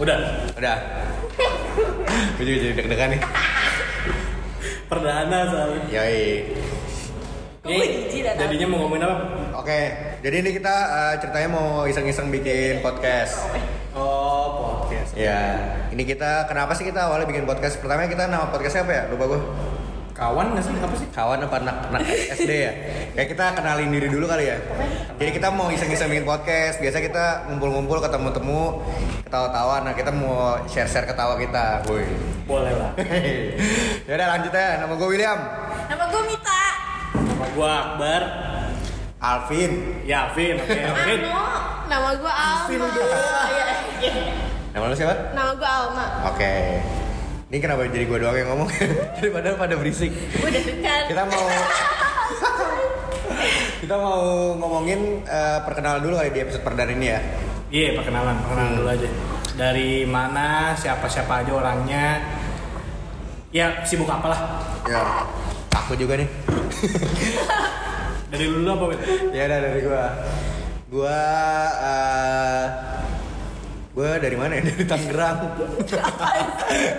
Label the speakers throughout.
Speaker 1: Udah,
Speaker 2: Udah. Gue juga jadi deg-degan nih.
Speaker 1: perdana soalnya.
Speaker 2: Yoi.
Speaker 3: Kok gue jijik dan
Speaker 1: jadinya mau ngomongin apa?
Speaker 2: Oke, jadi ini kita eh, ceritanya mau iseng-iseng bikin podcast.
Speaker 1: Oh, podcast.
Speaker 2: Ya, ini kita kenapa sih kita awalnya bikin podcast? Pertama kita nama podcastnya apa ya? Lupa gue.
Speaker 1: Kawan nggak sih? Apa sih?
Speaker 2: Kawan apa anak, anak SD ya? Kayak kita kenalin diri dulu kali ya. Jadi kita mau iseng-iseng bikin podcast. Biasa kita ngumpul-ngumpul ketemu-temu, ketawa-tawa. Nah kita mau share-share ketawa kita. Woi.
Speaker 1: Boleh lah.
Speaker 2: ya udah lanjut ya. Nama gue William.
Speaker 3: Nama gue Mita.
Speaker 1: Sama gua Akbar.
Speaker 2: Alvin.
Speaker 1: Ya, Vin. Oke, oke.
Speaker 3: Ano. Anu, Nama gue Alma. Iya, iya.
Speaker 2: Nama lu siapa?
Speaker 3: Nama gue Alma.
Speaker 2: Oke. Ini kenapa jadi gue doang yang ngomong? Daripada pada berisik.
Speaker 3: Gue udah dekat.
Speaker 2: Kita mau kita mau ngomongin eh, perkenalan dulu kali di episode perdana ini ya.
Speaker 1: Iya, perkenalan, perkenalan dulu aja. Dari mana, siapa-siapa aja orangnya. Ya, sibuk apalah.
Speaker 2: Ya. Aku juga nih.
Speaker 1: Dari dulu apa, Win?
Speaker 2: ya udah dari gua. Gua eh gua dari mana ya? Dari Tangerang.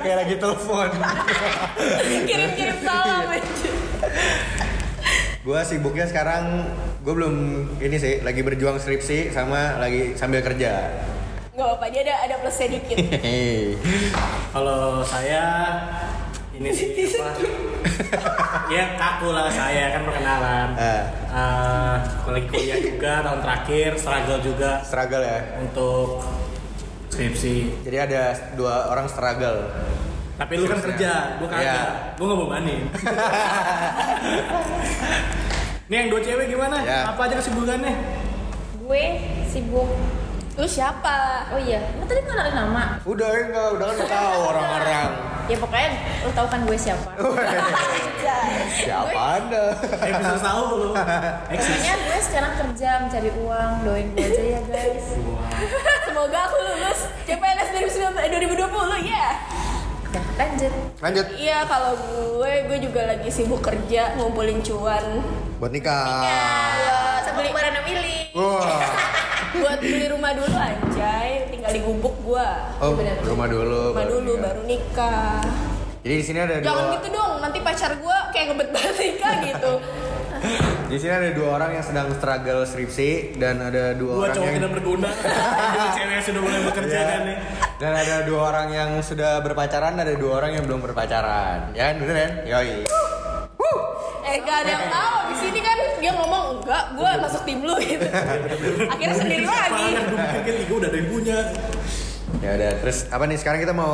Speaker 2: Kayak lagi telepon.
Speaker 3: Kirim-kirim salam
Speaker 2: Iya.
Speaker 3: aja.
Speaker 2: gua sibuknya sekarang gua belum ini sih lagi berjuang skripsi sama lagi sambil kerja.
Speaker 3: Gak apa-apa, dia ada, ada plusnya dikit.
Speaker 2: Eh,
Speaker 1: Kalau saya ini sih apa? ya kaku lah saya kan perkenalan.
Speaker 2: Eh.
Speaker 1: Eh, aku lagi kuliah juga tahun terakhir, struggle juga
Speaker 2: struggle ya.
Speaker 1: untuk skripsi.
Speaker 2: Jadi ada dua orang struggle.
Speaker 1: Tapi lu kan
Speaker 2: Skripsinya.
Speaker 1: kerja, gua kagak.
Speaker 2: Iya.
Speaker 1: Gua nggak bebanin. Nih yang dua cewek gimana?
Speaker 2: Iya.
Speaker 1: Apa aja kesibukannya?
Speaker 4: Gue sibuk.
Speaker 3: Lu siapa?
Speaker 4: Oh iya, lu tadi nggak narik nama.
Speaker 2: Udah enggak, udah kan tahu orang-orang.
Speaker 4: Ya pokoknya lu tahu kan gue siapa.
Speaker 2: Oh. Siapa Anda?
Speaker 1: Eh bisa tahu lu. Eksis.
Speaker 4: Pokoknya gue sekarang kerja mencari uang, doain gue aja ya guys.
Speaker 3: Semoga aku lulus CPNS 2019, 2020, ya.
Speaker 4: Nah, lanjut.
Speaker 2: Lanjut.
Speaker 3: Iya, kalau gue, gue juga lagi sibuk kerja ngumpulin cuan
Speaker 2: Buat nikah. Ah.
Speaker 4: Ya, sama kemarin milih.
Speaker 2: Wah.
Speaker 3: buat beli rumah dulu anjay, tinggal di gubuk gua.
Speaker 2: Oh,
Speaker 4: Benar.
Speaker 2: rumah dulu.
Speaker 3: Rumah
Speaker 2: baru
Speaker 3: dulu
Speaker 2: nikah.
Speaker 3: baru nikah.
Speaker 2: Jadi di sini ada
Speaker 3: Jangan
Speaker 2: dua.
Speaker 3: gitu dong, nanti pacar gua kayak ngebet banget nikah gitu.
Speaker 2: Di sini ada dua orang yang sedang struggle skripsi dan ada dua
Speaker 1: Dua
Speaker 2: orang
Speaker 1: cowok
Speaker 2: yang
Speaker 1: tidak berguna. Dua cewek yang sudah mulai bekerja
Speaker 2: Iya.
Speaker 1: kan nih.
Speaker 2: Dan ada dua orang yang sudah berpacaran, ada dua orang yang belum berpacaran. Ya kan, bener kan? Yoi.
Speaker 3: Eh gak ada yang tahu di sini kan dia ngomong enggak, gua masuk tim lu gitu. Akhirnya sendiri
Speaker 1: Banyak
Speaker 3: lagi.
Speaker 1: gue mikir kan? kayak tiga udah ada yang punya.
Speaker 2: Ya udah, terus apa nih sekarang kita mau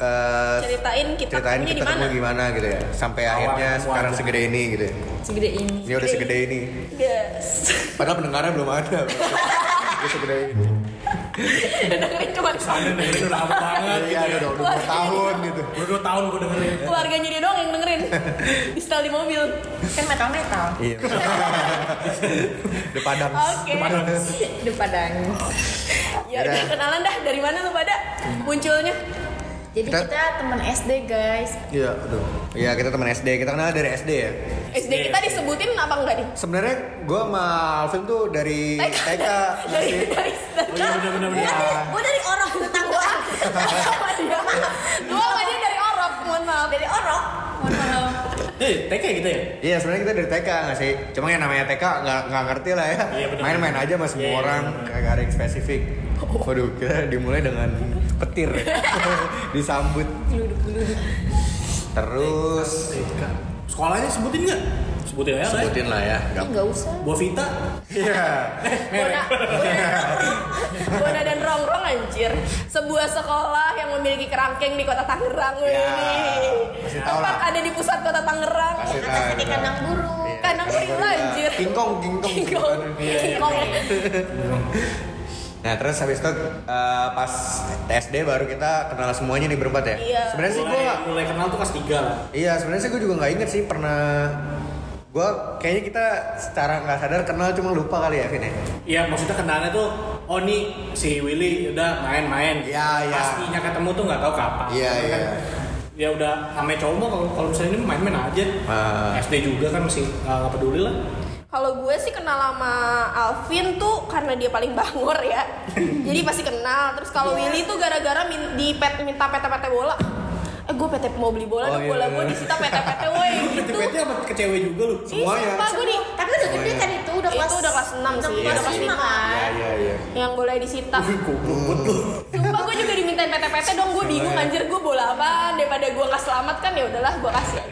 Speaker 2: eh,
Speaker 3: Ceritain kita
Speaker 2: ceritain kita
Speaker 3: ketemunya di
Speaker 2: ketemu
Speaker 3: mana?
Speaker 2: gimana gitu ya sampai
Speaker 1: Awal
Speaker 2: akhirnya
Speaker 1: ketemu
Speaker 2: sekarang
Speaker 1: aja.
Speaker 2: segede ini gitu ya.
Speaker 4: Segede ini.
Speaker 2: ini udah segede ini
Speaker 3: Yes.
Speaker 2: padahal pendengarnya belum ada udah segede ini
Speaker 3: Dengerin cuma
Speaker 1: Ada nih, udah lama banget.
Speaker 2: iya ada dong udah dua tahun gitu
Speaker 1: Udah dua tahun gue dengerin. Oh,
Speaker 3: keluarganya dia doang yang dengerin. Di setel di mobil.
Speaker 4: Kan metal-metal.
Speaker 2: iya udah padang
Speaker 3: Oke.
Speaker 4: Udah padang.
Speaker 3: Ya
Speaker 2: Iya.
Speaker 3: udah kenalan dah dari mana lu pada
Speaker 2: Hmm.
Speaker 3: munculnya?
Speaker 4: Jadi
Speaker 2: Kita-
Speaker 4: kita, temen SD guys.
Speaker 2: iya aduh iya kita teman SD kita kenal dari SD ya
Speaker 3: SD kita disebutin apa enggak nih?
Speaker 2: sebenarnya gue sama Alvin tuh dari TK
Speaker 3: dari dari
Speaker 1: Oh iya bener bener bener.
Speaker 3: gue dari orok tetanggaan gue sama dia dari orok mohon maaf dari orok
Speaker 4: Mohon maaf.
Speaker 1: Eh, TK gitu ya?
Speaker 2: Iya sebenarnya kita dari TK nggak sih, cuma yang namanya TK nggak nggak ngerti lah ya.
Speaker 1: Iya, benar.
Speaker 2: Main-main aja mas semua
Speaker 1: Iya, Oh. iya,
Speaker 2: orang, nggak ada yang spesifik. Waduh kita dimulai dengan petir, ya. disambut. Terus
Speaker 1: TK. Sekolahnya sebutin nggak? Sebutin aja lah. ya.
Speaker 2: Iya. sebutin lah ya.
Speaker 4: Ih,
Speaker 2: gampang.
Speaker 4: nggak usah.
Speaker 1: Buah Vita.
Speaker 2: Iya.
Speaker 3: Bona Bona dan Rongrong anjir Sebuah sekolah yang memiliki kerangkeng di kota Tangerang
Speaker 2: Ya,
Speaker 3: ini
Speaker 2: pasti tahu
Speaker 3: Tempat
Speaker 2: lah.
Speaker 3: ada di pusat kota Tangerang
Speaker 2: Pasti
Speaker 4: Karena
Speaker 2: tahu,
Speaker 4: tadi
Speaker 2: kita.
Speaker 4: kandang burung.
Speaker 2: Iya,
Speaker 3: Kandang gorila, anjir.
Speaker 2: Kingkong, kingkong.
Speaker 3: Kingkong
Speaker 2: Iya, iya.
Speaker 3: Kingkong
Speaker 2: Nah terus habis itu eh, pas SD baru kita kenal semuanya nih berempat ya.
Speaker 3: Iya.
Speaker 2: Sebenarnya sih gue
Speaker 1: Mulai, mulai kenal tuh kelas 3 lah.
Speaker 2: Iya sebenarnya sih gue juga nggak inget sih pernah gue kayaknya kita secara nggak sadar kenal cuma lupa kali ya Vin ya.
Speaker 1: Iya maksudnya kenalnya tuh Oh nih si Willy udah main-main
Speaker 2: Iya, iya.
Speaker 1: Pastinya ketemu tuh nggak tahu kapan
Speaker 2: Iya,
Speaker 1: Karena
Speaker 2: iya.
Speaker 1: kan Ya udah namanya cowok mah kalau kalau misalnya ini main-main aja
Speaker 2: Ah.
Speaker 1: SD juga kan masih nggak nggak peduli lah
Speaker 3: Kalau gue sih kenal sama Alvin tuh karena dia paling bangor ya. Jadi pasti kenal. Terus kalau
Speaker 2: Iya.
Speaker 3: Willy tuh gara-gara min- di pet, minta PT-PT bola. Eh gue PT mau beli bola,
Speaker 2: Oh,
Speaker 3: dong,
Speaker 2: iya,
Speaker 3: bola
Speaker 2: iya.
Speaker 3: gue disita PT-PT woi gitu.
Speaker 1: Cepetnya apa ke cewek juga lu?
Speaker 3: Ih,
Speaker 2: Semuanya.
Speaker 3: sumpah gue di
Speaker 5: Tapi udah
Speaker 2: Oh,
Speaker 5: gede kan itu udah
Speaker 3: Itu
Speaker 5: kelas
Speaker 3: udah kelas enam sih,
Speaker 5: Kelas
Speaker 3: udah kelas
Speaker 5: lima
Speaker 3: lima.
Speaker 5: kan.
Speaker 2: Iya iya iya. Hmm.
Speaker 3: yang boleh disita.
Speaker 1: Kubut lu.
Speaker 3: Sumpah gue juga dimintain PT-PT dong,
Speaker 2: Oh,
Speaker 3: gue bingung
Speaker 2: iya.
Speaker 3: anjir gue bola apa daripada gue nggak selamat kan ya udahlah gue kasih aja.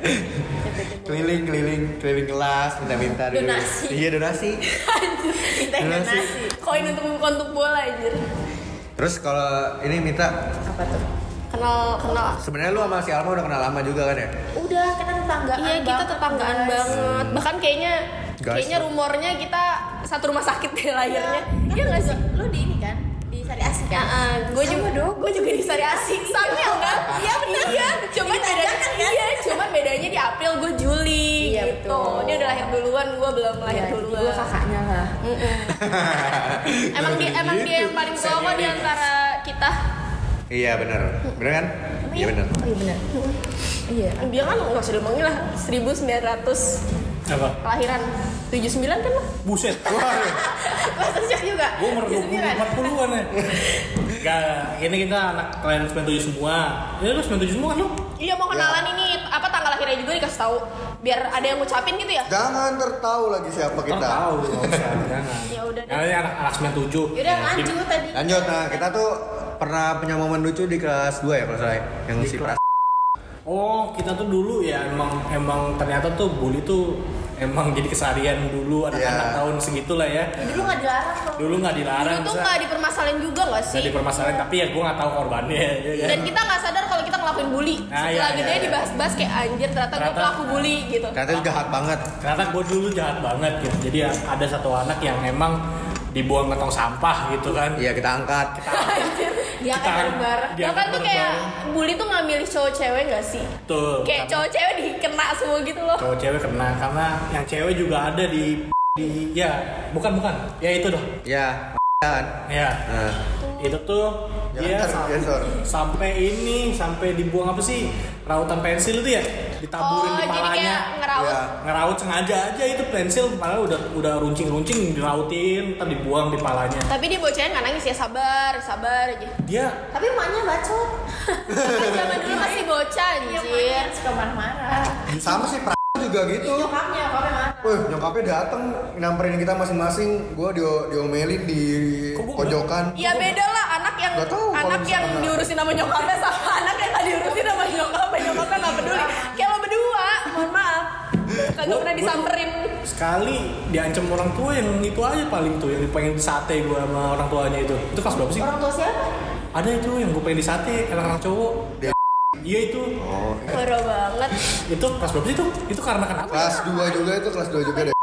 Speaker 2: Keliling keliling keliling kelas minta-minta dulu.
Speaker 5: Donasi.
Speaker 2: Iya donasi.
Speaker 5: Kita yang
Speaker 2: Donasi.
Speaker 5: donasi.
Speaker 3: Koin untuk untuk bola anjir.
Speaker 2: Terus kalau ini minta
Speaker 5: Apa tuh?
Speaker 3: Kenal kenal
Speaker 2: sebenarnya lu sama si Alma udah kenal lama juga kan ya?
Speaker 5: Udah karena tetanggaan.
Speaker 3: Iya kita
Speaker 5: banget,
Speaker 3: tetanggaan
Speaker 5: guys.
Speaker 3: banget. Bahkan kayaknya
Speaker 2: Guys,
Speaker 3: kayaknya
Speaker 2: loh.
Speaker 3: rumornya kita satu rumah sakit deh
Speaker 5: Iya
Speaker 3: lahirnya.
Speaker 5: Iya nggak sih? Lu di ini kan? Di Sari Asih kan?
Speaker 3: gue juga gue juga di Sari Asih sama ya kan? Iya benar. Iya, cuman bedanya iya, cuman bedanya di April gue Juli
Speaker 5: Iya,
Speaker 3: gitu.
Speaker 5: betul.
Speaker 3: Dia udah lahir duluan, gue belum lahir duluan.
Speaker 5: Gue kakaknya lah.
Speaker 3: Emang dia emang dia yang paling tua kok di antara kita.
Speaker 2: Iya benar. Benar kan?
Speaker 4: ya?
Speaker 2: Iya benar.
Speaker 5: Oh iya benar. Iya.
Speaker 3: Dia kan nggak usah diomongin lah 1900
Speaker 1: Apa?
Speaker 3: kelahiran 79 kan lah.
Speaker 1: Buset.
Speaker 3: Kelas tersiap juga. Iya,
Speaker 1: Gue umur 20 40-an ya. Enggak, ini kita anak kalian 97 semua. Ya lu 97 semua kan lu?
Speaker 3: Iya mau kenalan
Speaker 5: Ya.
Speaker 3: ini apa tanggal lahirnya juga dikasih tahu biar ada yang ngucapin gitu ya.
Speaker 2: Jangan tertahu lagi siapa
Speaker 1: Ntar
Speaker 2: kita.
Speaker 1: tahu, nggak usah, jangan.
Speaker 3: Ya udah deh.
Speaker 1: Karena ini anak anak 97.
Speaker 5: Yaudah
Speaker 1: Ya,
Speaker 5: lanjut tadi.
Speaker 2: Lanjut, nah kita tuh pernah punya momen lucu di kelas 2 ya kalau saya yang si Pras.
Speaker 1: Oh, kita tuh dulu ya emang emang ternyata tuh bully tuh emang jadi keseharian dulu anak-anak
Speaker 2: Iya.
Speaker 1: tahun segitulah ya.
Speaker 5: Ya, dulu nggak dilarang kok.
Speaker 1: Dulu nggak
Speaker 3: Dulu
Speaker 1: dilarang,
Speaker 3: tuh
Speaker 1: Sa.
Speaker 3: nggak dipermasalahin juga nggak
Speaker 1: Nggak
Speaker 3: sih?
Speaker 1: dipermasalahin, tapi ya gue nggak tahu korbannya. ya kan?
Speaker 3: Dan kita nggak sadar kalau kita ngelakuin bully.
Speaker 1: Ah, iya,
Speaker 3: Setelah
Speaker 1: iya,
Speaker 3: gede
Speaker 1: iya.
Speaker 3: dibahas-bahas kayak anjir ternyata, gue
Speaker 1: Ternyata-
Speaker 3: pelaku bully gitu.
Speaker 2: Ternyata itu jahat banget.
Speaker 1: ternyata gue dulu jahat banget gitu jadi ya, ada satu anak yang emang dibuang ke tong sampah gitu kan
Speaker 2: Iya kita angkat.
Speaker 3: Anjir.
Speaker 5: Dia
Speaker 1: Kita-
Speaker 5: kan bareng-bareng.
Speaker 1: Dia
Speaker 3: Bahkan
Speaker 1: kan
Speaker 3: tuh kayak
Speaker 1: bareng-bareng.
Speaker 3: bully tuh nggak milih cowok cewek nggak sih?
Speaker 1: tuh
Speaker 3: Kayak
Speaker 1: Gitu. karena
Speaker 3: cowok cewek dikena semua gitu loh.
Speaker 1: cowok cewek kena karena yang cewek juga ada di di ya bukan bukan ya itu dong
Speaker 2: Iya. Kan.
Speaker 1: ya
Speaker 2: Nah,
Speaker 1: itu tuh
Speaker 2: jangan
Speaker 1: dia
Speaker 2: kasih gesor.
Speaker 1: sampai ini sampai dibuang apa sih rautan pensil itu ya ditaburin
Speaker 3: Oh
Speaker 1: di
Speaker 3: jadi
Speaker 1: palanya
Speaker 3: kayak ngeraut.
Speaker 2: Iya.
Speaker 1: ngeraut sengaja aja itu pensil malah udah udah runcing runcing dirautin ntar dibuang di palanya
Speaker 3: Tapi dia bocahnya nggak nangis ya sabar sabar aja.
Speaker 1: dia
Speaker 5: Tapi emaknya bacot.
Speaker 3: Kan zaman dulu masih bocah
Speaker 5: Iya, emaknya
Speaker 3: anjir.
Speaker 5: yang suka marah-marah.
Speaker 2: Sama si Pras juga gitu.
Speaker 1: Iya,
Speaker 5: Nyokapnya, nyokapnya marah.
Speaker 2: Wih, nyokapnya dateng nyamperin kita masing-masing. Gue di diomelin di
Speaker 1: Kok gua-
Speaker 2: pojokan.
Speaker 3: Ya beda lah anak yang
Speaker 2: Nggak tahu kalau
Speaker 3: anak yang
Speaker 2: misalkan-
Speaker 3: diurusin sama nyokapnya sama anak yang gak diurusin sama nyokapnya nyokapnya nggak peduli. Kayak lo berdua, mohon maaf. Kagak pernah disamperin.
Speaker 1: sekali diancam orang tua yang itu aja paling tuh yang pengen disate gue sama orang tuanya itu itu kelas berapa sih
Speaker 5: Orang tua siapa?
Speaker 1: ada itu yang gue pengen disate anak-anak cowok
Speaker 2: Dia-
Speaker 1: iya itu
Speaker 2: Oh.
Speaker 3: Parah banget.
Speaker 1: itu kelas berapa sih itu itu karena kenapa ya?
Speaker 2: Kelas 2 juga itu kelas 2 juga deh.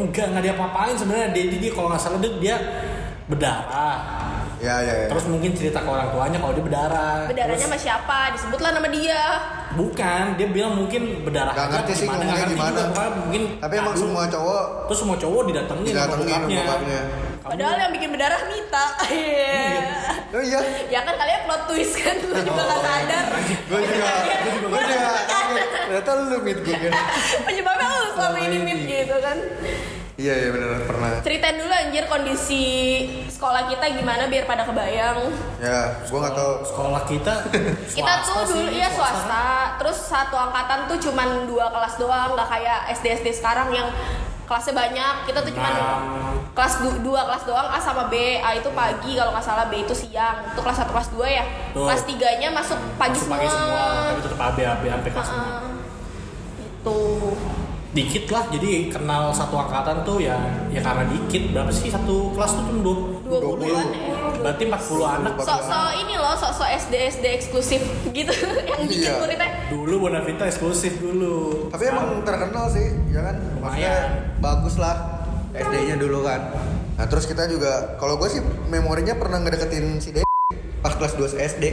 Speaker 1: enggak nggak dia apa-apain sebenarnya dia dia, dia kalau nggak salah dia, dia berdarah
Speaker 2: Ya ya ya.
Speaker 1: terus mungkin cerita ke orang tuanya kalau dia berdarah
Speaker 3: Bedaranya
Speaker 1: Terus-
Speaker 3: sama siapa? Disebutlah nama dia.
Speaker 1: bukan dia bilang mungkin berdarah
Speaker 2: Nggak
Speaker 1: aja
Speaker 2: ngerti sih
Speaker 1: gimana,
Speaker 2: ngomongnya
Speaker 1: nggak ngerti
Speaker 2: gimana.
Speaker 1: juga, pokoknya mungkin
Speaker 2: Tapi emang
Speaker 1: ngadu.
Speaker 2: semua cowok
Speaker 1: terus semua cowok didatengin sama
Speaker 2: Didatengin sama
Speaker 1: bokapnya.
Speaker 2: bokapnya.
Speaker 1: Kamu-
Speaker 3: Padahal yang bikin berdarah Mita. Iya.
Speaker 2: Oh iya.
Speaker 3: Ya kan kalian plot twist kan lu juga gak sadar.
Speaker 2: Gue juga. Gue juga. kaget. Ternyata lu meet gue kan.
Speaker 3: Penyebabnya lu selama ini Mit gitu kan.
Speaker 2: Iya iya benar pernah.
Speaker 3: Ceritain dulu anjir kondisi sekolah kita gimana biar pada kebayang.
Speaker 2: Ya, gue nggak tahu.
Speaker 1: sekolah kita
Speaker 3: Kita
Speaker 1: swasta
Speaker 3: tuh dulu
Speaker 1: sih,
Speaker 3: iya swasta, terus satu angkatan tuh cuman dua kelas doang, nggak kayak SD SD sekarang yang kelasnya banyak. Kita tuh cuman
Speaker 1: Enam.
Speaker 3: kelas du- dua kelas doang A sama B. A itu pagi kalau nggak salah, B itu siang. Itu kelas satu kelas dua ya.
Speaker 1: Tuh.
Speaker 3: Kelas tiganya masuk pagi
Speaker 1: Masuk
Speaker 3: semua.
Speaker 1: pagi semua tapi tetap AB AB sampai kelas enam.
Speaker 3: Heeh. Itu
Speaker 1: dikit lah jadi kenal satu angkatan tuh ya ya karena dikit berapa sih satu kelas tuh cuma dua
Speaker 3: dua an ya.
Speaker 1: berarti 40 anak
Speaker 3: Sok-sok ini loh, sok-sok SD SD eksklusif gitu yang bikin
Speaker 2: Iya.
Speaker 3: muridnya
Speaker 1: dulu Bonavita eksklusif dulu
Speaker 2: Tapi emang terkenal sih, ya kan? Maksudnya
Speaker 1: Lumayan.
Speaker 2: bagus lah SD-nya dulu kan. Nah terus kita juga, kalau gue sih memorinya pernah ngedeketin si D pas kelas 2 SD.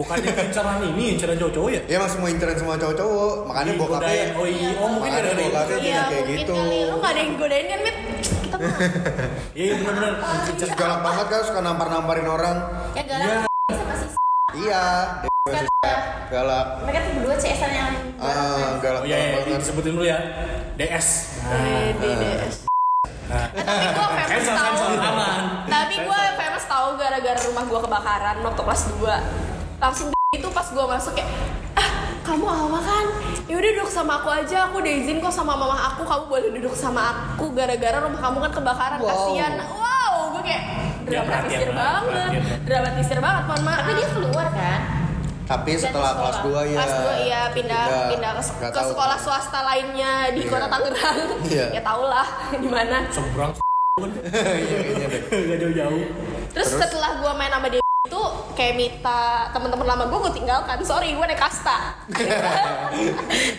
Speaker 1: bukannya inceran ini inceran cowok-cowok ya
Speaker 2: Ya emang semua intern semua cowok-cowok, makanya bokapnya.
Speaker 1: Digodain. oh iya oh mungkin
Speaker 2: Makanya
Speaker 1: ada dari
Speaker 2: bokapnya tidak kayak
Speaker 3: Iya, mungkin
Speaker 2: gitu.
Speaker 3: kali. Lu gak ada yang godain kan, Mit? Kita mah.
Speaker 1: iya iya, benar-benar
Speaker 2: Terus galak banget kan suka nampar-namparin orang.
Speaker 5: Ya galak sama si
Speaker 2: Iya, D galak.
Speaker 5: mereka tuh berdua CS-an yang
Speaker 2: Ah, galak
Speaker 1: oh iya
Speaker 2: galak
Speaker 1: iya,
Speaker 2: banget.
Speaker 1: disebutin dulu ya DS nah,
Speaker 3: Eh, DDS.
Speaker 1: Nah,
Speaker 3: Eh, tapi gue famous
Speaker 1: Cancel,
Speaker 3: tahu.
Speaker 1: cancel, aman.
Speaker 3: Tapi gue famous tahu gara-gara rumah gue kebakaran waktu kelas 2 Langsung di- itu pas gue masuk kayak ah kamu Alma kan? Ya udah duduk sama aku aja. Aku udah izin kok sama mama aku. Kamu boleh duduk sama aku gara-gara rumah kamu kan kebakaran.
Speaker 2: Wow.
Speaker 3: Kasihan. Wow, gue kayak
Speaker 1: Dia perhatian
Speaker 3: dramatisir
Speaker 1: banget,
Speaker 3: banget.
Speaker 1: perhatian.
Speaker 3: Dramatisir banget, mohon maaf.
Speaker 5: Tapi dia keluar kan?
Speaker 2: Tapi setelah kelas 2 ya.
Speaker 3: Iya, Kelas dua iya pindah pindah ke,
Speaker 2: Nggak
Speaker 3: ke
Speaker 2: tahu.
Speaker 3: sekolah swasta lainnya di
Speaker 2: Iya.
Speaker 3: kota Tangerang.
Speaker 2: Iya.
Speaker 3: ya tau lah di mana.
Speaker 1: seberang
Speaker 2: Iya, kayaknya deh.
Speaker 1: gak jauh-jauh.
Speaker 3: Terus, setelah gua main sama dia itu kayak minta teman-teman lama gua gua tinggalkan. Sorry, gua naik kasta.
Speaker 2: Udah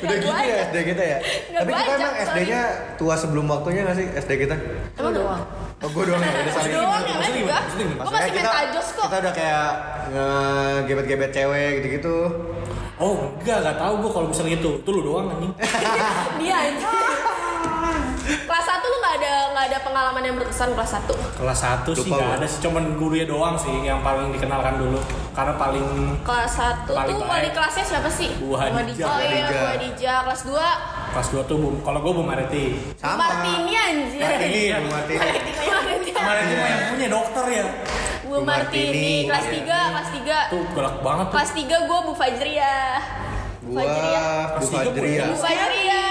Speaker 3: Nggak
Speaker 2: gitu
Speaker 3: gua
Speaker 2: ya
Speaker 3: ajak.
Speaker 2: SD kita ya.
Speaker 3: Nggak
Speaker 2: Tapi
Speaker 3: gua
Speaker 2: kita
Speaker 3: ajak,
Speaker 2: emang SD-nya tua sebelum waktunya nggak sih SD kita?
Speaker 3: Emang doang.
Speaker 2: Oh gue doang ya, udah saling.
Speaker 3: Doang ya,
Speaker 1: Maksudnya
Speaker 3: main
Speaker 1: gimana?
Speaker 3: juga.
Speaker 1: Maksudnya gimana?
Speaker 3: Gua
Speaker 2: Maksudnya
Speaker 3: masih main
Speaker 2: kita-
Speaker 3: tajos kok.
Speaker 2: Kita udah kayak ngegebet-gebet cewek gitu-gitu.
Speaker 1: Oh enggak, gak tau gue kalau misalnya itu. Itu lu doang anjing.
Speaker 2: Eh,
Speaker 3: Dia aja. kelas 1 lu nggak ada nggak ada pengalaman yang berkesan kelas 1
Speaker 1: Kelas 1 sih
Speaker 2: Lupa
Speaker 1: gak
Speaker 2: gua.
Speaker 1: ada sih, cuman gurunya doang sih yang paling dikenalkan dulu. Karena paling
Speaker 3: kelas 1
Speaker 1: Paling
Speaker 3: tuh
Speaker 1: baik.
Speaker 3: wali kelasnya siapa sih?
Speaker 1: Bu Hadijah.
Speaker 3: Oh iya,
Speaker 2: Hadijah.
Speaker 3: Bu Hadijah. Kelas 2
Speaker 1: kelas 2 tuh Bum- kalau gue Bu Mareti.
Speaker 2: Sama.
Speaker 3: Martini anjir.
Speaker 2: Martini, Bu Martini.
Speaker 1: Bu Mareti mah yang punya dokter ya.
Speaker 3: Bu Martini. Kelas 3, kelas 3.
Speaker 1: Tuh galak banget tuh.
Speaker 3: Kelas 3 gua Bu Fajriah.
Speaker 2: Gua
Speaker 3: ya.
Speaker 2: ya. Bu
Speaker 1: Pasti gua
Speaker 2: Fajriya.
Speaker 3: Bu Fajriya.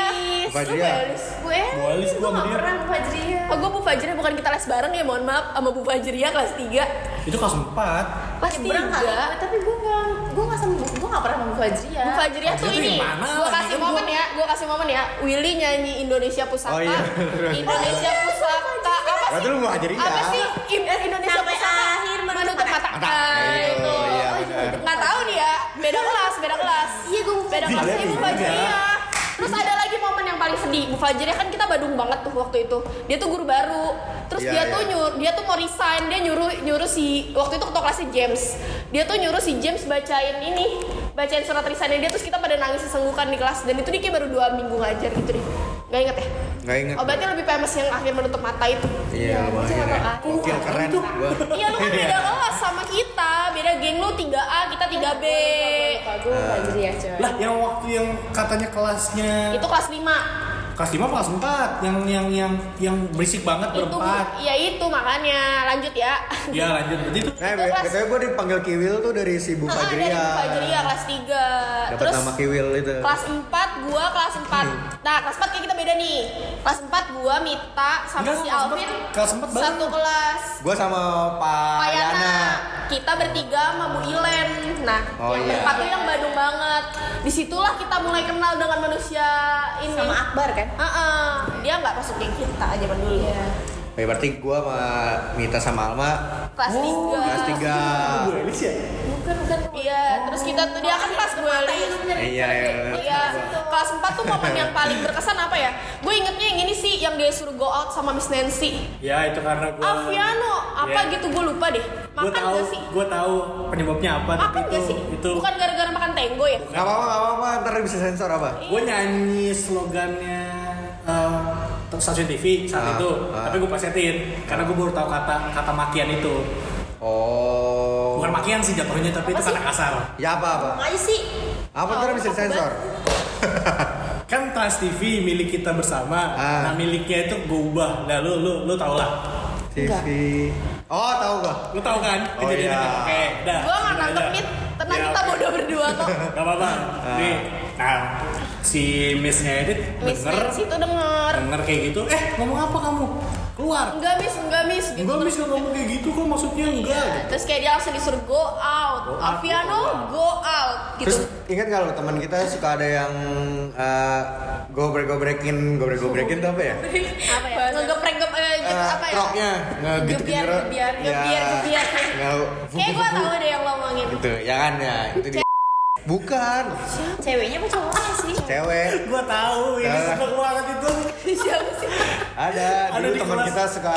Speaker 2: Bu Fajriya.
Speaker 5: Gue
Speaker 1: Walis
Speaker 5: gue
Speaker 1: gua sama
Speaker 5: gak
Speaker 1: dia.
Speaker 5: pernah ke Fajriya.
Speaker 3: Oh, gue Bu Fajriya bukan kita les bareng ya, mohon maaf sama Bu Fajriya kelas 3.
Speaker 1: Itu kelas 4.
Speaker 3: Kelas
Speaker 5: Nyebrang kali gue,
Speaker 3: 3.
Speaker 5: tapi gue gak gue gak sama gue gak pernah sama ya. Fajriya.
Speaker 3: Bu Fajriya
Speaker 1: Fajriya
Speaker 3: tuh
Speaker 1: tuh
Speaker 3: ini.
Speaker 1: yang mana?
Speaker 3: Gue
Speaker 1: Tadi
Speaker 3: kasih
Speaker 1: kan
Speaker 3: momen
Speaker 1: gua-
Speaker 3: ya, gue kasih momen ya. Willy nyanyi Indonesia Pusaka.
Speaker 2: Oh, iya.
Speaker 3: Indonesia Pusaka apa
Speaker 2: Berarti
Speaker 3: sih?
Speaker 2: lu mau ajarin
Speaker 3: Apa sih Im- Indonesia
Speaker 5: Sampai
Speaker 3: Pusaka?
Speaker 5: akhir menutup
Speaker 3: Menutup mata.
Speaker 2: mata.
Speaker 3: Ah,
Speaker 2: Iya,
Speaker 3: itu.
Speaker 2: iya, benar.
Speaker 3: Nggak tahu dia. Beda kelas, beda kelas.
Speaker 5: Iya gue
Speaker 3: beda
Speaker 1: Gila,
Speaker 3: kelas ibu
Speaker 1: iya.
Speaker 3: Fajriya terus ada lagi momen yang paling sedih Bu Fajriya kan kita Badung banget tuh waktu itu dia tuh guru baru terus
Speaker 2: Iya,
Speaker 3: dia
Speaker 2: iya.
Speaker 3: tuh nyuruh dia tuh mau resign dia nyuruh nyuruh si waktu itu ketua kelasnya James dia tuh nyuruh si James bacain ini bacain surat resignnya dia terus kita pada nangis sesenggukan di kelas dan itu dia kayak baru dua minggu ngajar gitu deh nggak inget ya
Speaker 2: Nggak inget.
Speaker 3: oh berarti lebih famous yang akhir menutup mata itu
Speaker 2: Iya, lumayan ya. Gokil keren. Gua.
Speaker 3: iya lu kan beda kelas sama kita beda geng lu 3A kita 3B
Speaker 5: iya,
Speaker 4: Lupa gue
Speaker 5: ya,
Speaker 4: Fajriah coy.
Speaker 1: Lah yang waktu yang katanya kelasnya
Speaker 3: itu kelas 5
Speaker 1: kelas 5 kelas 4 yang yang yang yang berisik banget
Speaker 3: itu
Speaker 1: berempat.
Speaker 3: ya itu makanya lanjut ya
Speaker 1: Ya lanjut berarti itu
Speaker 2: Nah,
Speaker 3: Itu kelas-
Speaker 2: katanya gue dipanggil Kiwil tuh dari si Bu
Speaker 3: Ah, dari
Speaker 2: Fajriya.
Speaker 3: Bu Fajriya kelas 3
Speaker 2: Dapat
Speaker 3: terus
Speaker 2: nama Kiwil itu.
Speaker 3: kelas 4 gua kelas 4 nah kelas 4 kayak kita beda nih kelas 4 gua Mita sama
Speaker 1: Enggak, kelas
Speaker 3: si
Speaker 1: empat-
Speaker 3: Alvin
Speaker 1: kelas empat bareng.
Speaker 3: satu kelas
Speaker 2: Gue sama Pak Ah, Yana.
Speaker 3: Payana kita bertiga sama Bu Ilen nah
Speaker 2: Oh,
Speaker 3: yang
Speaker 2: iya.
Speaker 3: berempat tuh yang Badung banget disitulah kita mulai kenal dengan manusia ini
Speaker 5: sama Akbar kan?
Speaker 3: Ah, ah. dia nggak masuk geng kita zaman dulu
Speaker 2: Ya, berarti gue sama Mita sama Alma
Speaker 3: kelas 3
Speaker 2: kelas tiga.
Speaker 1: Bu Elis ya.
Speaker 5: Bukan bukan.
Speaker 3: Iya, terus kita tuh dia kan pas gue
Speaker 2: Iya, iya.
Speaker 3: Iya, kelas 4 tuh momen yang paling berkesan apa ya? Gue ingetnya yang ini sih, yang dia suruh go out sama Miss Nancy.
Speaker 1: Ya itu karena gua
Speaker 3: Aviano, apa
Speaker 1: Iya.
Speaker 3: gitu gue lupa deh.
Speaker 1: Gue
Speaker 3: Makan
Speaker 1: tahu,
Speaker 3: gak sih?
Speaker 1: gue tahu penyebabnya apa tapi
Speaker 3: Makan gak
Speaker 1: itu
Speaker 3: sih?
Speaker 1: itu
Speaker 3: Bukan gara-gara makan tenggo ya?
Speaker 2: Gak apa-apa, gak apa-apa. Ntar bisa sensor apa?
Speaker 1: gue nyanyi slogannya eh, stasiun TV
Speaker 2: Ah,
Speaker 1: saat itu
Speaker 2: ah.
Speaker 1: tapi gue pasetin karena gue baru tahu kata kata makian itu
Speaker 2: Oh.
Speaker 1: bukan makian sih jatuhnya tapi itu kata kasar
Speaker 2: Ya apa apa?
Speaker 5: Makanya sih.
Speaker 2: Apa
Speaker 3: Oh,
Speaker 2: ntar bisa sensor?
Speaker 1: kan Trans TV milik kita bersama
Speaker 2: Ah.
Speaker 1: nah miliknya itu gue ubah nah lu lu lu tau lah
Speaker 2: TV. Oh tahu gak?
Speaker 3: Gitu.
Speaker 1: lu tau kan
Speaker 2: Oh,
Speaker 1: kejadiannya
Speaker 2: iya.
Speaker 1: oke dah
Speaker 3: Gue gak
Speaker 1: udah
Speaker 3: nonton
Speaker 1: aja.
Speaker 3: Mit. Tenang
Speaker 1: Ya,
Speaker 3: kita
Speaker 1: Iya, oke.
Speaker 3: bodoh berdua kok.
Speaker 1: Gak apa-apa. Nih, nah si Missnya edit
Speaker 3: Miss
Speaker 1: denger,
Speaker 3: Nancy tuh denger.
Speaker 1: denger kayak gitu. Eh ngomong apa kamu? Keluar.
Speaker 3: Enggak Miss, enggak Miss gitu.
Speaker 1: Enggak Miss nggak ngomong kayak gitu kok maksudnya enggak.
Speaker 3: Terus kayak dia langsung disuruh go out.
Speaker 1: Go out,
Speaker 3: Aviano go out
Speaker 2: Terus
Speaker 3: gitu.
Speaker 2: ingat gak lo teman kita suka ada yang eh, gobrek-gobrekin, gobrek-gobrekin tuh apa ya?
Speaker 3: Apa ya? Ngegeprek gep eh, gitu,
Speaker 2: Eh,
Speaker 3: apa ya?
Speaker 2: Roknya ngegitu
Speaker 3: Gebiar, gebiar,
Speaker 2: Ya.
Speaker 3: gebiar, gebiar. Kayak gue tau deh yang lo omongin.
Speaker 2: Gitu, ya kan ya. Itu dia. Bukan,
Speaker 5: Ceweknya apa cowoknya sih?
Speaker 2: cewek
Speaker 1: Gua tahu ini
Speaker 2: Nah.
Speaker 1: sebel banget itu.
Speaker 3: Siapa sih?
Speaker 2: ada.
Speaker 1: Ada
Speaker 2: Dulu
Speaker 1: di
Speaker 2: teman
Speaker 1: kelas.
Speaker 2: kita suka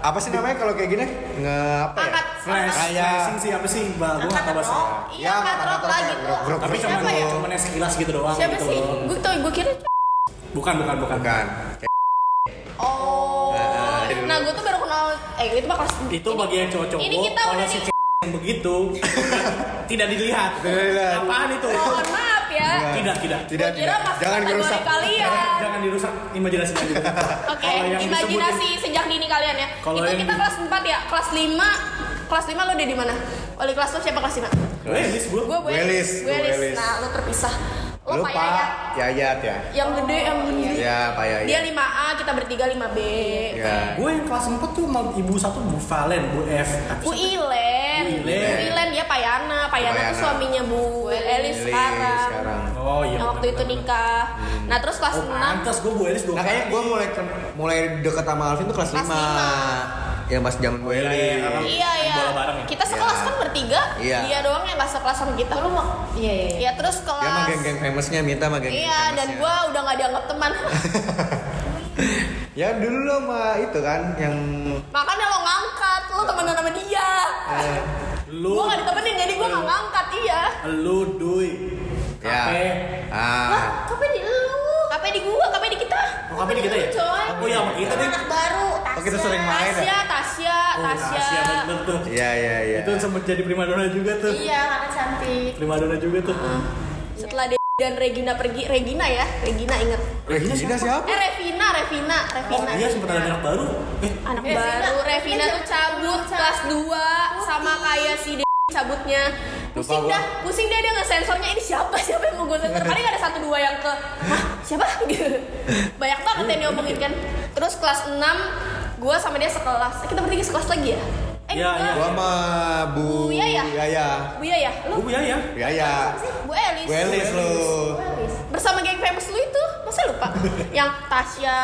Speaker 2: apa sih namanya kalau kayak gini? Nge apa ya?
Speaker 3: Angkat.
Speaker 1: Flash,
Speaker 2: Kayak-
Speaker 1: flashing sih apa sih? Bah, gua nggak tahu bahasa.
Speaker 3: Iya, angkat rok
Speaker 2: roknya,
Speaker 3: lagi tuh.
Speaker 2: grok-grok.
Speaker 1: Tapi
Speaker 3: Siapa
Speaker 1: cuma
Speaker 3: ya?
Speaker 1: cuma yang sekilas gitu doang
Speaker 3: Siapa
Speaker 1: gitu
Speaker 3: sih?
Speaker 1: loh.
Speaker 3: Gue tau, gue kira c-
Speaker 1: Bukan, bukan, bukan.
Speaker 2: Bukan.
Speaker 3: Oh
Speaker 2: Nah, jadi
Speaker 3: Nah
Speaker 2: dulu.
Speaker 3: gue tuh baru kenal Eh itu mah kelas
Speaker 1: Itu
Speaker 3: ini-
Speaker 1: bagi yang cowok-cowok.
Speaker 3: Ini kita
Speaker 1: kalau
Speaker 3: udah
Speaker 1: si
Speaker 3: di
Speaker 1: c- yang begitu tidak dilihat.
Speaker 2: Tidak dilihat.
Speaker 1: Apaan itu?
Speaker 3: Mohon maaf ya ya.
Speaker 1: Tidak, tidak.
Speaker 2: Tidak,
Speaker 3: Gua kira
Speaker 2: tidak.
Speaker 3: pas
Speaker 2: Jangan
Speaker 3: kategori
Speaker 2: gerusak.
Speaker 3: kalian.
Speaker 1: Jangan, jangan dirusak imajinasi kalian.
Speaker 3: Oke,
Speaker 1: Kalau yang
Speaker 3: imajinasi sejak dini kalian ya.
Speaker 1: Kalau
Speaker 3: itu
Speaker 1: yang-
Speaker 3: kita kelas 4 ya, kelas 5. Kelas 5 lo udah di mana? Oleh kelas lo siapa kelas 5?
Speaker 1: disebutin- Eh, list gua.
Speaker 3: Gue
Speaker 2: Gue Elis,
Speaker 3: Gue
Speaker 2: gue
Speaker 3: Elis.
Speaker 2: Elis.
Speaker 3: Nah, lo terpisah. Lo
Speaker 2: Lu
Speaker 3: Pak
Speaker 2: Pak
Speaker 3: Yaya.
Speaker 2: Yayat ya.
Speaker 3: Yang gede, yang gede.
Speaker 2: Ya, Pak Yayat.
Speaker 3: Dia 5A, kita bertiga 5B.
Speaker 2: Ya.
Speaker 1: Gue yang kelas 4 tuh sama ibu satu Bu Valen, Bu F. Apa sih?
Speaker 3: Uilen.
Speaker 1: Bu Ilen.
Speaker 3: Uilen dia Payana. Payana
Speaker 2: Payana.
Speaker 3: tuh suaminya Bu
Speaker 2: Elis
Speaker 3: Elis sekarang.
Speaker 2: sekarang.
Speaker 1: Oh iya.
Speaker 3: Yang waktu itu
Speaker 1: benar-benar.
Speaker 3: nikah. Nah, terus kelas
Speaker 1: Oh,
Speaker 3: 6
Speaker 1: pantas gue Bu Elis dua
Speaker 2: Nah, kayaknya gue mulai mulai deket sama Alvin tuh kelas
Speaker 3: Kelas
Speaker 2: 5. Yang pas zaman gue
Speaker 1: iya, iya,
Speaker 2: Elis.
Speaker 1: iya.
Speaker 3: Iya ya.
Speaker 1: Bola bareng ya?
Speaker 3: Kita sekelas
Speaker 2: Iya.
Speaker 3: kan bertiga.
Speaker 2: Iya.
Speaker 3: Dia doang yang gak sekelas sama kita. Lu mau?
Speaker 5: Iya, iya, iya.
Speaker 3: Ya terus
Speaker 2: Dia mah
Speaker 3: kelas.
Speaker 2: geng-geng famousnya minta sama geng-geng
Speaker 3: Iya, dan
Speaker 2: famousnya.
Speaker 3: gua udah gak dianggap teman.
Speaker 2: Ya dulu lo sama itu kan yang
Speaker 3: Makanya lo ngangkat, lo temenan sama dia.
Speaker 2: eh,
Speaker 1: Lu
Speaker 3: Gua gak ditemenin, jadi gua gak ngangkat, iya.
Speaker 1: lu Dui.
Speaker 2: ya.
Speaker 1: Kape.
Speaker 2: Ah.
Speaker 3: Kape di lu? Kape di gua? Kape di kita?
Speaker 1: Nah. Oh, kape di kita ya?
Speaker 3: Coy.
Speaker 1: Oh iya sama kita deh.
Speaker 5: Anak baru, Tasya.
Speaker 2: Oh, kita sering main ya?
Speaker 3: Tasya, Tasya,
Speaker 1: Oh,
Speaker 3: Tasya.
Speaker 1: Tasya bener tuh.
Speaker 2: Iya iya iya.
Speaker 1: Itu sempet jadi primadona juga tuh.
Speaker 5: Iya, karena cantik.
Speaker 1: Primadona juga tuh.
Speaker 2: Hmm.
Speaker 1: Oh,
Speaker 3: Setelah dia dan Regina pergi, Regina ya, Regina inget.
Speaker 2: Regina siapa?
Speaker 3: Eh Revina, Revina,
Speaker 1: Oh
Speaker 3: Revina.
Speaker 1: iya sempet ada anak baru. Eh,
Speaker 3: anak
Speaker 5: Revina.
Speaker 3: baru Revina tuh cabut kelas 2 sama kayak si D cabutnya pusing
Speaker 2: Lupa gua.
Speaker 3: dah pusing dah dia ngesensornya ini siapa siapa yang mau gue sensor paling ada satu dua yang ke Hah, siapa gitu banyak banget yang diomongin kan terus kelas 6 gue sama dia sekelas Eh, kita bertiga sekelas lagi ya eh
Speaker 1: Iya,
Speaker 3: enggak.
Speaker 2: Gua sama Bu
Speaker 3: Bu Yaya.
Speaker 2: Yaya.
Speaker 3: Bu Iya ya lu
Speaker 1: gue Bu Yaya.
Speaker 2: Bu Yaya.
Speaker 3: Bu Elis
Speaker 2: Bu Elis lo.
Speaker 3: bersama geng famous lu itu masa lupa yang Tasya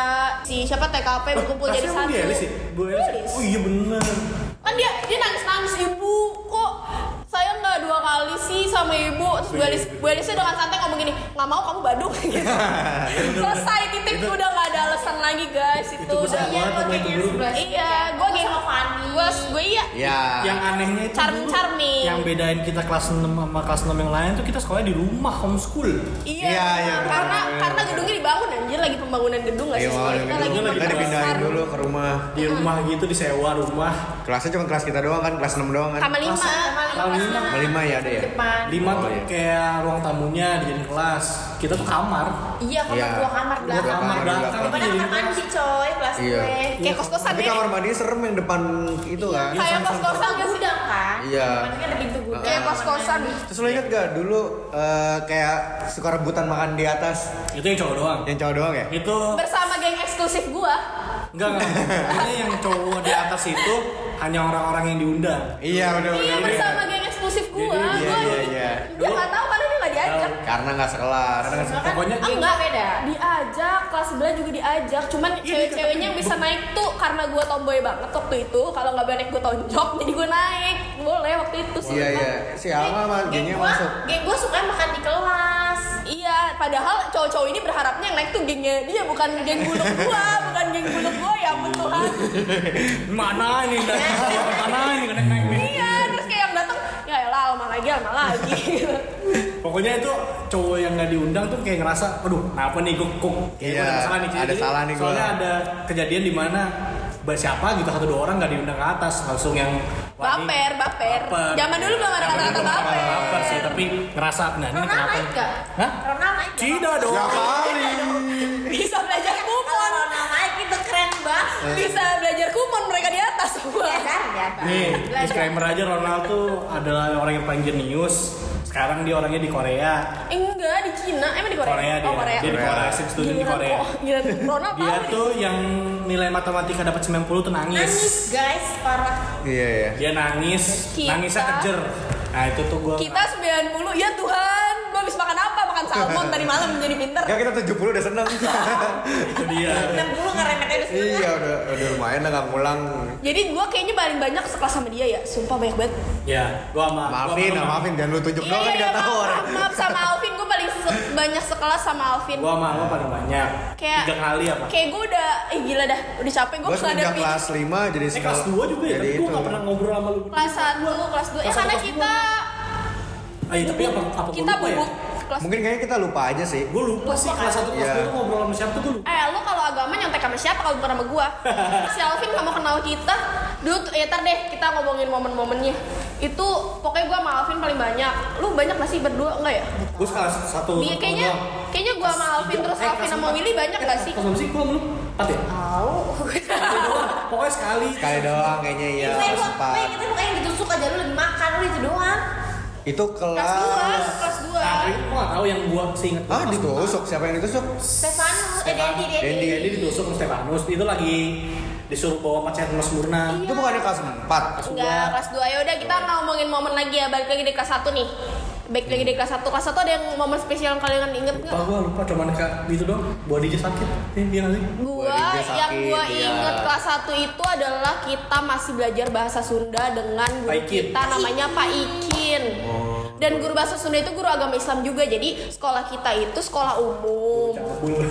Speaker 3: si siapa TKP berkumpul jadi
Speaker 1: Tasya
Speaker 3: satu
Speaker 1: Bu Elis ya? Bu Elis.
Speaker 3: Elis.
Speaker 1: Oh iya bener.
Speaker 3: kan dia dia nangis nangis ibu kok saya nggak dua kali sih sama ibu terus gue Elis gue Elisnya dengan santai ngomong gini nggak mau kamu badung gitu
Speaker 2: Iya.
Speaker 3: selesai titik udah nggak ada alasan lagi guys itu,
Speaker 1: Itu gue
Speaker 3: udah
Speaker 1: sama banget sama itu
Speaker 5: yang
Speaker 1: guru.
Speaker 5: sebelah.
Speaker 3: iya gue geng gue gue iya
Speaker 2: Ya.
Speaker 1: Yang anehnya itu
Speaker 3: Charm-
Speaker 1: dulu,
Speaker 3: charming.
Speaker 1: yang bedain kita kelas 6 sama kelas 6 yang lain tuh kita sekolahnya di rumah homeschool.
Speaker 3: iya,
Speaker 2: Iya, iya,
Speaker 3: karena
Speaker 2: benar,
Speaker 3: karena
Speaker 2: benar.
Speaker 3: gedungnya dibangun anjir lagi pembangunan gedung nggak sih
Speaker 2: Iya, mau
Speaker 3: sekolah
Speaker 2: yang
Speaker 3: kita
Speaker 2: itu.
Speaker 3: lagi
Speaker 1: gedungnya lagi
Speaker 2: Kita dipindahin
Speaker 3: besar.
Speaker 2: dulu ke rumah.
Speaker 1: Di rumah gitu disewa rumah.
Speaker 2: Kelasnya cuma kelas kita doang kan, kelas 6 doang kan.
Speaker 3: sama lima
Speaker 1: Tahun lima.
Speaker 2: Sama lima ya ada ya.
Speaker 5: Depan.
Speaker 1: Lima
Speaker 2: Oh,
Speaker 1: tuh
Speaker 2: iya.
Speaker 1: kayak ruang tamunya dijadiin kelas. Kita tuh kamar.
Speaker 5: Iya, kamar
Speaker 2: Iya.
Speaker 5: dua kamar
Speaker 1: Dua
Speaker 5: belakang.
Speaker 1: kamar
Speaker 2: kamar
Speaker 1: belakang
Speaker 2: belakang.
Speaker 1: tuh
Speaker 5: Padahal
Speaker 1: jadi
Speaker 5: kamar mandi coy, kelas
Speaker 2: Iya.
Speaker 5: gue.
Speaker 3: kayak kos kosan
Speaker 2: Tapi
Speaker 3: deh
Speaker 2: kamar mandi serem yang depan itu kan.
Speaker 1: Iya,
Speaker 3: kayak kos kosan
Speaker 5: Gudang gudang kan?
Speaker 2: Iya.
Speaker 5: Depannya ada pintu gudang.
Speaker 3: kayak kos kosan
Speaker 2: Terus lo inget gak dulu eh, kayak suka rebutan makan di atas
Speaker 1: itu yang cowok doang.
Speaker 2: yang cowok doang ya?
Speaker 1: Itu
Speaker 3: bersama geng eksklusif gua
Speaker 1: enggak enggak. Ini yang cowok di atas itu hanya orang-orang yang diundang.
Speaker 2: Iya
Speaker 3: Iya
Speaker 2: bener-bener.
Speaker 3: bersama geng eksklusif gua.
Speaker 1: Jadi,
Speaker 2: iya,
Speaker 3: gua
Speaker 2: iya, iya.
Speaker 3: Dia nggak tahu karena dia nggak diajak.
Speaker 2: Karena nggak sekelas.
Speaker 1: Karena pokoknya
Speaker 3: Ah,
Speaker 5: Gengnya
Speaker 3: enggak
Speaker 5: beda.
Speaker 3: Diajak kelas sebelah juga diajak. Cuman
Speaker 2: Iya,
Speaker 3: cewek-ceweknya yang bisa naik tuh karena gua tomboy banget waktu itu. Kalau nggak boleh naik gua tonjok, jadi gua naik. Boleh waktu itu sih.
Speaker 2: Iya
Speaker 3: Bang.
Speaker 2: iya. Si Alma sama gengnya
Speaker 5: gua,
Speaker 2: masuk.
Speaker 5: Geng gue suka makan di kelas.
Speaker 3: Iya, padahal cowok-cowok ini berharapnya yang naik tuh gengnya dia bukan geng buluk gua, bukan geng buluk gua ya ampun Tuhan.
Speaker 1: mana ini dan mana ini kena naik naik.
Speaker 3: Iya, terus kayak yang datang, ya elah lama lagi, lama lagi.
Speaker 1: Pokoknya itu cowok yang nggak diundang tuh kayak ngerasa, aduh, kenapa nih gue kok
Speaker 2: Iya,
Speaker 1: ada salah nih.
Speaker 2: ada salah nih gua.
Speaker 1: Soalnya ada kejadian di mana ba- siapa gitu satu dua orang nggak diundang ke atas langsung yang wah, ini
Speaker 3: baper, baper.
Speaker 1: Baper.
Speaker 3: Zaman dulu belum ada
Speaker 1: Zaman
Speaker 3: kata-kata
Speaker 1: dulu belum ada
Speaker 3: baper.
Speaker 1: baper sih, tapi ngerasa nah ini
Speaker 5: Ronald
Speaker 1: kenapa?
Speaker 5: naik gak?
Speaker 1: Hah?
Speaker 5: Ronald naik gak?
Speaker 1: Tidak dong.
Speaker 2: Ya kali.
Speaker 3: bisa belajar
Speaker 5: Kalau
Speaker 3: kupon
Speaker 5: Ronald naik itu keren
Speaker 1: Eh.
Speaker 5: banget.
Speaker 3: bisa belajar kupon mereka di atas semua Eh,
Speaker 5: Belajar ya, Bang.
Speaker 1: Nih,
Speaker 5: Belajar.
Speaker 1: disclaimer aja Ronald tuh adalah orang yang paling jenius. Sekarang dia orangnya di Korea.
Speaker 3: Eh, enggak di Cina emang di Korea,
Speaker 1: Korea dia.
Speaker 3: oh Korea
Speaker 1: Dia di
Speaker 2: Korea.
Speaker 1: Korea, Sip student di
Speaker 3: Giliran-
Speaker 1: Korea.
Speaker 3: oh, giliran Ronald
Speaker 1: Dia
Speaker 3: tahu
Speaker 1: tuh yang nilai matematika dapat 90 tuh
Speaker 5: Nangis
Speaker 1: nangis.
Speaker 5: guys, parah.
Speaker 2: Iya iya.
Speaker 1: Dia nangis,
Speaker 3: Kita-
Speaker 1: nangisnya kejer. Nah, itu tuh gua
Speaker 3: nih. kita 90 ya Tuhan gua habis makan apa makan salmon tadi malam jadi pinter
Speaker 1: Iya.
Speaker 2: Ya kita 70 udah seneng.
Speaker 1: itu dia.
Speaker 5: 60 ngeremetnya udah sembilan.
Speaker 2: iya udah udah lumayan lah nggak ngulang.
Speaker 3: jadi gua kayaknya paling banyak sekelas sama dia ya sumpah banyak banget
Speaker 1: Ya, gua sama
Speaker 2: Maafin, ah,
Speaker 1: gua sama-
Speaker 2: maafin jangan lu tunjuk doang kan nggak tahu
Speaker 3: Iya, maaf,
Speaker 2: orang.
Speaker 3: maaf, maaf sama Alvin gua paling se- banyak sekelas sama Alvin
Speaker 1: Gua sama lo paling banyak.
Speaker 3: Kayak-
Speaker 1: Tiga kali apa?
Speaker 3: kayak gua udah eh gila dah udah capek gua
Speaker 2: Gue semenjak
Speaker 3: menghadapi
Speaker 2: kelas 5 jadi
Speaker 1: Eh, kelas 2 juga ya,
Speaker 2: Jadi
Speaker 1: tapi gua
Speaker 2: itu.
Speaker 1: nggak pernah ngobrol sama lu.
Speaker 3: kelas 1, kelas 2 ya
Speaker 1: Kelas satu,
Speaker 3: karena
Speaker 1: kelas
Speaker 3: kita
Speaker 1: Ah, iya, tapi apa apa gua
Speaker 3: kita
Speaker 1: lupa ya?
Speaker 3: bubuk kelas
Speaker 2: Mungkin kayaknya kita lupa aja sih.
Speaker 1: Gua lupa sih kelas 1 kelas
Speaker 2: Iya.
Speaker 1: 2 tuh ngobrol sama siapa tuh gua lupa.
Speaker 3: Eh, lu kalau agama nyontek sama siapa kalau bukan sama gua? si Alvin nggak mau kenal kita, dulu tuh- ya ntar deh kita ngomongin momen-momennya itu pokoknya gue sama Alvin paling banyak lu banyak gak sih berdua enggak ya
Speaker 1: Gue salah satu.
Speaker 3: Iya, kayaknya kayaknya gue sama Alvin
Speaker 1: Eh,
Speaker 3: terus Alvin sama Willy banyak gak sih
Speaker 1: Pas sama sih, gue belum. Empat ya? Pokoknya sekali.
Speaker 2: Sekali doang kayaknya iya
Speaker 5: Iya,
Speaker 2: harus
Speaker 5: gue
Speaker 2: empat.
Speaker 5: kita bukannya ditusuk aja lu lagi makan lu itu doang.
Speaker 2: Itu
Speaker 3: kelas dua
Speaker 2: kelas.
Speaker 3: kelas dua
Speaker 1: Nah, tapi gue gak tau yang gue seinget gua
Speaker 2: Ah
Speaker 1: pas-
Speaker 2: ditusuk siapa yang ditusuk?
Speaker 5: Stefanus, eh Dendi, Dendi.
Speaker 2: Dendi.
Speaker 1: Jadi ditusuk sama Stefanus. Itu lagi disuruh bawa pacar Mas Murna.
Speaker 2: Itu bukannya kelas empat.
Speaker 3: enggak kelas dua ya udah kita ngomongin momen lagi ya balik lagi di kelas satu nih balik lagi di kelas satu kelas satu ada yang momen spesial yang kalian inget
Speaker 1: Lupa
Speaker 3: nggak
Speaker 1: gue lupa cuman kayak gitu doang. Bodinya sakit. Iya iya nggak sih?
Speaker 3: gua
Speaker 2: Wah, dia
Speaker 3: yang
Speaker 2: sakit,
Speaker 3: gua
Speaker 2: iya.
Speaker 3: inget kelas 1 itu adalah kita masih belajar bahasa Sunda dengan guru
Speaker 1: Pak Ikin.
Speaker 3: kita namanya Pak Ikin.
Speaker 2: Oh.
Speaker 3: Dan guru bahasa Sunda itu guru agama Islam juga. Jadi sekolah kita itu sekolah umum.
Speaker 1: Cabul.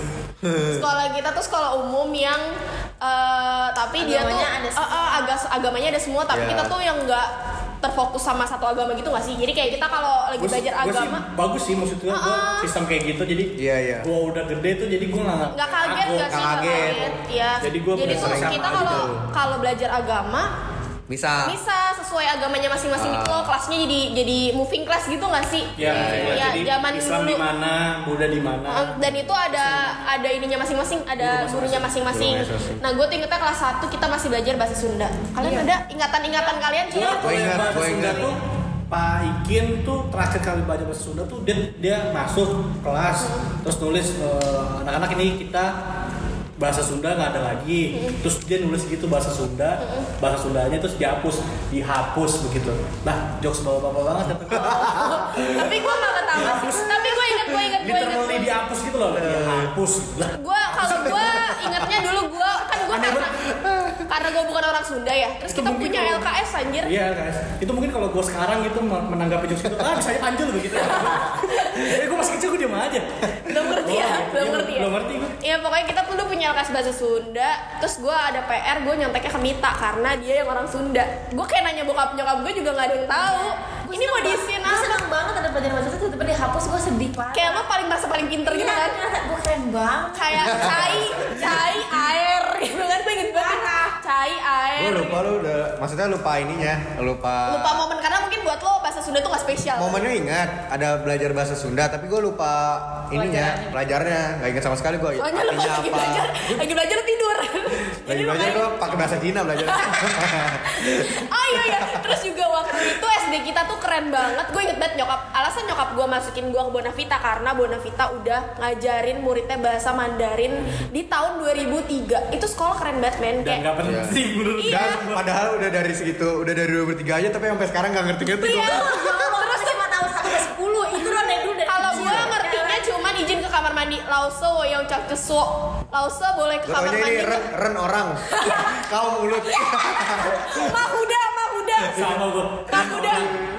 Speaker 3: Sekolah kita tuh sekolah umum yang eh, tapi
Speaker 5: Agamanya
Speaker 3: dia
Speaker 5: ada
Speaker 3: tuh
Speaker 5: semua.
Speaker 3: eh, eh, agak- agamanya ada semua
Speaker 2: Iya.
Speaker 3: tapi kita tuh yang enggak terfokus sama satu agama gitu gak sih? Jadi kayak kita kalau lagi
Speaker 1: Gua sih-
Speaker 3: belajar
Speaker 1: gua sih
Speaker 3: agama
Speaker 1: bagus sih maksudnya gua
Speaker 3: Ah.
Speaker 1: sistem kayak gitu jadi
Speaker 2: Iya, iya.
Speaker 1: gua udah gede tuh jadi gua nggak
Speaker 3: nggak
Speaker 1: kagok.
Speaker 3: kaget nggak sih
Speaker 2: nggak
Speaker 3: nggak
Speaker 2: kaget.
Speaker 3: kaget ya
Speaker 1: Jadi gua
Speaker 3: jadi tuh
Speaker 1: belajar agama
Speaker 3: kita kalau
Speaker 2: gitu.
Speaker 3: kalau belajar agama
Speaker 1: Ah.
Speaker 2: Bisa.
Speaker 3: bisa sesuai agamanya masing-masing
Speaker 2: Ah.
Speaker 3: gitu loh kelasnya jadi jadi moving class gitu nggak sih
Speaker 1: ya, ya,
Speaker 3: Iya,
Speaker 1: jadi
Speaker 3: zaman
Speaker 1: Islam
Speaker 3: dulu
Speaker 1: di mana Buddha di mana
Speaker 3: Eh, dan itu ada ada ininya masing-masing ada gurunya masing-masing
Speaker 2: Gurunya masing-masing.
Speaker 3: nah gue tuh ingetnya kelas 1 kita masih belajar bahasa Sunda
Speaker 1: Iya.
Speaker 3: kalian ada ingatan-ingatan kalian
Speaker 1: gua
Speaker 3: coba
Speaker 1: kalau yang
Speaker 2: ingat,
Speaker 1: bahasa
Speaker 2: gua
Speaker 1: Sunda
Speaker 2: ingat.
Speaker 1: tuh Pak Ikin tuh terakhir kali belajar bahasa Sunda tuh dia dia masuk kelas terus nulis eh, anak-anak ini kita bahasa Sunda nggak ada lagi terus dia nulis gitu bahasa Sunda bahasa Sundanya terus dihapus dihapus begitu nah jokes bapak-bapak banget
Speaker 3: tapi gue nggak ketawa sih tapi gue inget gue inget gue inget
Speaker 1: Iya. literally dihapus gitu loh dihapus lah
Speaker 3: gue kalau gue ingatnya dulu gue kan gue karena karena gue bukan orang Sunda ya terus
Speaker 1: Itu
Speaker 3: kita
Speaker 1: mungkin
Speaker 3: punya
Speaker 1: kalau-
Speaker 3: LKS anjir
Speaker 1: Iya guys, itu mungkin kalau gue sekarang gitu men- menanggapi jokes itu, ah bisa aja panjul begitu. Jadi gue masih kecil gue diem aja.
Speaker 3: belum ngerti ya
Speaker 1: Oh,
Speaker 3: belum
Speaker 1: iya,
Speaker 3: ngerti ya
Speaker 1: belum ngerti gue.
Speaker 3: Iya pokoknya kita tuh dulu punya kelas bahasa Sunda Terus gue ada PR gue nyonteknya ke Mita Karena dia yang orang Sunda Gue kayak nanya bokap nyokap gue juga gak ada yang tahu Ini mau diisiin
Speaker 5: Gue
Speaker 3: apa?
Speaker 5: Iya, seneng banget ada pelajaran bahasa itu tiba-tiba dihapus gue sedih parah.
Speaker 3: Kayak lo paling merasa paling pinter gitu
Speaker 5: Iya.
Speaker 3: kan
Speaker 5: Gue keren banget.
Speaker 3: Kayak cai, cai, air gitu kan Gue inget banget Cai, air
Speaker 2: Gue lupa lu udah, maksudnya lupa ininya, lupa.
Speaker 3: Lupa momen karena mungkin buat lo bahasa Sunda tuh gak spesial
Speaker 2: Momennya ingat, ada belajar bahasa Sunda, tapi gue lupa ininya, pelajarnya, nggak ingat sama sekali gue.
Speaker 3: Soalnya lo pas lagi belajar, lagi belajar lo tidur
Speaker 2: Iya, Lagi
Speaker 3: Jadi lo
Speaker 2: belajar
Speaker 3: kayak-
Speaker 2: gue pakai bahasa Cina belajar.
Speaker 3: Oh iya iya. Terus juga waktu itu SD kita tuh keren banget. Gue inget banget nyokap. Alasan nyokap gue masukin gue ke Bonavita karena Bonavita udah ngajarin muridnya bahasa Mandarin di tahun 2003. Itu sekolah keren banget men
Speaker 1: Dan
Speaker 3: kayak.
Speaker 1: gak penting menurut
Speaker 3: Iya.
Speaker 2: Dan padahal udah dari segitu, udah dari 2003 aja, tapi sampai sekarang nggak ngerti-ngerti
Speaker 3: Iya.
Speaker 2: gua.
Speaker 3: Terus
Speaker 5: Cuma tahu satu ke sepuluh itu udah dari dulu dari
Speaker 3: kalau
Speaker 5: kecil.
Speaker 3: gue
Speaker 5: Iya, kan?
Speaker 2: Iya,
Speaker 3: ngertinya cuman izin ke kamar mandi. Lause yang cak kesu. Lause boleh ke
Speaker 2: Gue
Speaker 3: kamar
Speaker 2: taunya ini
Speaker 3: mandi.
Speaker 2: ren, ren orang, kau mulut.
Speaker 3: Mahuda, mahuda.
Speaker 1: sama gue.
Speaker 3: Mahuda.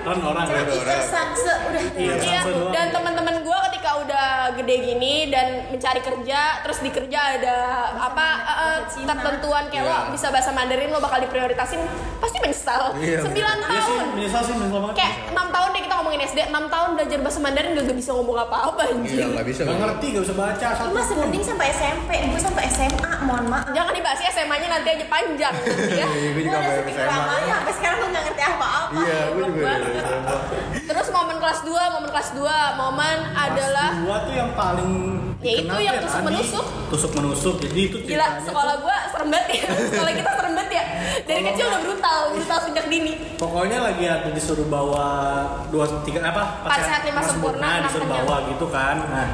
Speaker 1: Kan orang
Speaker 5: Cuma
Speaker 1: gitu.
Speaker 5: itu sakse udah.
Speaker 1: Iya,
Speaker 3: Iya,
Speaker 1: sampai doang.
Speaker 3: dan teman-teman gue ketika udah gede gini dan mencari kerja, terus di kerja ada apa eh, eh,
Speaker 5: Cina.
Speaker 3: ketentuan kayak
Speaker 2: Iya.
Speaker 3: lo bisa bahasa Mandarin lo bakal diprioritasin, pasti menyesal.
Speaker 2: Iya,
Speaker 3: 9
Speaker 1: Iya sih,
Speaker 3: tahun.
Speaker 1: menyesal sih menyesal banget.
Speaker 3: Kayak 6 tahun deh kita ngomongin SD, 6 tahun belajar bahasa Mandarin gak, bisa ngomong apa-apa
Speaker 2: Iya,
Speaker 3: anjir.
Speaker 2: nggak bisa.
Speaker 1: Gak ngerti, gak bisa baca
Speaker 5: Ini
Speaker 1: satu
Speaker 5: masih
Speaker 1: pun.
Speaker 5: mending sampai SMP, gue sampai SMA, mohon maaf.
Speaker 3: Jangan dibahas ya SMA-nya nanti aja panjang ya.
Speaker 2: Iya, gue
Speaker 5: Gue
Speaker 2: juga
Speaker 5: udah
Speaker 2: bayar
Speaker 5: sedih
Speaker 2: SMA.
Speaker 5: ramanya, sampai sekarang gue gak ngerti apa-apa.
Speaker 2: Iya, gue juga.
Speaker 3: Banget. Terus momen kelas 2, momen kelas 2, momen adalah
Speaker 1: Dua tuh yang paling
Speaker 3: Ya, itu
Speaker 1: dikenal
Speaker 3: yang
Speaker 1: tuh
Speaker 3: tusuk
Speaker 1: tadi.
Speaker 3: menusuk.
Speaker 1: Tusuk menusuk. Jadi itu
Speaker 3: Gila,
Speaker 1: ceritanya
Speaker 3: sekolah
Speaker 1: tuh-
Speaker 3: gua serem banget ya. Sekolah kita serem banget ya. Dari kecil udah brutal, brutal sejak dini.
Speaker 1: Pokoknya lagi ada disuruh bawa dua tiga apa?
Speaker 3: Empat sehat, lima sempurna, enam
Speaker 1: disuruh
Speaker 3: kenyang.
Speaker 1: bawa gitu kan. Nah,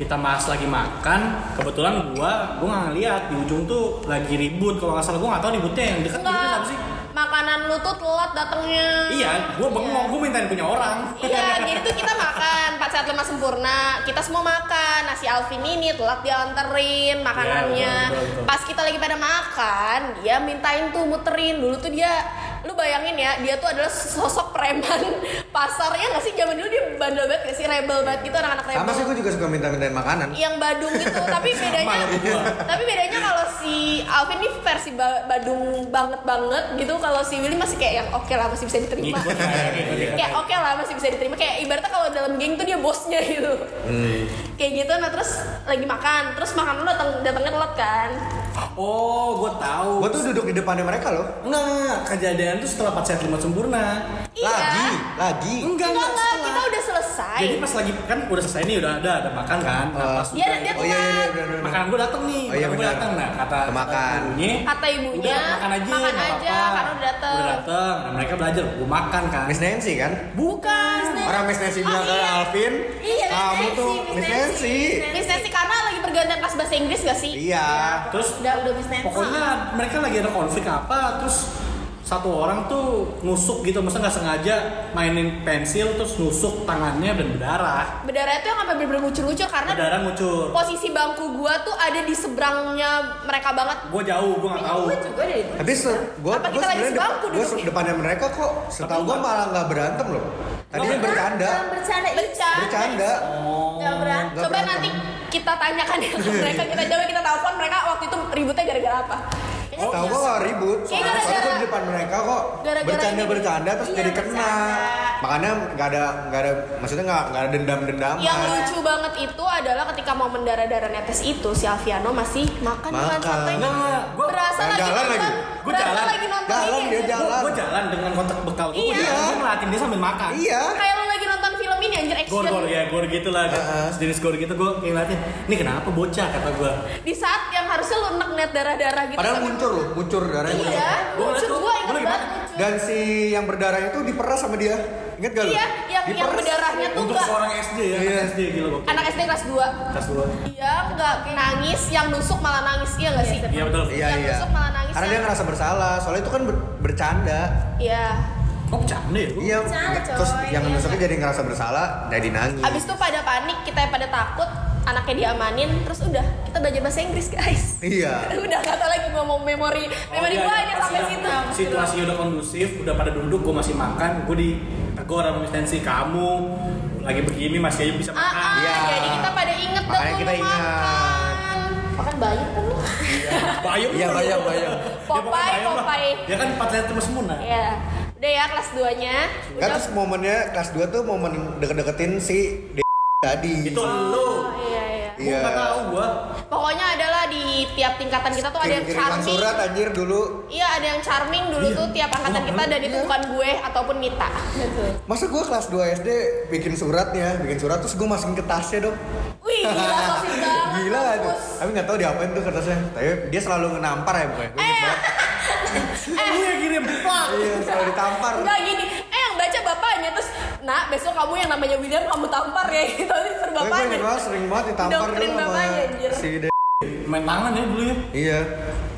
Speaker 1: kita bahas lagi makan. Kebetulan gua gua nggak ngeliat di ujung tuh lagi ribut kalau nggak salah gua nggak tahu ributnya yang dekat ributnya
Speaker 3: Enggak,
Speaker 1: apa sih?
Speaker 3: makanan lu tuh telat datangnya.
Speaker 1: Iya, gua bengong, gua mintain punya orang.
Speaker 3: Oh, Iya, jadi tuh kita makan empat sehat lima sempurna. Kita semua makan nasi Alvin ini telat dianterin makanannya.
Speaker 1: Iya, betul, betul, betul.
Speaker 3: Pas kita lagi pada makan, dia mintain tuh muterin. Dulu tuh dia, lu bayangin ya, dia tuh adalah sosok preman pasar ya nggak sih zaman dulu dia bandel banget nggak sih rebel banget gitu anak-anak rebel
Speaker 2: Sama sih gue juga suka minta-mintain makanan.
Speaker 3: yang Badung gitu tapi bedanya
Speaker 1: Malu gua.
Speaker 3: tapi bedanya kalau si Alvin ini versi Ba- Badung banget banget gitu kalau si Willy masih kayak yang oke lah masih bisa diterima
Speaker 1: Ngikut
Speaker 2: Iya.
Speaker 1: lah, ya, ngikut, ngikut.
Speaker 3: kayak oke lah masih bisa diterima kayak ibaratnya kalau dalam geng tuh dia bosnya gitu
Speaker 2: Hmm.
Speaker 3: kayak gitu nah terus lagi makan terus makan lu datang datangnya telat kan
Speaker 1: Oh, gue tahu.
Speaker 2: Gue tuh duduk di depannya mereka loh.
Speaker 1: Enggak, enggak, enggak. kejadian tuh setelah pacar lima sempurna.
Speaker 3: Iya.
Speaker 2: Lagi, lagi.
Speaker 1: Enggak,
Speaker 3: enggak enggak
Speaker 1: setelah.
Speaker 3: kita udah selesai
Speaker 1: Jadi pas lagi kan udah selesai nih udah ada ada makan kan. Nah, pas
Speaker 3: Iya,
Speaker 1: udah-
Speaker 3: dia
Speaker 2: Oh iya iya iya. bener, bener, bener.
Speaker 1: makanan gue dateng nih,
Speaker 2: Oh iya,
Speaker 1: makanan gue
Speaker 2: benar.
Speaker 1: dateng nah kata
Speaker 2: Kemakan.
Speaker 1: kata ibunya,
Speaker 3: kata ibunya
Speaker 1: "Udah, makan aja,
Speaker 3: makan
Speaker 1: nggak
Speaker 3: aja,
Speaker 1: apa-apa."
Speaker 3: karena udah dateng.
Speaker 1: Udah dateng. Nah, mereka belajar, gue makan kan.
Speaker 2: Miss Nancy kan?
Speaker 3: bukan
Speaker 2: Orang Miss Nancy
Speaker 3: Oh,
Speaker 2: bilang ke
Speaker 3: iya.
Speaker 2: Alvin,
Speaker 3: Iya,
Speaker 2: kamu
Speaker 3: Miss
Speaker 2: tuh
Speaker 3: Nancy,
Speaker 2: Miss Nancy.
Speaker 3: Miss Nancy karena lagi pergantian kelas bahasa Inggris gak sih
Speaker 2: Iya.
Speaker 1: Terus
Speaker 5: Udah udah Miss Nancy.
Speaker 1: pokoknya mereka lagi ada konflik apa, terus satu orang tuh nusuk gitu, maksudnya nggak sengaja mainin pensil terus nusuk tangannya dan berdarah.
Speaker 3: Berdarah itu yang sampai bener-bener ngucur-ngucur karena
Speaker 1: Berdarah ngucur.
Speaker 3: posisi bangku gua tuh ada di seberangnya mereka banget.
Speaker 1: Gue jauh, gue nggak tahu.
Speaker 5: Gue juga dari
Speaker 2: Tapi gue
Speaker 3: Apa kita
Speaker 2: gue
Speaker 3: lagi
Speaker 2: sebenarnya
Speaker 3: sebangku
Speaker 2: gue
Speaker 3: duduknya?
Speaker 2: depannya mereka kok setahu gue malah nggak berantem loh. Tadinya
Speaker 1: Nggak
Speaker 2: bercanda,
Speaker 5: Jangan bercanda. ih.
Speaker 3: Bercanda.
Speaker 2: bercanda.
Speaker 5: Jangan bercanda.
Speaker 2: Nggak
Speaker 3: Coba
Speaker 2: berantem.
Speaker 3: nanti kita tanyakan ya ke mereka, kita coba kita telepon mereka waktu itu ributnya gara-gara apa.
Speaker 1: Oh,
Speaker 2: Tahu gue gak ribut.
Speaker 3: Kayaknya
Speaker 2: Soalnya
Speaker 3: Iya, gara-gara-
Speaker 2: gue di depan mereka kok
Speaker 3: gara-gara
Speaker 2: bercanda
Speaker 3: ini.
Speaker 2: bercanda terus
Speaker 5: Iya,
Speaker 2: jadi kena.
Speaker 5: bercanda.
Speaker 2: Makanya nggak ada nggak ada maksudnya nggak nggak ada dendam dendaman.
Speaker 3: Yang lucu banget itu adalah ketika mau mendarah-darah netes itu si Alfiano masih makan dengan
Speaker 2: Makan.
Speaker 3: santai.
Speaker 1: Enggak, enggak. Gue
Speaker 3: Berasa
Speaker 2: Nah,
Speaker 3: lagi
Speaker 2: jalan
Speaker 3: nonton,
Speaker 2: lagi.
Speaker 1: Gua
Speaker 3: berasa
Speaker 1: jalan.
Speaker 3: lagi nonton
Speaker 2: Jalan
Speaker 3: ini. ya.
Speaker 2: dia
Speaker 3: anjir.
Speaker 2: jalan.
Speaker 1: Gue jalan dengan kontak bekal gue.
Speaker 3: Iya.
Speaker 1: Gue ngeliatin dia sambil makan.
Speaker 2: Iya.
Speaker 3: Kayak lo lagi nonton film ini anjir action.
Speaker 1: Gor-gor ya, gor gitu lah.
Speaker 2: Heeh.
Speaker 1: Sejenis gor gitu gue ngeliatin. Ini kenapa bocah kata gue.
Speaker 3: Di saat yang harusnya lo nek-net darah-darah gitu.
Speaker 2: Padahal
Speaker 3: sambil-
Speaker 2: muncul loh, muncul darahnya.
Speaker 3: Iya,
Speaker 1: Gua
Speaker 3: lucu
Speaker 1: ngeliat
Speaker 3: gue
Speaker 1: tuh,
Speaker 3: inget
Speaker 1: gua lagi
Speaker 3: banget
Speaker 1: makan.
Speaker 3: lucu.
Speaker 2: Dan si yang berdarah itu diperas sama dia. Ingat gak lu?
Speaker 3: Iya, yang yang
Speaker 2: Diperas.
Speaker 3: berdarahnya tuh
Speaker 1: Untuk
Speaker 3: enggak
Speaker 1: seorang SD ya,
Speaker 2: Iya.
Speaker 1: anak SD gila gue.
Speaker 3: anak SD kelas 2.
Speaker 1: Kelas dua.
Speaker 3: Iya, enggak nangis, yang nusuk malah nangis, iya enggak sih?
Speaker 1: Iya betul.
Speaker 2: Iya,
Speaker 3: Yang
Speaker 2: iya.
Speaker 3: nusuk malah nangis,
Speaker 2: Karena dia
Speaker 3: kan?
Speaker 2: ngerasa bersalah, soalnya itu kan ber- bercanda.
Speaker 3: Iya.
Speaker 1: Kok bercanda ya? gua?
Speaker 2: Iya.
Speaker 5: bercanda, coy.
Speaker 2: Terus yang
Speaker 5: Iya,
Speaker 2: nusuknya jadi ngerasa bersalah, jadi nangis.
Speaker 3: Abis kan? itu pada panik, kita yang pada takut, anaknya diamanin, terus udah kita belajar bahasa Inggris guys.
Speaker 2: Iya.
Speaker 3: udah nggak tahu lagi ngomong memori,
Speaker 1: Oh,
Speaker 3: memori
Speaker 1: iya,
Speaker 3: gue
Speaker 1: iya,
Speaker 3: aja
Speaker 1: pas
Speaker 3: sampai
Speaker 1: udah-
Speaker 3: situ.
Speaker 1: Situasinya udah kondusif, udah pada duduk, gue masih makan, gue di tegur sama Miss Nancy, kamu lagi begini masih aja bisa
Speaker 3: Ah, ah,
Speaker 1: makan.
Speaker 2: Iya.
Speaker 3: jadi kita pada inget dong
Speaker 2: Makanya kita
Speaker 3: dulu
Speaker 2: ingat.
Speaker 3: makan.
Speaker 5: Makan bayam kan lu.
Speaker 1: Bayang
Speaker 2: Iya,
Speaker 1: lu.
Speaker 2: bayang, bayang.
Speaker 1: Dia bukan
Speaker 3: Popeye,
Speaker 1: bayang lah.
Speaker 3: Popeye.
Speaker 1: Dia kan empat terus semuna.
Speaker 3: Iya. Udah ya kelas 2-nya.
Speaker 2: Kan terus momennya kelas 2 tuh momen deket-deketin si D tadi.
Speaker 1: Itu Gitu, lu.
Speaker 3: Iya, iya.
Speaker 1: Gue
Speaker 2: Iya.
Speaker 1: nggak tahu gue.
Speaker 3: Eh. Pokoknya adalah di tiap tingkatan kita tuh ada yang
Speaker 2: Kirim-kiriman
Speaker 3: charming.
Speaker 2: surat anjir dulu.
Speaker 3: Iya, ada yang charming dulu
Speaker 2: Iya.
Speaker 3: tuh tiap angkatan kita dan itu bukan gue ataupun Mita.
Speaker 2: Masa gue kelas 2 SD bikin suratnya, bikin surat terus gue masukin ke tasnya dong.
Speaker 3: Wih, gila sosis banget.
Speaker 2: Gila gak tuh? Tapi gak tau diapain tuh kertasnya Tapi dia selalu ngenampar ya pokoknya
Speaker 3: Eh,
Speaker 2: Gua inget banget.
Speaker 1: Lu yang kirim. Pak.
Speaker 2: Iya selalu ditampar
Speaker 3: Enggak gini, eh yang baca bapaknya terus, nah besok kamu yang namanya William kamu tampar ya gitu terus per
Speaker 2: Tapi gue inget
Speaker 3: bapaknya.
Speaker 2: banget sering banget ditampar
Speaker 3: Dongkrin
Speaker 2: dulu sama
Speaker 3: bapaknya, anjir.
Speaker 2: si D
Speaker 1: Main tangan ya dulu ya.
Speaker 2: Iya
Speaker 5: Iya,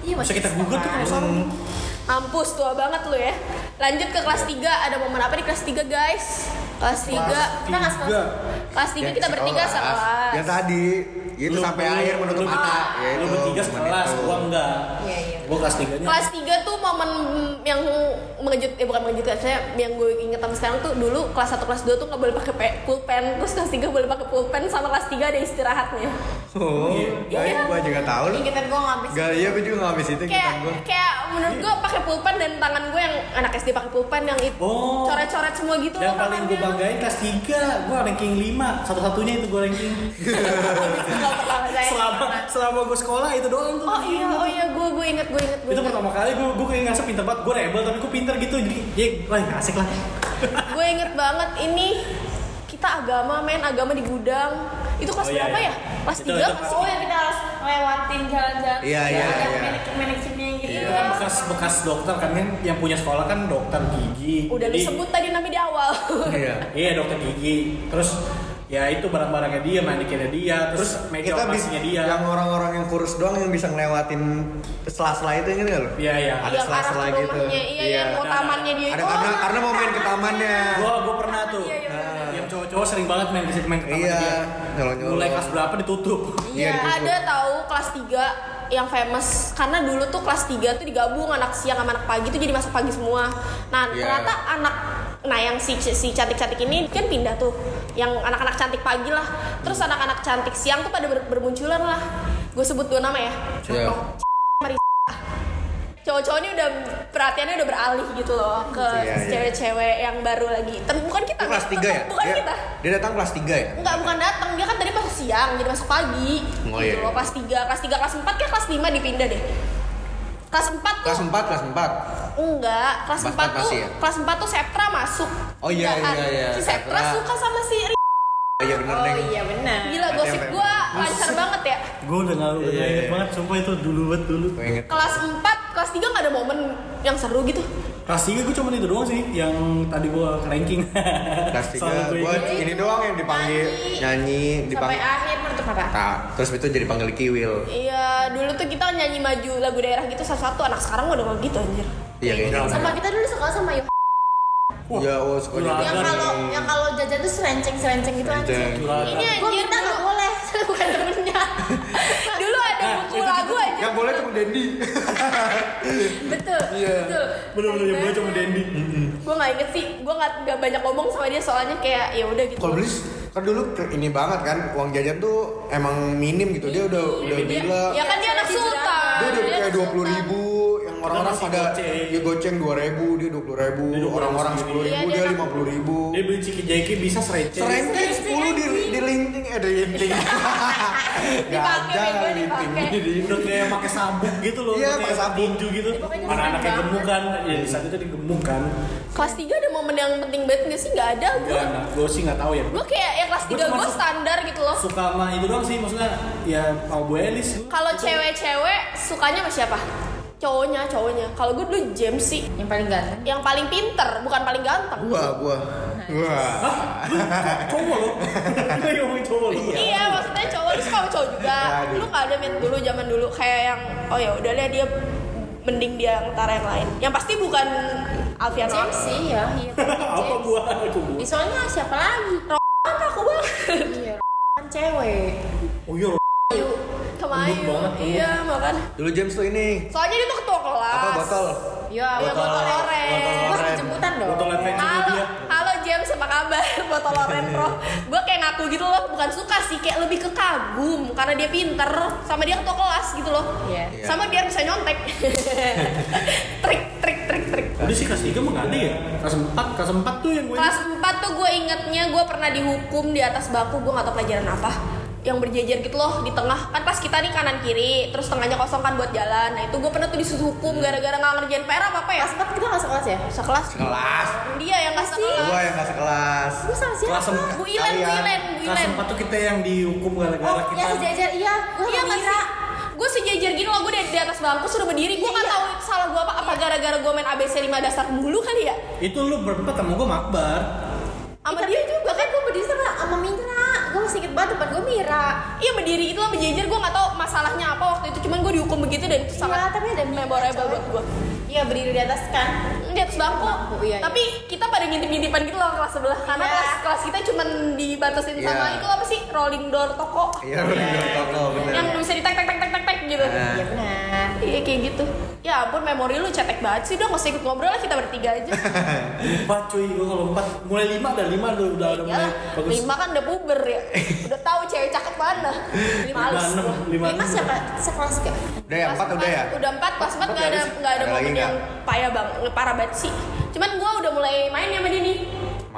Speaker 1: Bisa
Speaker 5: masih
Speaker 1: kita gugat tuh kalau sarung.
Speaker 3: Mampus tua banget lu ya. Lanjut ke kelas 3, ada momen apa di kelas 3 guys? Kelas 3.
Speaker 5: Kita nggak sekolah.
Speaker 1: Tiga.
Speaker 3: Kelas 3 kita bertiga
Speaker 2: sekelas. Yang
Speaker 3: sekelas.
Speaker 2: Ya, tadi Itu
Speaker 1: Lu-
Speaker 2: sampai
Speaker 1: lu-
Speaker 2: akhir menutup
Speaker 1: lu-
Speaker 2: mata Ya
Speaker 1: Lu
Speaker 2: itu
Speaker 1: bertiga
Speaker 2: momen
Speaker 1: sekelas,
Speaker 2: itu.
Speaker 1: gue enggak.
Speaker 5: Iya, iya.
Speaker 1: Gue kelas tiganya.
Speaker 3: Kelas 3 tuh momen yang mengejut, ya bukan mengejutkan, saya yang gue inget sampai sekarang tuh dulu kelas 1 kelas 2 tuh nggak boleh pakai pe- pulpen, terus kelas 3 boleh pakai pulpen sama kelas 3 ada istirahatnya.
Speaker 2: Oh
Speaker 3: Iya.
Speaker 2: baik gue juga tau lu
Speaker 5: Ingetan gue ngabis.
Speaker 2: Gak iya gue juga gak habis itu
Speaker 3: kayak
Speaker 2: ingetan gue
Speaker 3: kayak menurut gue pakai pulpen dan tangan gue yang anak SD pakai pulpen yang itu
Speaker 1: Oh.
Speaker 3: coret-coret semua gitu
Speaker 1: Yang
Speaker 3: loh
Speaker 1: paling gue
Speaker 3: tangannya.
Speaker 1: banggain kelas 3, gue ranking 5 Satu-satunya itu gue ranking
Speaker 3: Nggak pernah saya.
Speaker 1: Selama selama gue sekolah itu doang tuh
Speaker 3: oh iya oh iya gue gue inget gue inget gue
Speaker 1: Itu pertama kali gue gue kayak ngerasa pinter banget Gue rebel tapi gue pinter gitu Jadi ya wah nggak asik lah
Speaker 3: gue inget banget ini kita agama main agama di gudang itu kelas
Speaker 1: Oh, iya,
Speaker 3: berapa
Speaker 1: iya.
Speaker 3: ya kelas
Speaker 1: Itu-
Speaker 3: tiga
Speaker 1: itu
Speaker 3: kelas
Speaker 1: kelas
Speaker 5: Oh ya kita harus lewatin jalan-jalan.
Speaker 2: Iya, iya,
Speaker 5: Ada
Speaker 2: iya.
Speaker 5: manajemen-manajemennya gitu.
Speaker 3: Iya.
Speaker 1: Itu kan bekas bekas dokter kan kan yang punya sekolah kan dokter gigi
Speaker 3: udah
Speaker 1: Jadi-
Speaker 3: disebut tadi namanya di awal
Speaker 2: Iya
Speaker 1: Iya dokter gigi Terus ya itu barang-barangnya dia, manikinnya dia Terus meja
Speaker 2: kita bisa
Speaker 1: operasinya dia
Speaker 2: yang orang-orang yang kurus doang yang bisa ngelewatin sela-sela itu inget gak lu?
Speaker 1: Iya iya
Speaker 2: Ada
Speaker 3: yang arah
Speaker 2: sela-sela
Speaker 3: ke
Speaker 2: gitu.
Speaker 3: rumahnya iya,
Speaker 2: Iya.
Speaker 3: yang mau tamannya dia
Speaker 2: Ada
Speaker 3: itu
Speaker 2: karena karena mau main ke tamannya.
Speaker 1: Gue gue pernah tuh
Speaker 3: Iya,
Speaker 1: Yang cowok-cowok sering banget main ke situ main ke taman
Speaker 2: Iya,
Speaker 1: dia
Speaker 2: nyolong-nyolong.
Speaker 1: Mulai kelas berapa ditutup
Speaker 3: Iya, ada tahu kelas 3 yang famous karena dulu tuh kelas 3 tuh digabung anak siang sama anak pagi tuh jadi masuk pagi semua. Nah,
Speaker 2: Iya.
Speaker 3: ternyata anak nah yang si si cantik-cantik ini kan pindah tuh yang anak-anak cantik pagi lah terus anak-anak cantik siang tuh pada ber- bermunculan lah gue sebut dua nama ya
Speaker 2: Iya.
Speaker 3: Mari- cowok-cowok ini udah perhatiannya udah beralih gitu loh ke
Speaker 2: Iya, iya.
Speaker 3: cewek-cewek yang baru lagi Tapi bukan kita
Speaker 2: Itu kelas 3
Speaker 3: Tet-
Speaker 2: ya?
Speaker 3: bukan
Speaker 2: dia,
Speaker 3: kita
Speaker 2: dia datang kelas 3 ya?
Speaker 3: Enggak, bukan datang. Dia kan tadi masuk siang, jadi masuk pagi.
Speaker 2: Oh,
Speaker 3: gitu
Speaker 2: iya.
Speaker 3: loh, kelas 3, kelas 3, kelas 4 kayak kelas 5 dipindah deh. Kelas 4 tuh
Speaker 2: Kelas 4, kelas 4.
Speaker 3: enggak, kelas
Speaker 2: Kelas
Speaker 3: 4
Speaker 2: empat
Speaker 3: tuh
Speaker 2: masih ya?
Speaker 3: kelas 4 tuh Septra masuk.
Speaker 2: Oh, iya,
Speaker 3: Pindahan.
Speaker 2: iya, iya.
Speaker 3: Si Septra
Speaker 2: Septra.
Speaker 3: suka sama si Ri-
Speaker 2: Oh iya bener, Neng.
Speaker 5: iya benar.
Speaker 3: Gila
Speaker 2: Ada
Speaker 3: gosip
Speaker 2: yang
Speaker 3: gua
Speaker 1: memang.
Speaker 3: lancar banget ya.
Speaker 1: Gue udah nggak udah
Speaker 2: Iya,
Speaker 1: nggak inget
Speaker 2: iya.
Speaker 1: banget, sumpah itu dulu banget dulu.
Speaker 2: Gue inget.
Speaker 3: Kelas 4, kelas 3 enggak ada momen yang seru gitu.
Speaker 1: Kelas 3 gue cuma itu doang sih, yang tadi gue ranking.
Speaker 2: Kelas
Speaker 1: Soalnya
Speaker 2: 3,
Speaker 1: gua
Speaker 2: gue
Speaker 1: inget.
Speaker 2: ini doang yang dipanggil
Speaker 5: Nyanyi.
Speaker 2: nyanyi,
Speaker 5: Sampai
Speaker 2: dipanggil.
Speaker 5: akhir menutup mata.
Speaker 2: Nah, terus itu jadi panggil Kiwil.
Speaker 3: Iya, dulu tuh kita nyanyi maju lagu daerah gitu satu-satu. Anak sekarang udah nggak gitu anjir.
Speaker 2: Iya kayaknya.
Speaker 5: Sama kita dulu sekolah sama Yoh.
Speaker 1: Wah,
Speaker 2: Iya, oh suka
Speaker 1: Yang
Speaker 5: Yang
Speaker 1: Agak
Speaker 5: kalau
Speaker 1: nih.
Speaker 5: yang kalau jajan tuh serenceng-serenceng gitu
Speaker 2: Serenceng.
Speaker 5: anjing.
Speaker 1: Gila.
Speaker 3: Ini
Speaker 5: Gue
Speaker 3: anjir
Speaker 5: minta nggak
Speaker 3: dulu,
Speaker 5: boleh, saya bukan temennya.
Speaker 3: dulu ada
Speaker 2: Eh,
Speaker 1: Nah,
Speaker 3: buku
Speaker 1: itu tuh-
Speaker 3: lagu anjir.
Speaker 2: Yang Ya, boleh cuma Dendi. Iya.
Speaker 5: betul, betul.
Speaker 1: Bener-bener yang gue cuma Dendi.
Speaker 3: gue nggak inget sih gue nggak nggak banyak ngomong sama dia soalnya kayak ya udah gitu
Speaker 2: Kalau beli kan dulu ke- ini banget kan uang jajan tuh emang minim gitu dia udah udah
Speaker 3: Dia-
Speaker 2: gila
Speaker 3: ya kan dia anak sultan
Speaker 2: dia udah
Speaker 3: Iya, Dia
Speaker 2: kayak
Speaker 3: anak
Speaker 2: dua puluh
Speaker 3: sultan.
Speaker 2: ribu yang orang-orang
Speaker 1: masih
Speaker 2: pada
Speaker 1: goceng.
Speaker 2: dia goceng dua ribu dia dua puluh ribu
Speaker 1: Dia 20.000
Speaker 2: orang-orang sepuluh ribu
Speaker 3: Iya, dia
Speaker 2: dia
Speaker 3: kan-
Speaker 2: lima puluh ribu
Speaker 1: Dia beli ciki jaiki bisa sereceh.
Speaker 2: serenteng sepuluh di di linting eh di linting nggak
Speaker 3: Dipakai,
Speaker 2: ada gitu."
Speaker 3: Bego,
Speaker 2: linting
Speaker 3: dipakai.
Speaker 1: Jadi udah kayak pakai sabuk gitu loh.
Speaker 2: Iya,
Speaker 1: kayak
Speaker 2: pakai sabuk.
Speaker 1: tinju gitu. Mana anak yang gemuk kan? Ya di saat itu digemuk kan.
Speaker 3: kelas 3 ada momen yang penting banget nggak sih nggak ada gue
Speaker 1: Enggak, nah, gue sih nggak tahu ya.
Speaker 3: gue kayak ya kelas
Speaker 1: Gua
Speaker 3: 3
Speaker 1: cuma
Speaker 3: gue
Speaker 1: su-
Speaker 3: standar gitu loh
Speaker 1: Suka sama itu doang sih, maksudnya ya mau gue Elis.
Speaker 3: kalau cewek-cewek sukanya sama siapa cowoknya cowoknya kalau gue dulu James sih
Speaker 4: Yang paling ganteng.
Speaker 3: yang paling pinter bukan paling ganteng
Speaker 2: gua gua gua
Speaker 1: Kan cowok loh. Kita ngomongin cowok loh.
Speaker 3: Iya, maksudnya cowok lu suka sama cowok juga.
Speaker 2: Aduh.
Speaker 3: Lu nggak ada men dulu zaman dulu kayak yang oh ya udah lihat dia mending dia ngetara yang lain. Yang pasti bukan Alfian
Speaker 5: James
Speaker 3: James.
Speaker 5: sih ya, iya.
Speaker 1: Apa
Speaker 5: James.
Speaker 1: gua? Aku gua.
Speaker 5: Ih, Soalnya siapa lagi?
Speaker 3: Apa aku banget?
Speaker 5: Iya, kan cewek.
Speaker 1: Oh iya.
Speaker 3: Kemayu.
Speaker 1: Lembut banget, lembut.
Speaker 3: Iya, makan.
Speaker 2: dulu James tuh ini
Speaker 3: Soalnya dia tuh ketua kelas.
Speaker 2: apa botol
Speaker 5: Ya,
Speaker 3: Iya,
Speaker 5: botol
Speaker 3: botol oren.
Speaker 5: Wah, jemputan dong.
Speaker 1: Botol efek sama
Speaker 3: Halo,
Speaker 1: dia.
Speaker 3: halo James, apa kabar? Botol oren, bro. Gue kayak ngaku gitu loh, bukan suka sih, kayak lebih ke kagum karena dia pinter, sama dia ketua kelas gitu loh.
Speaker 5: Iya.
Speaker 2: Iya.
Speaker 3: Sama biar bisa nyontek. trik, trik, trik, trik.
Speaker 1: Udah sih kelas 3 mah nggak ada ya. Kelas 4, kelas 4 tuh yang gue.
Speaker 3: Kelas 4 tuh gue ingetnya gue pernah dihukum di atas baku gue gak tau pelajaran apa yang berjejer gitu loh di tengah kan pas kita nih kanan kiri terus tengahnya kosong kan buat jalan nah itu gue pernah tuh disuruh hukum gara-gara nggak ngerjain PR apa apa ya
Speaker 5: Kelas 4 kita nggak sekelas ya? Iya
Speaker 3: sekelas
Speaker 2: kelas
Speaker 3: dia yang nggak sekelas
Speaker 2: gua yang gak sekelas
Speaker 5: Gue sama siapa?
Speaker 1: Kelas 4.
Speaker 3: Bu Ilen Bu
Speaker 2: Kalian.
Speaker 3: Ilen Bu
Speaker 1: Kelas
Speaker 3: Ilen
Speaker 1: 4 tuh kita yang dihukum gara-gara
Speaker 5: Oh,
Speaker 1: kita.
Speaker 5: ya sejajar, iya. Gue
Speaker 3: iya
Speaker 5: sama
Speaker 3: nggak
Speaker 5: Mira.
Speaker 3: sih gue sejajar gini loh gue di, di atas bangku suruh berdiri gue
Speaker 5: Iya,
Speaker 3: nggak
Speaker 5: iya.
Speaker 3: tahu salah gue apa apa gara-gara gue main ABC 5 dasar dulu kali ya
Speaker 1: Itu lu berempat sama gue makbar.
Speaker 3: sama
Speaker 5: Tapi
Speaker 3: dia
Speaker 5: juga kan gue berdiri sama, sama Mira. Gue masih inget banget depan gue Mira.
Speaker 3: Iya berdiri itu lah berjejer gue nggak tahu masalahnya apa waktu itu cuman gue dihukum begitu dan itu sangat
Speaker 5: Iya, tapi ada Mira,
Speaker 3: memorable
Speaker 5: coy.
Speaker 3: buat gue
Speaker 5: Iya, berdiri di atas kan.
Speaker 3: di atas bangku,
Speaker 5: Bangku, iya, iya.
Speaker 3: tapi kita pada ngintip-ngintipan gitu loh kelas sebelah karena
Speaker 5: Iya.
Speaker 3: kelas kelas kita cuman dibatasin sama
Speaker 2: Iya.
Speaker 3: itu apa sih rolling door toko
Speaker 2: iya bener toko
Speaker 1: Iya.
Speaker 2: bener
Speaker 3: yang bisa di tek tek tek tek tek tek gitu
Speaker 2: Nah.
Speaker 5: Iya benar.
Speaker 3: iya kayak gitu ya ampun memori lu cetek banget sih udah nggak usah ikut ngobrol lah kita bertiga aja
Speaker 1: Empat cuy, gue kalau empat mulai lima ada lima udah udah udah mulai
Speaker 3: Iyalah,
Speaker 1: bagus.
Speaker 3: Iya. lima kan udah puber ya udah tahu cewek cakep mana
Speaker 1: lima
Speaker 3: males
Speaker 1: enam
Speaker 3: gua.
Speaker 1: lima
Speaker 5: Lima
Speaker 1: enam.
Speaker 5: siapa? Sekelas gak?
Speaker 2: udah ya empat udah ya
Speaker 3: Udah empat, pas
Speaker 2: Empat
Speaker 3: empat nggak
Speaker 2: nggak
Speaker 3: ada
Speaker 2: ada sih?
Speaker 3: nggak ada
Speaker 2: Ada lagi
Speaker 3: momen
Speaker 2: nggak?
Speaker 3: yang payah bang, parah banget sih. Cuman gue udah mulai main ya sama dia nih.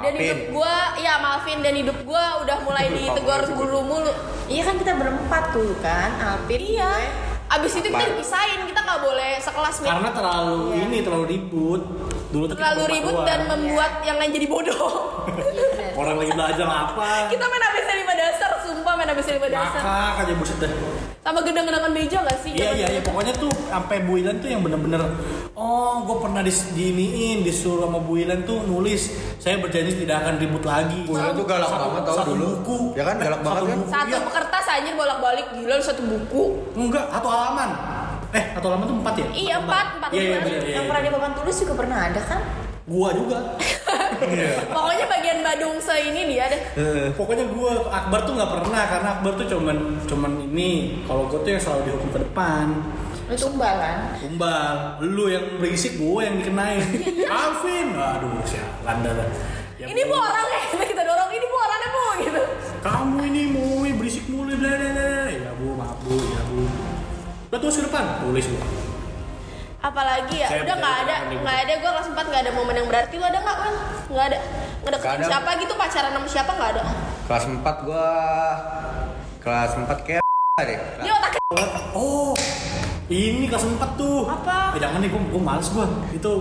Speaker 3: Dan
Speaker 2: Maafin.
Speaker 3: hidup gue, ya maafin dan hidup gue udah mulai ditegor guru mulu.
Speaker 5: Iya kan kita berempat tuh kan, Alpin.
Speaker 3: Iya.
Speaker 5: gue.
Speaker 3: Abis itu kita
Speaker 2: Apaan?
Speaker 3: dipisahin, kita nggak boleh sekelas Mit.
Speaker 1: Karena terlalu ini terlalu ribut. Dulu tuh kita
Speaker 3: Iya. terlalu
Speaker 1: berempat
Speaker 3: ribut
Speaker 1: doang.
Speaker 3: dan membuat yang lain jadi bodoh.
Speaker 1: orang lagi belajar apa?
Speaker 3: kita main ABC 5 dasar, sumpah main ABC 5 dasar.
Speaker 1: Ngakak aja buset deh.
Speaker 3: Sama gendang-gendangan meja gak
Speaker 1: Iya
Speaker 3: sih? Zaman
Speaker 1: iya
Speaker 3: dulu?
Speaker 1: iya pokoknya tuh sampai Bu Ilan tuh yang bener-bener oh gue pernah dis diiniin disuruh sama Bu Ilan tuh nulis saya berjanji tidak akan ribut lagi.
Speaker 2: Bu Ilan tuh galak banget tau
Speaker 1: satu
Speaker 2: dulu.
Speaker 1: buku.
Speaker 2: Ya kan, galak
Speaker 1: Satu
Speaker 2: banget kan?
Speaker 1: buku,
Speaker 3: Satu
Speaker 1: iya.
Speaker 3: kertas anjir bolak-balik gila lu satu buku.
Speaker 1: Oh, Enggak, atau halaman. Eh, atau halaman tuh empat ya?
Speaker 3: Iya, empat, empat,
Speaker 1: Iya, iya,
Speaker 3: empat.
Speaker 1: bener, iya,
Speaker 5: Yang
Speaker 1: iya.
Speaker 5: pernah di papan tulis juga pernah ada kan?
Speaker 1: Gua juga. Iya.
Speaker 2: Iya.
Speaker 3: Pokoknya bagian Badung se ini dia deh.
Speaker 1: Pokoknya gua Akbar tuh nggak pernah karena Akbar tuh cuman cuman ini. Kalau gua tuh yang selalu dihukum ke depan.
Speaker 5: Lu tumbal kan?
Speaker 1: Umbal, lu yang berisik gue yang dikenain. Alvin, aduh sialan dah. dah. Ya,
Speaker 3: Iya. ini bu orang ya kita dorong ini bu orangnya bu gitu
Speaker 1: Kamu ini mau berisik mulu bla bla bla. Ya bu, maaf bu, ya bu. Udah terus ke depan, tulis bu.
Speaker 3: apalagi ya
Speaker 1: Saya
Speaker 3: udah
Speaker 1: percaya
Speaker 3: nggak ada
Speaker 1: dengan Andi.
Speaker 3: nggak ada gue kelas sempat nggak ada momen yang berarti lo ada nggak kan nggak ada
Speaker 2: Nggak
Speaker 3: ngedeketin
Speaker 2: ada.
Speaker 3: siapa gitu pacaran sama siapa nggak ada
Speaker 2: Kelas 4 gua kelas 4 kayak deh.
Speaker 3: dia otak
Speaker 1: Oh, ini kelas 4 tuh.
Speaker 3: Apa?
Speaker 1: Eh, jangan nih, gue, gue males gue. Itu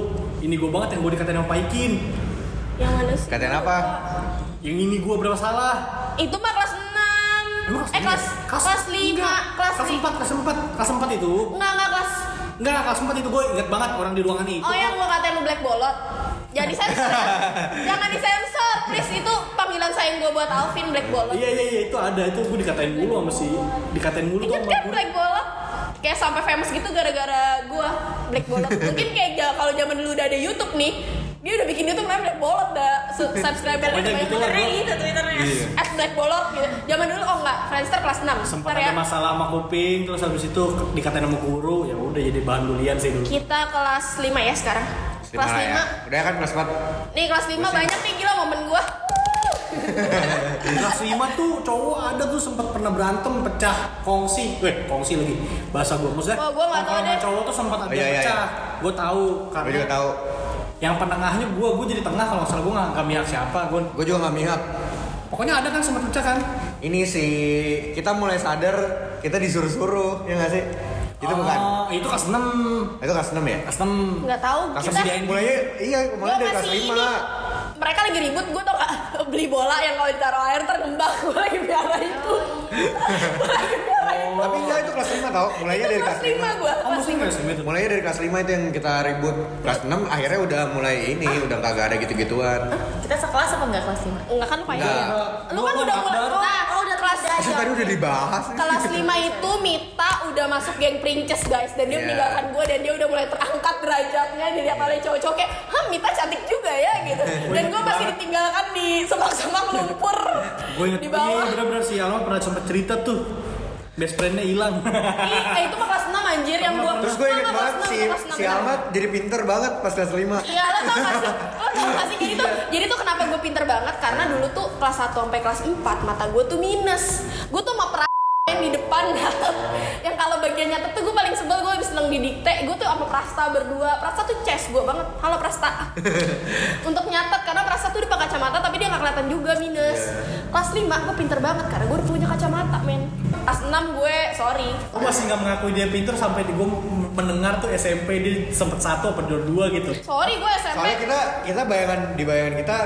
Speaker 1: ini gue banget yang gue dikatain sama Pak Ikin.
Speaker 3: yang mana sih
Speaker 2: Katain
Speaker 3: Gua
Speaker 2: apa?
Speaker 3: lupa.
Speaker 1: Yang ini gue bermasalah.
Speaker 3: itu mah kelas 6
Speaker 1: Emang ya?
Speaker 3: eh kelas kelas 5 kelas
Speaker 1: kelas
Speaker 3: 5
Speaker 1: empat kelas empat kelas empat itu
Speaker 3: nggak nggak kelas
Speaker 1: enggak kelas empat itu gue inget banget orang di ruangan itu
Speaker 3: oh yang gue katain lu black bolot jangan disensor jangan disensor please itu panggilan sayang gue buat Alvin black bolot
Speaker 1: Iya iya iya itu ada itu gue dikatain mulu sama si dikatain mulu tuh
Speaker 3: Ingat
Speaker 1: sama
Speaker 3: kan
Speaker 1: guru.
Speaker 3: Black Bolot? Kayak sampai famous gitu gara-gara gua Black Bolot. Mungkin kayak ja- kalau zaman dulu udah ada YouTube nih, dia udah bikin YouTube namanya Black Bolot dah Su- subscriber
Speaker 1: Pokoknya gitu lah,
Speaker 3: Twitternya
Speaker 1: gua.
Speaker 3: gitu Twitternya.
Speaker 1: Iya.
Speaker 3: At Black Bolot gitu. Zaman dulu oh enggak, Friendster kelas ya. 6.
Speaker 1: sempat
Speaker 3: Ntar
Speaker 1: ada masalah sama kuping terus habis itu ke- dikatain sama guru ya udah jadi bahan bulian sih dulu
Speaker 3: Kita kelas 5 ya sekarang. Kelas 5.
Speaker 2: Ya. Udah kan kelas 4.
Speaker 3: Nih kelas 5 banyak nih gila momen gua.
Speaker 1: kelas lima tuh cowok ada tuh sempat pernah berantem pecah kongsi weh kongsi lagi bahasa gue maksudnya
Speaker 3: Oh, gua nggak tahu
Speaker 1: orang-orang
Speaker 3: deh.
Speaker 1: cowok tuh sempat ada
Speaker 2: Oh, iya, iya,
Speaker 1: pecah
Speaker 2: iya.
Speaker 1: gue tahu
Speaker 2: Gua
Speaker 1: karena
Speaker 2: juga tahu.
Speaker 1: yang penengahnya gue gue jadi tengah kalau nggak salah gue nggak mihak siapa gue
Speaker 2: Gua juga nggak mihak.
Speaker 1: pokoknya ada kan sempat pecah kan
Speaker 2: Ini sih kita mulai sadar kita disuruh-suruh ya nggak sih? Itu bukan.
Speaker 1: Oh, itu kelas enam
Speaker 2: Itu kelas 6 ya?
Speaker 1: kelas enam
Speaker 3: Enggak tahu
Speaker 2: Kelas
Speaker 1: Langsung
Speaker 3: kita.
Speaker 1: sediain.
Speaker 2: mulainya iya mulai
Speaker 3: Gua
Speaker 2: dari kelas
Speaker 3: masih ini.
Speaker 2: 5.
Speaker 3: Mereka lagi ribut, gue tau gak beli bola yang kalau ditaruh air terkembang Gue lagi piara itu Gua lagi piara itu
Speaker 2: Tapi enggak itu kelas 5 tau, mulainya
Speaker 3: Itu
Speaker 2: dari
Speaker 3: kelas
Speaker 2: kelas
Speaker 3: 5 gue
Speaker 1: oh musuh nggak sih itu
Speaker 2: Mulainya dari kelas 5 itu yang kita ribut. Kelas 6 akhirnya udah mulai ini, udah kagak ada gitu-gituan.
Speaker 5: Kita sekelas apa enggak kelas 5?
Speaker 3: Enggak kan Fai?
Speaker 2: Enggak.
Speaker 3: Lu kan
Speaker 1: Gua
Speaker 3: udah
Speaker 1: anak
Speaker 3: mulai
Speaker 1: baru.
Speaker 3: Nah,
Speaker 5: Oh, udah
Speaker 3: kelas
Speaker 5: kelas
Speaker 2: Maksudnya tadi udah dibahas.
Speaker 3: Kelas 5 itu Mita udah masuk geng princes guys Dan dia
Speaker 2: Iya.
Speaker 3: meninggalkan gue dan dia udah mulai terangkat derajatnya Dilihat oleh cowok-cowok kayak Hah Mita cantik juga ya gitu Dan gue masih ditinggalkan di semak-semak lumpur
Speaker 1: gue inget
Speaker 3: Di
Speaker 1: iya
Speaker 3: bawah
Speaker 1: bener-bener si Alma pernah sempat cerita tuh best friendnya hilang
Speaker 3: Ih, eh, itu mah kelas 6 anjir yang gue
Speaker 2: Terus gue inget banget si
Speaker 3: eh,
Speaker 2: si Ahmad jadi pinter banget pas kelas 5.
Speaker 3: Iya, lo tau gak sih? Lo tau gak sih? Jadi tuh,
Speaker 2: Iya.
Speaker 3: jadi tuh kenapa gue pinter banget? Karena dulu tuh kelas 1 sampai kelas 4 mata gue tuh minus. Gue tuh mau yang di depan nyatet. yang kalau bagian nyatet tuh gue paling sebel gue habis seneng didikte gue tuh sama Prasta berdua Prasta tuh chess gue banget halo Prasta untuk nyatet karena Prasta tuh dia pakai kacamata tapi dia nggak kelihatan juga minus
Speaker 2: Iya.
Speaker 3: kelas 5 gue pinter banget karena gue udah punya kacamata men kelas 6 gue sorry
Speaker 1: gue masih nggak mengakui dia pinter sampai gue mendengar tuh SMP dia sempet satu apa dua dua gitu
Speaker 3: sorry gue SMP
Speaker 2: Soalnya kita kita bayangan di bayangan kita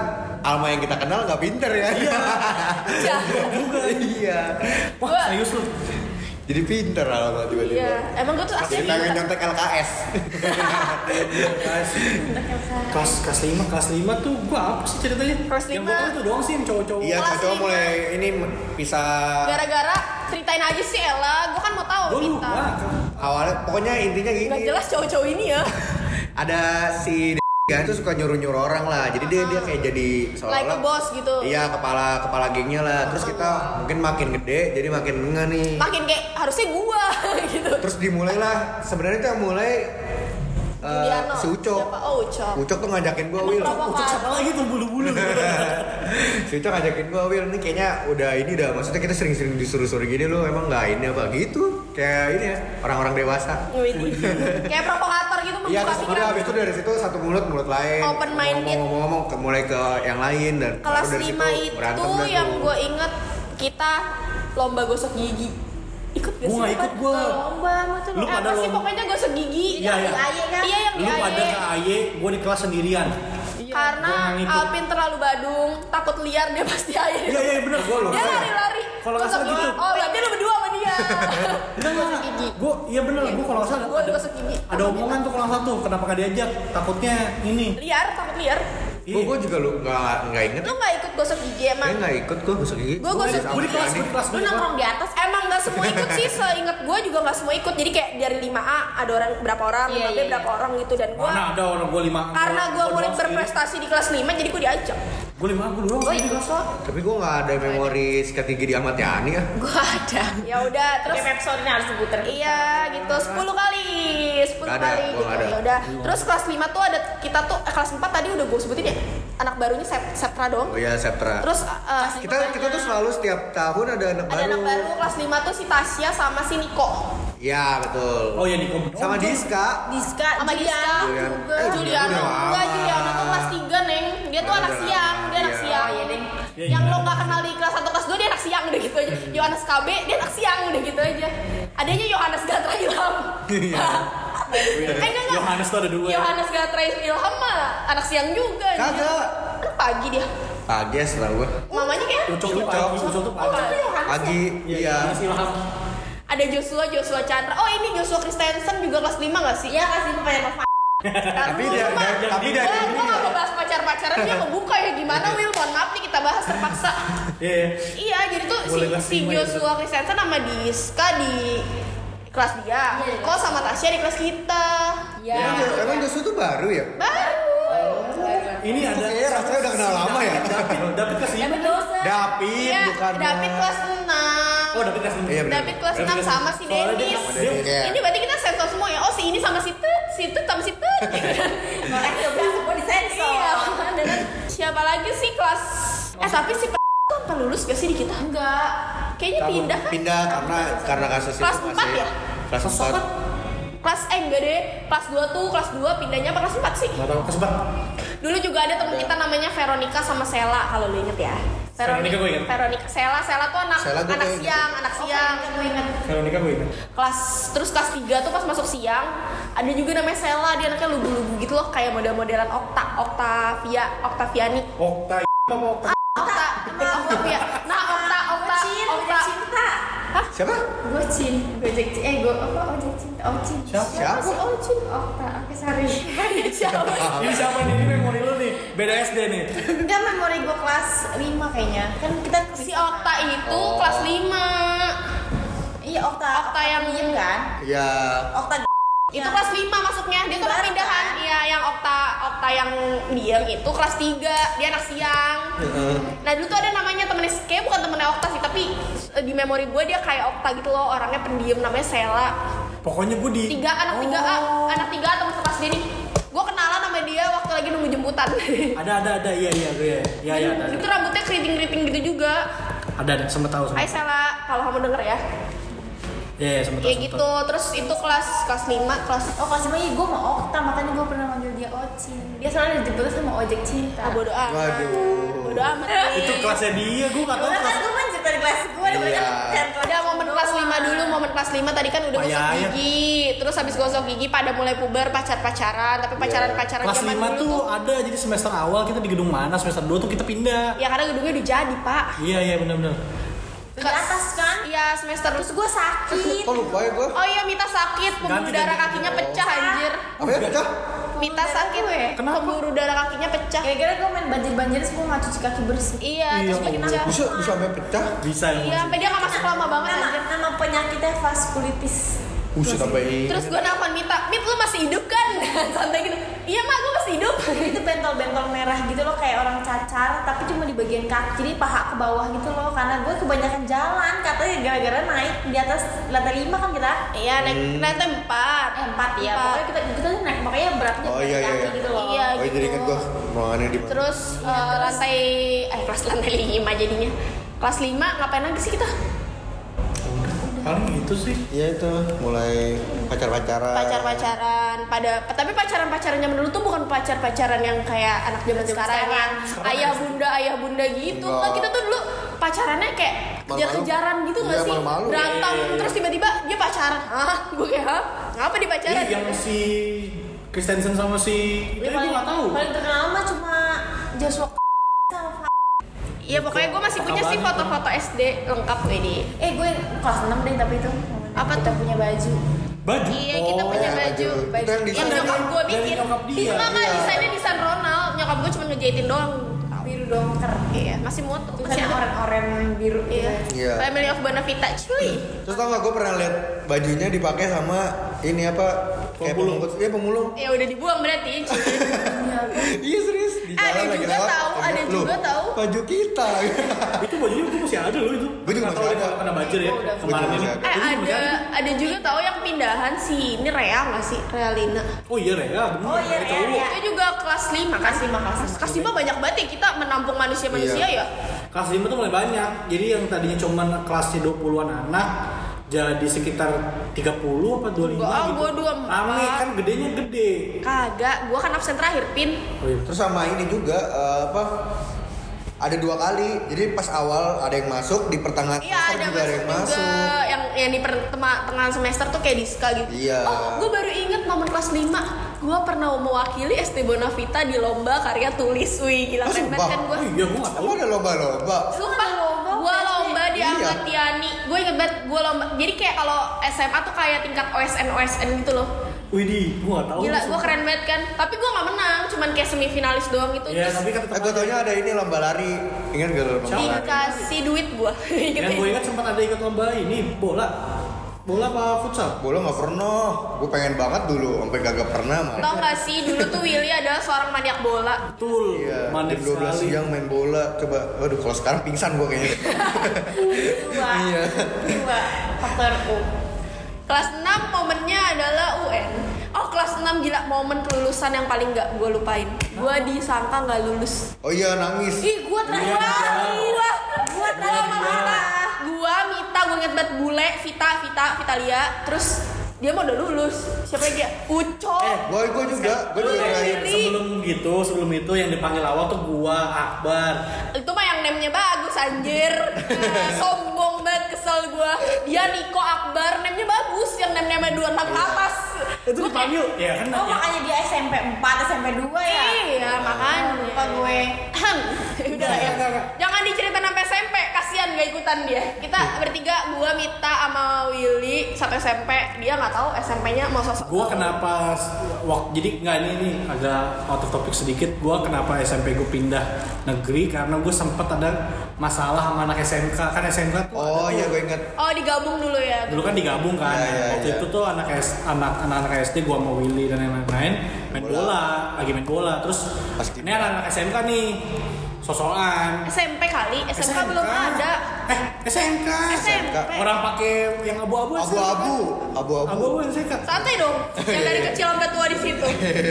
Speaker 2: Alma yang kita kenal nggak pinter ya. Iya.
Speaker 3: Iya.
Speaker 2: iya.
Speaker 1: wah
Speaker 3: Gua-
Speaker 1: serius lu
Speaker 2: Jadi pinter Alma
Speaker 3: Iya,
Speaker 2: tiba-tiba.
Speaker 3: emang gue tuh
Speaker 2: Pas
Speaker 3: asli
Speaker 2: kita nyontek LKS.
Speaker 1: kelas kelas kelas lima kelas lima tuh gue apa sih ceritanya
Speaker 3: Kelas
Speaker 1: yang gue
Speaker 3: lima.
Speaker 1: tahu itu doang sih yang cowok-cowok
Speaker 2: Iya,
Speaker 3: Kelas
Speaker 2: cowok
Speaker 3: lima.
Speaker 2: mulai ini bisa
Speaker 3: gara-gara ceritain aja sih Ella gue kan mau tahu
Speaker 1: gue
Speaker 3: Mita
Speaker 1: lupa
Speaker 2: awalnya pokoknya intinya gini.
Speaker 3: nggak jelas cowok-cowok ini ya
Speaker 2: ada si dia itu suka nyuruh nyuruh orang lah jadi dia dia kayak jadi
Speaker 3: like a
Speaker 2: seolah-olah
Speaker 3: boss gitu
Speaker 2: iya kepala kepala gengnya lah terus kita mungkin makin gede jadi makin enggak nih
Speaker 3: makin kayak harusnya gua gitu
Speaker 2: terus dimulailah sebenarnya itu yang mulai eh,
Speaker 3: Juliano,
Speaker 2: si Ucok
Speaker 3: siapa? oh Ucok
Speaker 2: Ucok tuh ngajakin gua
Speaker 1: Iya,
Speaker 2: Will
Speaker 1: Ucok siapa lagi tuh bulu-bulu
Speaker 3: Iya,
Speaker 2: si Ucok ngajakin gua Will ini kayaknya udah ini dah maksudnya kita sering-sering disuruh-suruh gini lu emang nggak ini apa gitu kayak ini ya orang-orang dewasa
Speaker 3: Widih. kayak provokator gitu
Speaker 2: Iya, terus
Speaker 3: membuka
Speaker 2: udah
Speaker 3: pikiran
Speaker 2: habis itu dari situ satu mulut mulut lain.
Speaker 3: Open minded.
Speaker 2: Ngomong-ngomong ke- mulai ke yang lain dan
Speaker 3: kelas
Speaker 2: baru dari
Speaker 3: 5
Speaker 2: situ berantem
Speaker 3: itu
Speaker 2: dah
Speaker 3: yang
Speaker 2: tuh.
Speaker 3: gue inget kita lomba gosok gigi ikut gak
Speaker 1: Gua
Speaker 3: sih
Speaker 1: nggak
Speaker 3: Pat?
Speaker 1: ikut, gua.
Speaker 5: Lomba sama tuh.
Speaker 1: Lu
Speaker 3: Eh, apa
Speaker 1: pada
Speaker 3: sih
Speaker 1: lomba.
Speaker 3: pokoknya gosok gigi
Speaker 1: Iya, iya.
Speaker 5: Aye kan?
Speaker 3: iya yang di
Speaker 1: lu pada
Speaker 3: AY.
Speaker 1: ke Aye gue di kelas sendirian
Speaker 5: Iya.
Speaker 1: gua
Speaker 3: karena
Speaker 1: nggak ngikut.
Speaker 3: Alvin terlalu badung takut liar dia pasti AY
Speaker 1: iya iya bener gue
Speaker 3: dia lari-lari
Speaker 1: Kalau nggak salah
Speaker 3: Gosok
Speaker 1: gitu.
Speaker 3: gigi. oh berarti lu berdua sama dia
Speaker 1: Enggak,
Speaker 5: gigi.
Speaker 1: gue iya bener, gue kalau nggak salah
Speaker 3: Gua
Speaker 1: ada,
Speaker 3: gosok gigi.
Speaker 1: ada omongan tuh kalau nggak salah tuh, kenapa nggak diajak? Takutnya ini.
Speaker 3: liar takut liar
Speaker 2: Gua gua juga lu nggak nggak inget.
Speaker 3: lu nggak ikut gosok gigi
Speaker 2: Gue
Speaker 3: emang
Speaker 2: nggak ikut gua gosok gigi.
Speaker 3: Gua gosok
Speaker 2: sama
Speaker 1: Gue di kelas,
Speaker 2: Ani.
Speaker 1: gue di kelas,
Speaker 5: Lu
Speaker 1: gua di kelas.
Speaker 5: nongkrong di atas.
Speaker 3: Emang nggak semua ikut sih, seingat gue juga nggak semua ikut. Jadi kayak dari 5A ada orang berapa orang,
Speaker 5: Iya,
Speaker 3: 5B
Speaker 5: iya,
Speaker 3: berapa orang gitu dan gue
Speaker 1: Mana ada orang gue lima.
Speaker 3: karena gue mulai berprestasi di kelas 5 jadi gue diajak.
Speaker 1: Gue Gue lima, gue dua,
Speaker 5: Gue ikut kok.
Speaker 2: Tapi gue nggak ada memori sikat gigi di Ahmad Yani ya.
Speaker 3: Gua ada. Ya udah, terus
Speaker 5: Kayak episode ini harus diputer.
Speaker 3: Iya gitu, 10 kali, 10
Speaker 2: Nggak ada,
Speaker 3: kali
Speaker 2: gua
Speaker 3: gitu.
Speaker 2: nggak ada.
Speaker 3: Ya udah. Terus kelas 5 tuh ada kita tuh eh, kelas 4 tadi udah gue sebutin ya. Anak barunya Sep- Septra doang.
Speaker 2: Oh iya, Septra.
Speaker 3: Terus eh,
Speaker 2: kita kita tuh selalu setiap tahun ada anak
Speaker 3: ada
Speaker 2: baru.
Speaker 3: anak baru kelas 5 tuh si Tasya sama si Niko.
Speaker 2: Iya betul.
Speaker 1: Oh iya Niko.
Speaker 2: Sama Diska.
Speaker 5: Diska,
Speaker 3: Sama Diska.
Speaker 2: Julian.
Speaker 3: juga.
Speaker 2: Eh,
Speaker 3: Juliana.
Speaker 2: Juliana.
Speaker 3: Enggak, Juliana tuh kelas 3, Neng. Dia tuh
Speaker 2: Oh,
Speaker 3: anak
Speaker 2: udah
Speaker 3: siang,
Speaker 2: lama.
Speaker 3: dia anak
Speaker 2: Iya.
Speaker 3: siang. ya Neng.
Speaker 1: Iya,
Speaker 3: Yang
Speaker 1: iya.
Speaker 3: lo nggak kenal di kelas 1, kelas 2 dia anak siang udah gitu
Speaker 2: Iya.
Speaker 3: aja. Yohanes KB dia anak siang udah gitu aja. Adanya Yohanes Gatra Ilham.
Speaker 2: Iya.
Speaker 3: Eh, enggak, enggak.
Speaker 1: Yohanes tuh ada dua. ya?
Speaker 3: Yohanes Gatra Ilham mah anak siang juga. dia.
Speaker 2: Kagak.
Speaker 3: Kan pagi dia.
Speaker 2: Pagi ya setelah gue.
Speaker 3: Mamanya kayak
Speaker 1: Ucok tuh
Speaker 2: Ucok.
Speaker 1: pagi, Ucok tuh
Speaker 3: Oh,
Speaker 1: pagi.
Speaker 3: itu Yohanes.
Speaker 2: Pagi.
Speaker 1: Iya,
Speaker 2: Iya.
Speaker 1: Yohanes Ilham.
Speaker 3: Ada Joshua, Joshua Chandra. Oh, ini Joshua Kristensen juga kelas 5 enggak sih? Nah,
Speaker 5: Iya kasih pemain apa?
Speaker 2: Tapi dia,
Speaker 3: Cuma-
Speaker 2: dia- tapi dia ya.
Speaker 3: Wah, gua gak mau bahas pacar-pacaran dia ngebuka ya gimana Will mohon maaf nih kita bahas terpaksa
Speaker 1: Iya. iya.
Speaker 3: iya jadi tuh si,
Speaker 1: Boleh bahas
Speaker 3: si
Speaker 1: lima ya,
Speaker 3: Joshua Kristensen sama Diska di kelas dia
Speaker 5: Iya, iya.
Speaker 3: kok sama Tasya di kelas kita Ya.
Speaker 4: Iya.
Speaker 2: Emang Jo- Emang Joshua tuh baru ya?
Speaker 3: baru
Speaker 1: Ini
Speaker 2: Kok
Speaker 1: ada.
Speaker 2: kayaknya Iya, rasanya udah kenal lama ya?
Speaker 1: David, David kelas lima.
Speaker 5: Dapat dosen.
Speaker 2: David
Speaker 3: Iya,
Speaker 2: bukan.
Speaker 3: David kelas 6
Speaker 1: Oh David kelas lima.
Speaker 2: Iya, benar.
Speaker 3: David kelas
Speaker 1: David
Speaker 3: 6
Speaker 1: kelas
Speaker 3: sama
Speaker 1: enam.
Speaker 3: si
Speaker 1: Soalnya dia-
Speaker 3: Dennis
Speaker 1: dia-
Speaker 2: Iya.
Speaker 3: ini berarti kita sensor semua ya oh si ini sama si Tut, si Tut sama si Tut
Speaker 5: Orang udah bilang semua disensor.
Speaker 3: iya Dan siapa lagi sih kelas eh tapi si p- tuh apa lulus gak sih di kita enggak kayaknya
Speaker 2: Kamu
Speaker 3: pindah kan
Speaker 2: Pindah karena karena kasus
Speaker 3: Kelas
Speaker 2: itu
Speaker 3: empat
Speaker 2: masih-
Speaker 3: ya?
Speaker 2: Kelas
Speaker 1: Kelas
Speaker 2: 4.
Speaker 1: empat.
Speaker 3: kelas eh enggak deh kelas 2 tuh kelas 2 pindahnya apa kelas 4 sih
Speaker 1: Gak tau kelas empat.
Speaker 3: dulu juga ada temen kita namanya Veronica sama Sela kalau lu inget ya
Speaker 1: Veronica gue inget.
Speaker 3: Veronica Sela Sela tuh anak
Speaker 2: Sela gue
Speaker 3: anak
Speaker 2: kayak-
Speaker 3: siang anak siang
Speaker 1: Veronica gue ingat.
Speaker 3: kelas terus kelas 3 tuh pas masuk siang ada juga namanya Sela dia anaknya lugu-lugu gitu loh kayak model-modelan Okta Oktavia Oktaviani
Speaker 1: Okta iya, apa mau Okta?
Speaker 3: Okta Oktavia nah Okta Okta
Speaker 5: Cin,
Speaker 3: Okta
Speaker 5: cinta.
Speaker 2: Siapa?
Speaker 4: Gue cin, gojek cin, eh gue apa ojek cinta, oh cin.
Speaker 1: Siapa?
Speaker 4: sih oh cin? Okta, oke sorry.
Speaker 3: Iya, Ah.
Speaker 1: Ini siapa nih? Ini memori lu nih. Beda SD nih.
Speaker 5: Enggak memori gue kelas 5 kayaknya. Kan kita
Speaker 3: si Okta itu kelas 5
Speaker 5: Iya Okta.
Speaker 3: Okta yang-
Speaker 5: diem kan?
Speaker 2: Ya.
Speaker 5: Okta
Speaker 3: itu kelas 5 masuknya dia tuh
Speaker 5: Baru
Speaker 3: pindahan
Speaker 5: kan?
Speaker 3: iya yang Okta Okta yang diem itu kelas 3 dia anak siang nah dulu tuh ada namanya temennya kayak bukan temennya Okta sih tapi eh, di memori gue dia kayak Okta gitu loh orangnya pendiam namanya Sela
Speaker 1: Pokoknya gue di.
Speaker 3: tiga anak tiga A
Speaker 1: Oh.
Speaker 3: anak tiga A teman sekelas dia nih gue kenalan sama dia waktu lagi nunggu jemputan
Speaker 1: Ada ada ada iya iya gue ya. Iya iya ada.
Speaker 3: itu
Speaker 1: ada.
Speaker 3: rambutnya keriting keriting gitu juga
Speaker 1: Ada ada sama tahu sama.
Speaker 3: Hai Sela kalau kamu denger ya
Speaker 1: Iya iya sama tahu.
Speaker 3: ya gitu terus itu kelas kelas 5 kelas
Speaker 4: Oh kelas lima iya gue mau Okta, makanya gue pernah manggil dia Ocin. Dia soalnya dijemput sama ojek cinta.
Speaker 3: ah, bodo amat
Speaker 2: Waduh.
Speaker 3: bodo amat
Speaker 1: Itu kelasnya dia gue gak tau
Speaker 5: Karena kan
Speaker 1: kelas.
Speaker 5: gue kan cerita di kelas gue, dia
Speaker 2: Iya.
Speaker 5: kan cerita kelas
Speaker 3: Udah momen kelas 5 dulu, momen kelas 5 tadi kan udah gosok
Speaker 1: Payah ya.
Speaker 3: gigi Terus habis gosok gigi pada mulai puber pacar-pacaran Tapi pacaran-pacaran
Speaker 1: Iya. Kelas
Speaker 3: zaman
Speaker 1: lima
Speaker 3: dulu
Speaker 1: tuh ada jadi semester awal kita di gedung mana semester dua tuh kita pindah.
Speaker 3: Ya karena gedungnya udah jadi pak
Speaker 1: Iya iya benar-benar.
Speaker 5: di atas kan.
Speaker 3: Iya semester
Speaker 5: Terus gue sakit.
Speaker 2: Kok lupa ya gue?
Speaker 3: Oh iya Mita sakit, pembuluh
Speaker 1: Ganti,
Speaker 3: darah
Speaker 1: ganti.
Speaker 3: kakinya pecah anjir
Speaker 2: Apa ya? Pecah?
Speaker 3: Mita sakit,
Speaker 1: Kenapa?
Speaker 3: pembuluh darah kakinya pecah
Speaker 4: Gara-gara gue main banjir-banjir, gue nggak cuci kaki bersih.
Speaker 1: Iya,
Speaker 3: Iya terus makin
Speaker 1: Allah.
Speaker 3: pecah
Speaker 2: Bisa bisa sampai pecah?
Speaker 1: Bisa ya.
Speaker 3: Iya sampai dia gak masuk lama banget
Speaker 5: Nama,
Speaker 3: anjir
Speaker 5: nama penyakitnya vaskulitis.
Speaker 2: Buset sampai ini.
Speaker 3: Terus gue nelfon Mita, Mit lu masih hidup kan? Santai gitu Iya mak gue masih hidup
Speaker 5: itu bentol-bentol merah gitu loh kayak orang cacar tapi cuma di bagian kaki jadi paha ke bawah gitu loh karena gue kebanyakan jalan katanya gara-gara naik di atas lantai lima kan kita
Speaker 3: Iya
Speaker 1: Hmm.
Speaker 3: naik lantai empat
Speaker 5: eh, empat ya
Speaker 3: Empat.
Speaker 5: pokoknya kita kita tuh naik makanya beratnya
Speaker 2: Oh,
Speaker 5: di
Speaker 2: iya, iya,
Speaker 5: kaki
Speaker 2: iya.
Speaker 5: gitu loh
Speaker 3: Iya.
Speaker 2: Oh jadi kan gue ruangannya di mana?
Speaker 3: Terus eh, lantai eh kelas lantai 5 jadinya. Kelas 5 ngapain lagi sih kita?
Speaker 1: Paling gitu sih.
Speaker 2: Iya itu mulai pacar-pacaran.
Speaker 3: Pacar-pacaran pada tapi pacaran-pacaran zaman dulu tuh bukan pacar-pacaran yang kayak anak zaman sekarang, yang ayah bunda ayah bunda gitu.
Speaker 2: Enggak.
Speaker 3: Nah, kita tuh dulu pacarannya kayak
Speaker 2: Malu-malu.
Speaker 3: kejar-kejaran gitu nggak
Speaker 2: Iya,
Speaker 3: sih?
Speaker 2: malu-malu.
Speaker 3: Berantem
Speaker 1: Iya, iya, iya.
Speaker 3: terus tiba-tiba dia pacaran. Hah? Gue kayak hah? Ngapa di
Speaker 1: Iya
Speaker 3: pacaran?
Speaker 1: yang si Kristensen sama si itu gue gak tahu.
Speaker 5: paling terkenal mah cuma Joshua sama Fa-
Speaker 3: Iya pokoknya gue masih punya sih
Speaker 1: Kabarnya.
Speaker 3: foto-foto SD lengkap gue di
Speaker 5: eh gue kelas 6 deh tapi itu
Speaker 3: Apa
Speaker 5: kita
Speaker 3: tuh?
Speaker 5: punya baju
Speaker 1: Baju.
Speaker 3: Iya kita punya
Speaker 2: iya,
Speaker 3: baju,
Speaker 2: baju. Itu
Speaker 3: baju.
Speaker 2: yang
Speaker 3: yang
Speaker 2: desain
Speaker 3: nyokap
Speaker 1: dari-
Speaker 3: gue
Speaker 1: dari
Speaker 3: bikin.
Speaker 1: nyokap dia.
Speaker 3: Itu nggak nggak
Speaker 2: Iya.
Speaker 3: desainnya desain Ronald. Nyokap gue cuma ngejahitin doang.
Speaker 5: biru dongker
Speaker 3: Iya masih moto masih
Speaker 5: Tulisannya
Speaker 3: orang.
Speaker 5: oren-oren biru
Speaker 3: Iya.
Speaker 5: gitu.
Speaker 2: Iya.
Speaker 3: Family of Bonavita cuy.
Speaker 2: Terus tau gak gue pernah lihat bajunya dipakai sama ini apa kayak
Speaker 1: Pemulung.
Speaker 2: pemungkus ya pemulung
Speaker 3: ya udah dibuang berarti cuy.
Speaker 2: iya serius di
Speaker 3: Ada
Speaker 2: jalan lagi
Speaker 3: juga
Speaker 2: lewat,
Speaker 3: tahu, ada
Speaker 2: "Loh,
Speaker 3: juga tahu."
Speaker 2: baju kita
Speaker 1: Oh, itu bajunya gue masih ada loh itu
Speaker 2: Gua juga masih
Speaker 1: Nggak tahu
Speaker 2: ada.
Speaker 1: dia kena banjir ya
Speaker 4: Gua udah-
Speaker 1: kemarin
Speaker 2: Gua juga
Speaker 1: ini
Speaker 2: masih
Speaker 3: Eh ada ada juga tahu yang pindahan si ini Rea nggak sih Realina.
Speaker 1: oh iya Rea bener
Speaker 5: Oh, iya,
Speaker 1: Rea
Speaker 5: Rea,
Speaker 1: cowok.
Speaker 5: Rea.
Speaker 3: Itu juga kelas 5 kan?
Speaker 5: Kasih makasih.
Speaker 3: Kelas 5 banyak banget ya kita menampung manusia-manusia
Speaker 2: Iya.
Speaker 3: ya.
Speaker 1: kelas 5 tuh mulai banyak jadi yang tadinya cuman kelasnya 20-an anak jadi sekitar 30 apa 25
Speaker 3: Gua- ah,
Speaker 1: gitu
Speaker 3: gua 24.
Speaker 1: Rame, kan gedenya gede
Speaker 3: Kagak, gua kan absen terakhir pin.
Speaker 1: oh iya
Speaker 2: terus sama ini juga eh, apa ada dua kali jadi pas awal ada yang masuk di pertengahan
Speaker 3: Iya
Speaker 2: semester
Speaker 3: ada masuk juga yang yang di per- tema- tengah semester tuh kayak diska gitu.
Speaker 2: Iya.
Speaker 3: Oh, gue baru inget momen kelas 5 gue pernah mewakili ST Bonavita di lomba karya tulis. Wih, gila
Speaker 2: Ah,
Speaker 3: keren
Speaker 2: sumpah?
Speaker 3: banget kan gue.
Speaker 1: oh iya gue gak tau
Speaker 2: Apa ada lomba-lomba
Speaker 3: Sumpah,
Speaker 5: lomba
Speaker 3: gue
Speaker 5: berarti.
Speaker 3: lomba di
Speaker 2: Iya.
Speaker 3: Ahmad Tiani. Gue inget banget, gue lomba. Jadi kayak kalau SMA tuh kayak tingkat OSN OSN gitu loh.
Speaker 1: Widih, gue gak tau
Speaker 3: Gila, gue keren banget kan. Tapi gue nggak menang, cuman kayak semifinalis doang gitu.
Speaker 1: Iya,
Speaker 3: Terus
Speaker 1: tapi kan
Speaker 2: eh gue taunya ada ini lomba lari ingat gak lo lomba lari
Speaker 3: dikasih duit gue.
Speaker 1: Yang gue ingat sempat ada ikut lomba ini, bola Bola apa futsal?
Speaker 2: bola nggak pernah gue pengen banget dulu sampai kagak pernah malah
Speaker 3: Tau gak sih dulu tuh Willy adalah seorang maniak bola.
Speaker 1: Betul,
Speaker 2: Iya,
Speaker 1: manis
Speaker 2: jam 12
Speaker 1: sekali
Speaker 2: siang main bola coba aduh kalau sekarang pingsan gue kayaknya
Speaker 3: Iya.
Speaker 5: Dua.
Speaker 2: Iya.
Speaker 5: Dua. Faktor U.
Speaker 3: Kelas 6 momennya adalah UN. Oh kelas 6 gila momen kelulusan yang paling gak gue lupain. Gue disangka gak lulus.
Speaker 2: oh iya nangis
Speaker 5: Ih, gua
Speaker 1: Iya.
Speaker 5: terakhir. Gua, gua
Speaker 3: Gue
Speaker 5: terakhir.
Speaker 3: Mita, gue Mita, gue inget banget bule, Vita, Vita, Vitalia. Terus dia mau udah lulus. Siapa lagi ya? Uco.
Speaker 1: Eh,
Speaker 2: gue gue juga gue juga
Speaker 1: Iya.
Speaker 3: Lu
Speaker 2: terakhir
Speaker 3: sendiri.
Speaker 1: Sebelum gitu, sebelum itu yang dipanggil awal tuh gua, Akbar
Speaker 3: Itu mah yang name-nya bagus anjir. Eh, Sombong banget kesel gue. Dia Niko Akbar, name-nya bagus. Yang name-name 26 ke atas.
Speaker 1: Itu dipanggil, ya kan
Speaker 5: Oh,
Speaker 1: nanya.
Speaker 5: makanya dia SMP 4, SMP 2 ya.
Speaker 3: Iya, makanya.
Speaker 5: Lupa gue.
Speaker 3: Ahem. Udah lah ya. Jangan diceritain sampai SMP, kasihan gak ikutan dia. Kita
Speaker 1: Iya.
Speaker 3: bertiga, gua Mita sama Willy satu SMP. Dia nggak tahu SMP-nya mau sosok.
Speaker 1: Gua kenapa waktu jadi nggak ini nih agak out of topic sedikit. Gua kenapa SMP gue pindah negeri karena gue sempet ada masalah sama anak SMK kan SMK tuh ada
Speaker 2: oh
Speaker 1: tuh-
Speaker 2: iya gue inget
Speaker 3: Oh, digabung dulu ya.
Speaker 1: dulu kan digabung kan
Speaker 2: Iya, iya,
Speaker 1: waktu
Speaker 2: iya.
Speaker 1: itu tuh anak S- anak anak anak SD gua sama Willy dan yang lain-lain main bola.
Speaker 2: Bola.
Speaker 1: lagi main bola terus
Speaker 2: Pas
Speaker 1: ini anak anak SMK nih sosokan
Speaker 3: SMP kali, SMK, belum ada.
Speaker 1: eh SMK
Speaker 3: SMP.
Speaker 1: orang pakai yang abu-abu
Speaker 2: abu-abu
Speaker 1: SMK.
Speaker 2: abu-abu
Speaker 1: abu-abu SMK
Speaker 3: Santai dong, yang dari kecil sampai tua di situ.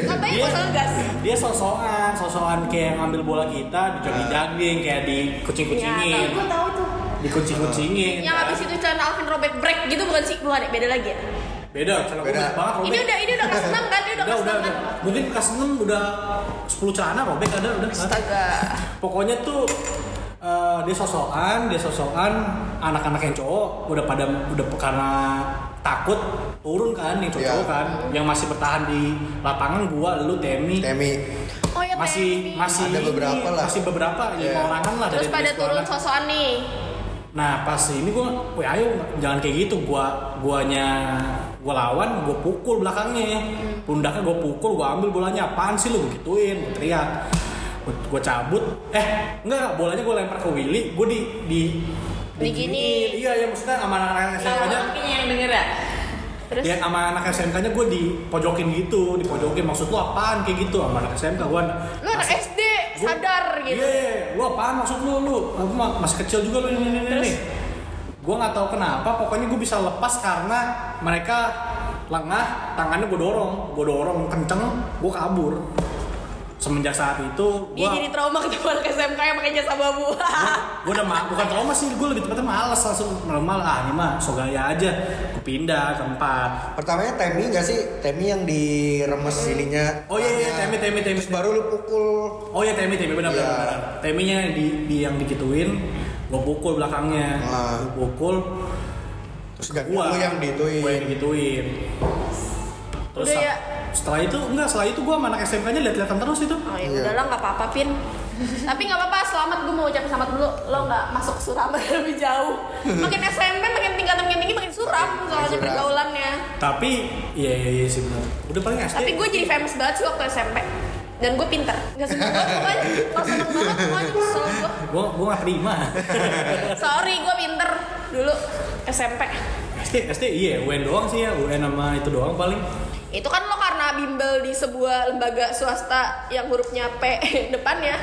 Speaker 3: Ngapain
Speaker 1: Iya.
Speaker 3: gua ngegas?
Speaker 1: dia sosokan sosokan kayak ngambil bola kita dijaging jaging kayak dikucing
Speaker 3: Iya,
Speaker 1: kucingin
Speaker 5: Gua tahu tuh.
Speaker 1: dikucing kucingin
Speaker 3: Yang habis itu celana Alvin robek break gitu bukan sih? Bukan ya, beda lagi ya.
Speaker 1: beda celana
Speaker 2: Beda.
Speaker 1: robek banget robek
Speaker 3: Ini udah ini udah kelas 6 kan? Ini udah
Speaker 1: udah
Speaker 3: kelas
Speaker 1: udah
Speaker 3: 6 kan?
Speaker 1: udah. mungkin kelas 6 udah 10 celana robek ada udah
Speaker 3: Astaga.
Speaker 1: pokoknya tuh eh, dia sosokan dia sosokan anak-anak yang cowok udah pada udah karena takut turun kan yang cowok,
Speaker 2: Iya.
Speaker 1: kan yang masih bertahan di lapangan gua lu Temi
Speaker 2: Temi
Speaker 3: Oh ya,
Speaker 1: masih
Speaker 3: Temi.
Speaker 1: masih
Speaker 2: Ada
Speaker 1: ini,
Speaker 2: beberapa lah.
Speaker 1: masih beberapa lima
Speaker 2: Iya.
Speaker 1: orangan lah
Speaker 3: Terus
Speaker 1: dari
Speaker 3: pada
Speaker 1: dari
Speaker 3: turun
Speaker 1: sekolah.
Speaker 3: sosokan nih.
Speaker 1: Nah pas ini gue, weh ayo jangan kayak gitu, gua guanya gua lawan, gue pukul belakangnya, pundaknya gue pukul, gue ambil bolanya, apaan sih lu gue gituin, gue teriak, gue cabut, eh enggak enggak, bolanya gue lempar ke Willy, gue di di
Speaker 3: Diginiin.
Speaker 1: diginiin. iya ya maksudnya sama anak-anak
Speaker 5: Tahu
Speaker 1: SMK-nya,
Speaker 5: mungkin yang denger ya.
Speaker 3: Terus
Speaker 1: ya sama anak SMK-nya gue dipojokin gitu, dipojokin maksud lu apaan kayak gitu sama anak SMK gue,
Speaker 3: lu anak SD
Speaker 1: Gua-
Speaker 3: sadar gitu.
Speaker 1: Iya, lu apaan maksud lu lu? Aku ma- masih kecil juga lu ini ini ini. Gue nggak tahu kenapa, pokoknya gue bisa lepas karena mereka lengah, tangannya gue dorong, gue dorong kenceng, gue kabur. Semenjak saat itu,
Speaker 3: Dia jadi
Speaker 1: gue
Speaker 3: trauma ketemu anak SMK yang pakai jasa babu.
Speaker 1: gue udah ma- bukan trauma sih, gue lebih tepatnya males langsung normal ah ini mah so gaya aja, gue pindah tempat.
Speaker 2: pertamanya Temi gak sih Temi yang diremes ininya
Speaker 1: Oh iya iya,
Speaker 2: tangannya.
Speaker 1: temi temi temi.
Speaker 2: Terus baru lu pukul
Speaker 1: Oh iya Temi Temi benar
Speaker 2: Iya.
Speaker 1: benar. Teminya di, di yang dikituin, gue pukul belakangnya,
Speaker 2: Ah.
Speaker 1: gue pukul,
Speaker 2: terus gak lu yang
Speaker 1: Gua yang
Speaker 2: dituin
Speaker 1: digituin terus
Speaker 3: Udah ya?
Speaker 1: setelah itu enggak setelah itu gue sama anak SMK nya lihat-lihatan terus itu
Speaker 3: Oh ya
Speaker 2: Iya.
Speaker 3: udahlah nggak apa-apa Pin. Tapi nggak apa-apa, selamat gue mau ucapin selamat dulu. Lo nggak masuk suram lebih jauh. Makin SMP makin tingkatan makin tinggi makin suram soalnya
Speaker 2: suram.
Speaker 3: pergaulannya.
Speaker 1: tapi iya iya iya sih benar udah paling SD
Speaker 3: Tapi gue jadi famous banget sih waktu SMP. Dan gue pinter. Gak seneng banget pokoknya. Gak seneng banget pokoknya. Kesel gue.
Speaker 1: gue gue nggak terima
Speaker 3: Sorry, gue pinter dulu
Speaker 5: SMP
Speaker 1: SD SD iya UN doang sih ya UN sama itu doang paling
Speaker 3: Itu kan lo karena bimbel di sebuah lembaga swasta yang hurufnya P depannya.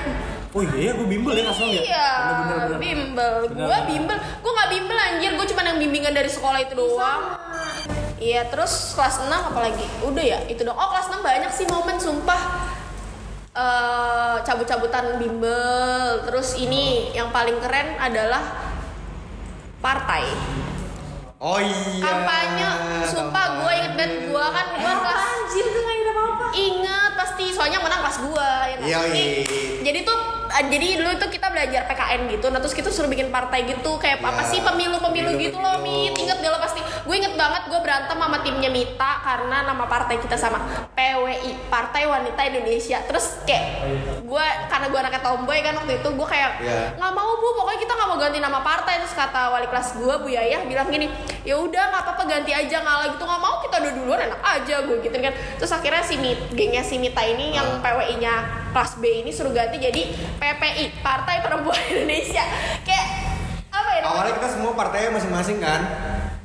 Speaker 1: oh iya ya gue bimbel ya asal ya
Speaker 3: Iya,
Speaker 1: Bener, bener, bener.
Speaker 3: bimbel.
Speaker 1: Bener,
Speaker 3: Gua
Speaker 1: bener.
Speaker 3: bimbel. Gua nggak bimbel anjir, gua cuma yang bimbingan dari sekolah itu doang. Iya, terus kelas 6 apalagi? Udah ya, itu doang. Oh, kelas 6 banyak sih momen sumpah. eh cabut-cabutan bimbel. Terus ini yang paling keren adalah partai.
Speaker 2: Oh iya.
Speaker 3: Kampanye, sumpah gue inget banget gue kan gue kelas
Speaker 5: anjir gue gak ada apa-apa
Speaker 3: Ingat pasti, soalnya yang menang kelas gua ya kan?
Speaker 2: Yoi.
Speaker 3: Jadi- Jadi tuh ah, jadi dulu tuh kita belajar PKN gitu, nah terus kita suruh bikin partai gitu kayak apa
Speaker 2: Ya,
Speaker 3: sih pemilu-pemilu
Speaker 2: pemilu-pemilu.
Speaker 3: gitu loh, Mit. Ingat gak lo pasti? Gue inget banget gue berantem sama timnya Mita karena nama partai kita sama PWI, Partai Wanita Indonesia. Terus kayak gue karena gue anaknya tomboy kan waktu itu gue kayak
Speaker 2: Ya.
Speaker 3: nggak mau bu, pokoknya kita nggak mau ganti nama partai. Terus kata wali kelas gue Bu Yayah bilang gini, ya udah nggak apa-apa ganti aja ngalah gitu nggak mau kita udah duluan enak aja gue gitu kan. Terus akhirnya si Mit, gengnya si Mita ini
Speaker 2: Ah.
Speaker 3: yang PWI-nya kelas B ini suruh ganti jadi PPI, Partai Perempuan Indonesia. Kayak apa ya? namanya?
Speaker 2: Awalnya kita semua partainya masing-masing kan.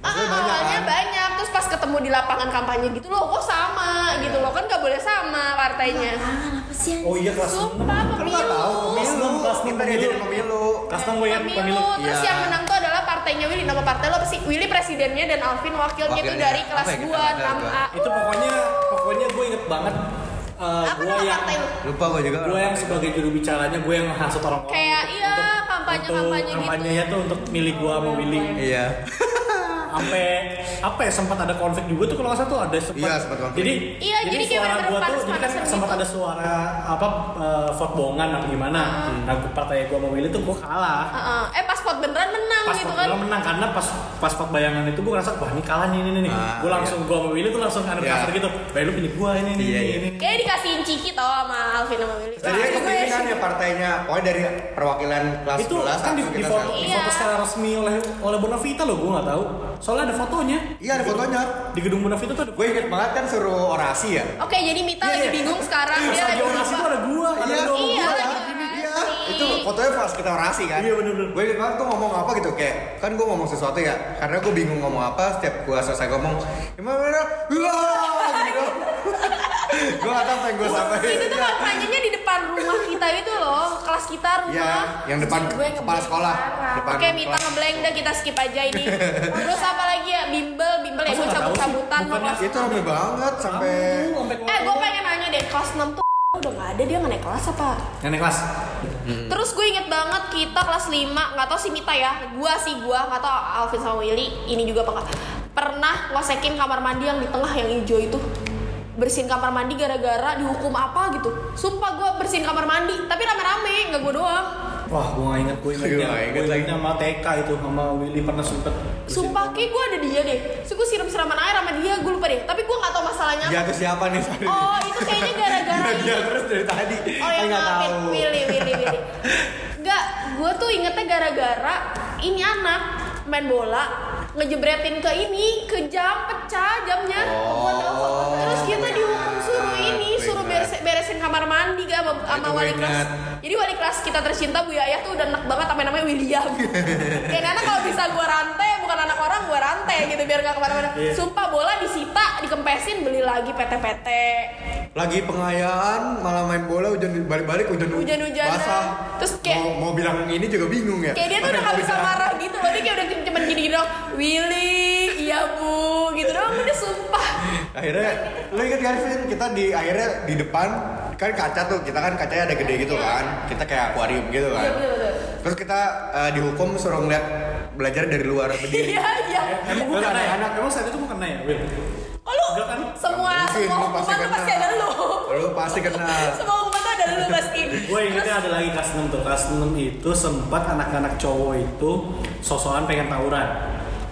Speaker 3: Ah,
Speaker 2: Maksudnya kan?
Speaker 3: awalnya banyak terus pas ketemu di lapangan kampanye gitu loh kok sama gitu loh kan gak boleh sama partainya
Speaker 1: oh iya kelas
Speaker 3: sumpah
Speaker 2: Kan nggak
Speaker 3: pemilu
Speaker 2: tahu
Speaker 1: Pemilu.
Speaker 2: pemilu. Kita diajarin pemilu.
Speaker 1: kelas enam gue ya
Speaker 3: pemilu terus
Speaker 2: Iya.
Speaker 3: yang menang tuh adalah partainya Willy nama partai lo apa sih Willy presidennya dan Alvin wakilnya itu
Speaker 2: Wakilnya.
Speaker 3: dari
Speaker 2: Apa
Speaker 3: kelas
Speaker 2: ya kita
Speaker 3: 2
Speaker 2: nggak ada
Speaker 3: 6A
Speaker 1: itu pokoknya pokoknya gue inget banget Eh,
Speaker 3: apa
Speaker 1: gue
Speaker 3: nama
Speaker 1: yang
Speaker 3: partai lo
Speaker 2: Lupa gue juga.
Speaker 1: gue yang sebagai juru bicaranya gue yang hasut orang-orang
Speaker 3: Kayak,
Speaker 1: untuk-
Speaker 3: iya,
Speaker 1: untuk-
Speaker 3: kampanye-kampanye
Speaker 1: untuk
Speaker 3: gitu.
Speaker 1: kampanyenya tuh untuk milih gue mau milih
Speaker 2: Iya.
Speaker 1: sampai apa ya sempat ada konflik juga tuh kalau nggak salah tuh ada sempat
Speaker 2: Iya, sempat konflik.
Speaker 1: jadi
Speaker 3: Iya, jadi kayak
Speaker 1: suara
Speaker 3: bener-bener
Speaker 1: gua tuh jadi kan
Speaker 3: panas-panasan
Speaker 1: sempat
Speaker 3: gitu.
Speaker 1: ada suara apa eh, vote bohongan apa gimana
Speaker 2: Hmm.
Speaker 1: nah gua- partai gua mau milih tuh gua kalah
Speaker 3: Heeh. eh pas pot beneran menang
Speaker 1: pas
Speaker 3: gitu
Speaker 1: vote
Speaker 3: kan
Speaker 1: gua menang karena pas pas vote bayangan itu gua ngerasa wah ini kalah nih ini nih, nih
Speaker 2: Ah,
Speaker 1: gua langsung gua mau milih tuh langsung ada
Speaker 2: Iya.
Speaker 1: kasar gitu baik lu pilih gua ini ini
Speaker 2: Iya,
Speaker 1: ini,
Speaker 2: iya.
Speaker 1: ini
Speaker 3: kayak dikasihin ciki tau sama Alvin sama Willy Nah,
Speaker 2: Jadi
Speaker 3: Wah, gue-
Speaker 2: kepilih kan ya partainya. Pokoknya dari perwakilan kelas
Speaker 1: itu
Speaker 2: 11
Speaker 1: kan di,
Speaker 2: langsung
Speaker 1: di
Speaker 2: kita
Speaker 1: foto
Speaker 2: sama.
Speaker 1: di
Speaker 3: Iya.
Speaker 1: foto secara resmi oleh oleh Bonavita loh gua nggak tahu soalnya ada fotonya
Speaker 2: Iya ada fotonya.
Speaker 1: di gedung Bonavita tuh ada
Speaker 2: Gue inget banget kan suruh orasi ya.
Speaker 3: Oke, jadi Mita
Speaker 1: Iya,
Speaker 3: lagi
Speaker 1: iya.
Speaker 3: bingung sekarang.
Speaker 1: Iya,
Speaker 3: Dia lagi
Speaker 1: Sergio Nasi tuh
Speaker 3: lupa.
Speaker 1: ada gua, ada
Speaker 2: Iya.
Speaker 1: dong.
Speaker 3: Iya,
Speaker 2: Iya,
Speaker 3: lagi
Speaker 2: Iya,
Speaker 3: orasi.
Speaker 2: itu fotonya pas kita orasi kan.
Speaker 1: Iya, bener-bener.
Speaker 2: Gue inget banget tuh ngomong apa gitu kayak kan gue ngomong sesuatu ya karena gue bingung ngomong apa setiap gue selesai ngomong gimana gimana, wah gitu. gue nggak tahu apa yang gue sampaikan.
Speaker 3: Itu tuh kampanyenya di depan rumah kita gitu loh, kelas kita
Speaker 2: Iya,
Speaker 3: rumah.
Speaker 2: yang depan
Speaker 5: Gue
Speaker 2: kepala sekolah. Depan
Speaker 3: Oke, Mita
Speaker 2: kelas.
Speaker 3: ngeblank dah kita skip aja ini. Terus apa lagi ya? Bimbel, bimbel ya
Speaker 1: Masa
Speaker 3: gue
Speaker 1: nggak tahu sih?
Speaker 3: cabut-cabutan mau
Speaker 1: Bukannya
Speaker 3: kelas.
Speaker 2: Itu rame banget sampai
Speaker 3: Eh, gue pengen nanya deh, kelas 6 tuh udah nggak ada dia nggak naik kelas apa?
Speaker 1: Yang naik kelas.
Speaker 3: Terus gue inget banget kita kelas 5 nggak tau si Mita ya, gue sih gue nggak tau Alvin sama Willy ini juga apa nggak. pernah ngosekin kamar mandi yang di tengah yang hijau itu bersihin kamar mandi gara-gara dihukum apa gitu sumpah gue bersihin kamar mandi tapi rame-rame nggak gue doang
Speaker 1: Wah, gue gak inget, gue
Speaker 2: Gue
Speaker 1: ingetnya
Speaker 2: nggak
Speaker 1: Gue
Speaker 2: inget
Speaker 1: ingetnya sama TK itu, sama Willy pernah sempet
Speaker 3: sumpah kayak gue ada dia deh terus gue siram-siraman air sama dia gue lupa deh tapi gue nggak tau masalahnya apa.
Speaker 2: jatuh siapa nih sorry.
Speaker 3: oh itu kayaknya gara-gara ini.
Speaker 2: Dia terus dari tadi.
Speaker 3: Oh yang
Speaker 2: nggak
Speaker 3: maafin
Speaker 2: tahu.
Speaker 3: Willy, Willy, Willy. Enggak, gue tuh ingetnya gara-gara ini anak main bola ngejebretin ke ini, ke jam pecah jamnya. Gua tahu. Terus kita dihukum suruh ini,
Speaker 2: Gue Oh.
Speaker 3: suruh
Speaker 2: ingat.
Speaker 3: beres- beresin kamar mandi gak sama, sama
Speaker 2: gue
Speaker 3: wali
Speaker 2: ingat.
Speaker 3: kelas. Jadi wali kelas kita tercinta Bu Yayah tuh udah enak banget sama namanya William. Kayak anak kalau bisa gua rantai, bukan anak orang gua rantai gitu biar gak kemana-mana.
Speaker 1: Iya.
Speaker 3: Sumpah bola disita, dikempesin beli lagi PT-PT.
Speaker 2: Lagi pengayaan malah main bola hujan balik-balik hujan
Speaker 3: Hujan-hujanan.
Speaker 2: basah.
Speaker 3: Terus kayak-
Speaker 2: mau, mau bilang ini juga bingung ya.
Speaker 3: kayak dia tuh udah gak bisa marah gitu loh dia kayak udah cuman gini gini doang Willy iya bu gitu doang udah sumpah
Speaker 2: akhirnya lo inget kan Vin kita di akhirnya di depan kan kaca tuh kita kan kacanya ada gede gitu
Speaker 3: Iya.
Speaker 2: kan kita kayak akuarium gitu kan terus kita eh, dihukum suruh ngeliat belajar dari luar berdiri
Speaker 3: iya iya
Speaker 1: Emang gue kena ya? Emang saat itu gue kena ya, Will?
Speaker 3: oh lu
Speaker 1: Enggak kan?
Speaker 3: semua
Speaker 2: Mungkin,
Speaker 3: semua
Speaker 2: lu
Speaker 3: hukuman
Speaker 2: pasti
Speaker 3: tuh
Speaker 2: kena.
Speaker 3: pasti ada lu
Speaker 2: lo pasti kenal
Speaker 3: semua hukuman tuh ada lu pasti
Speaker 1: Gue ingetnya ada lagi kelas 6 tuh Kelas 6 itu sempat anak-anak cowok itu sosokan pengen tawuran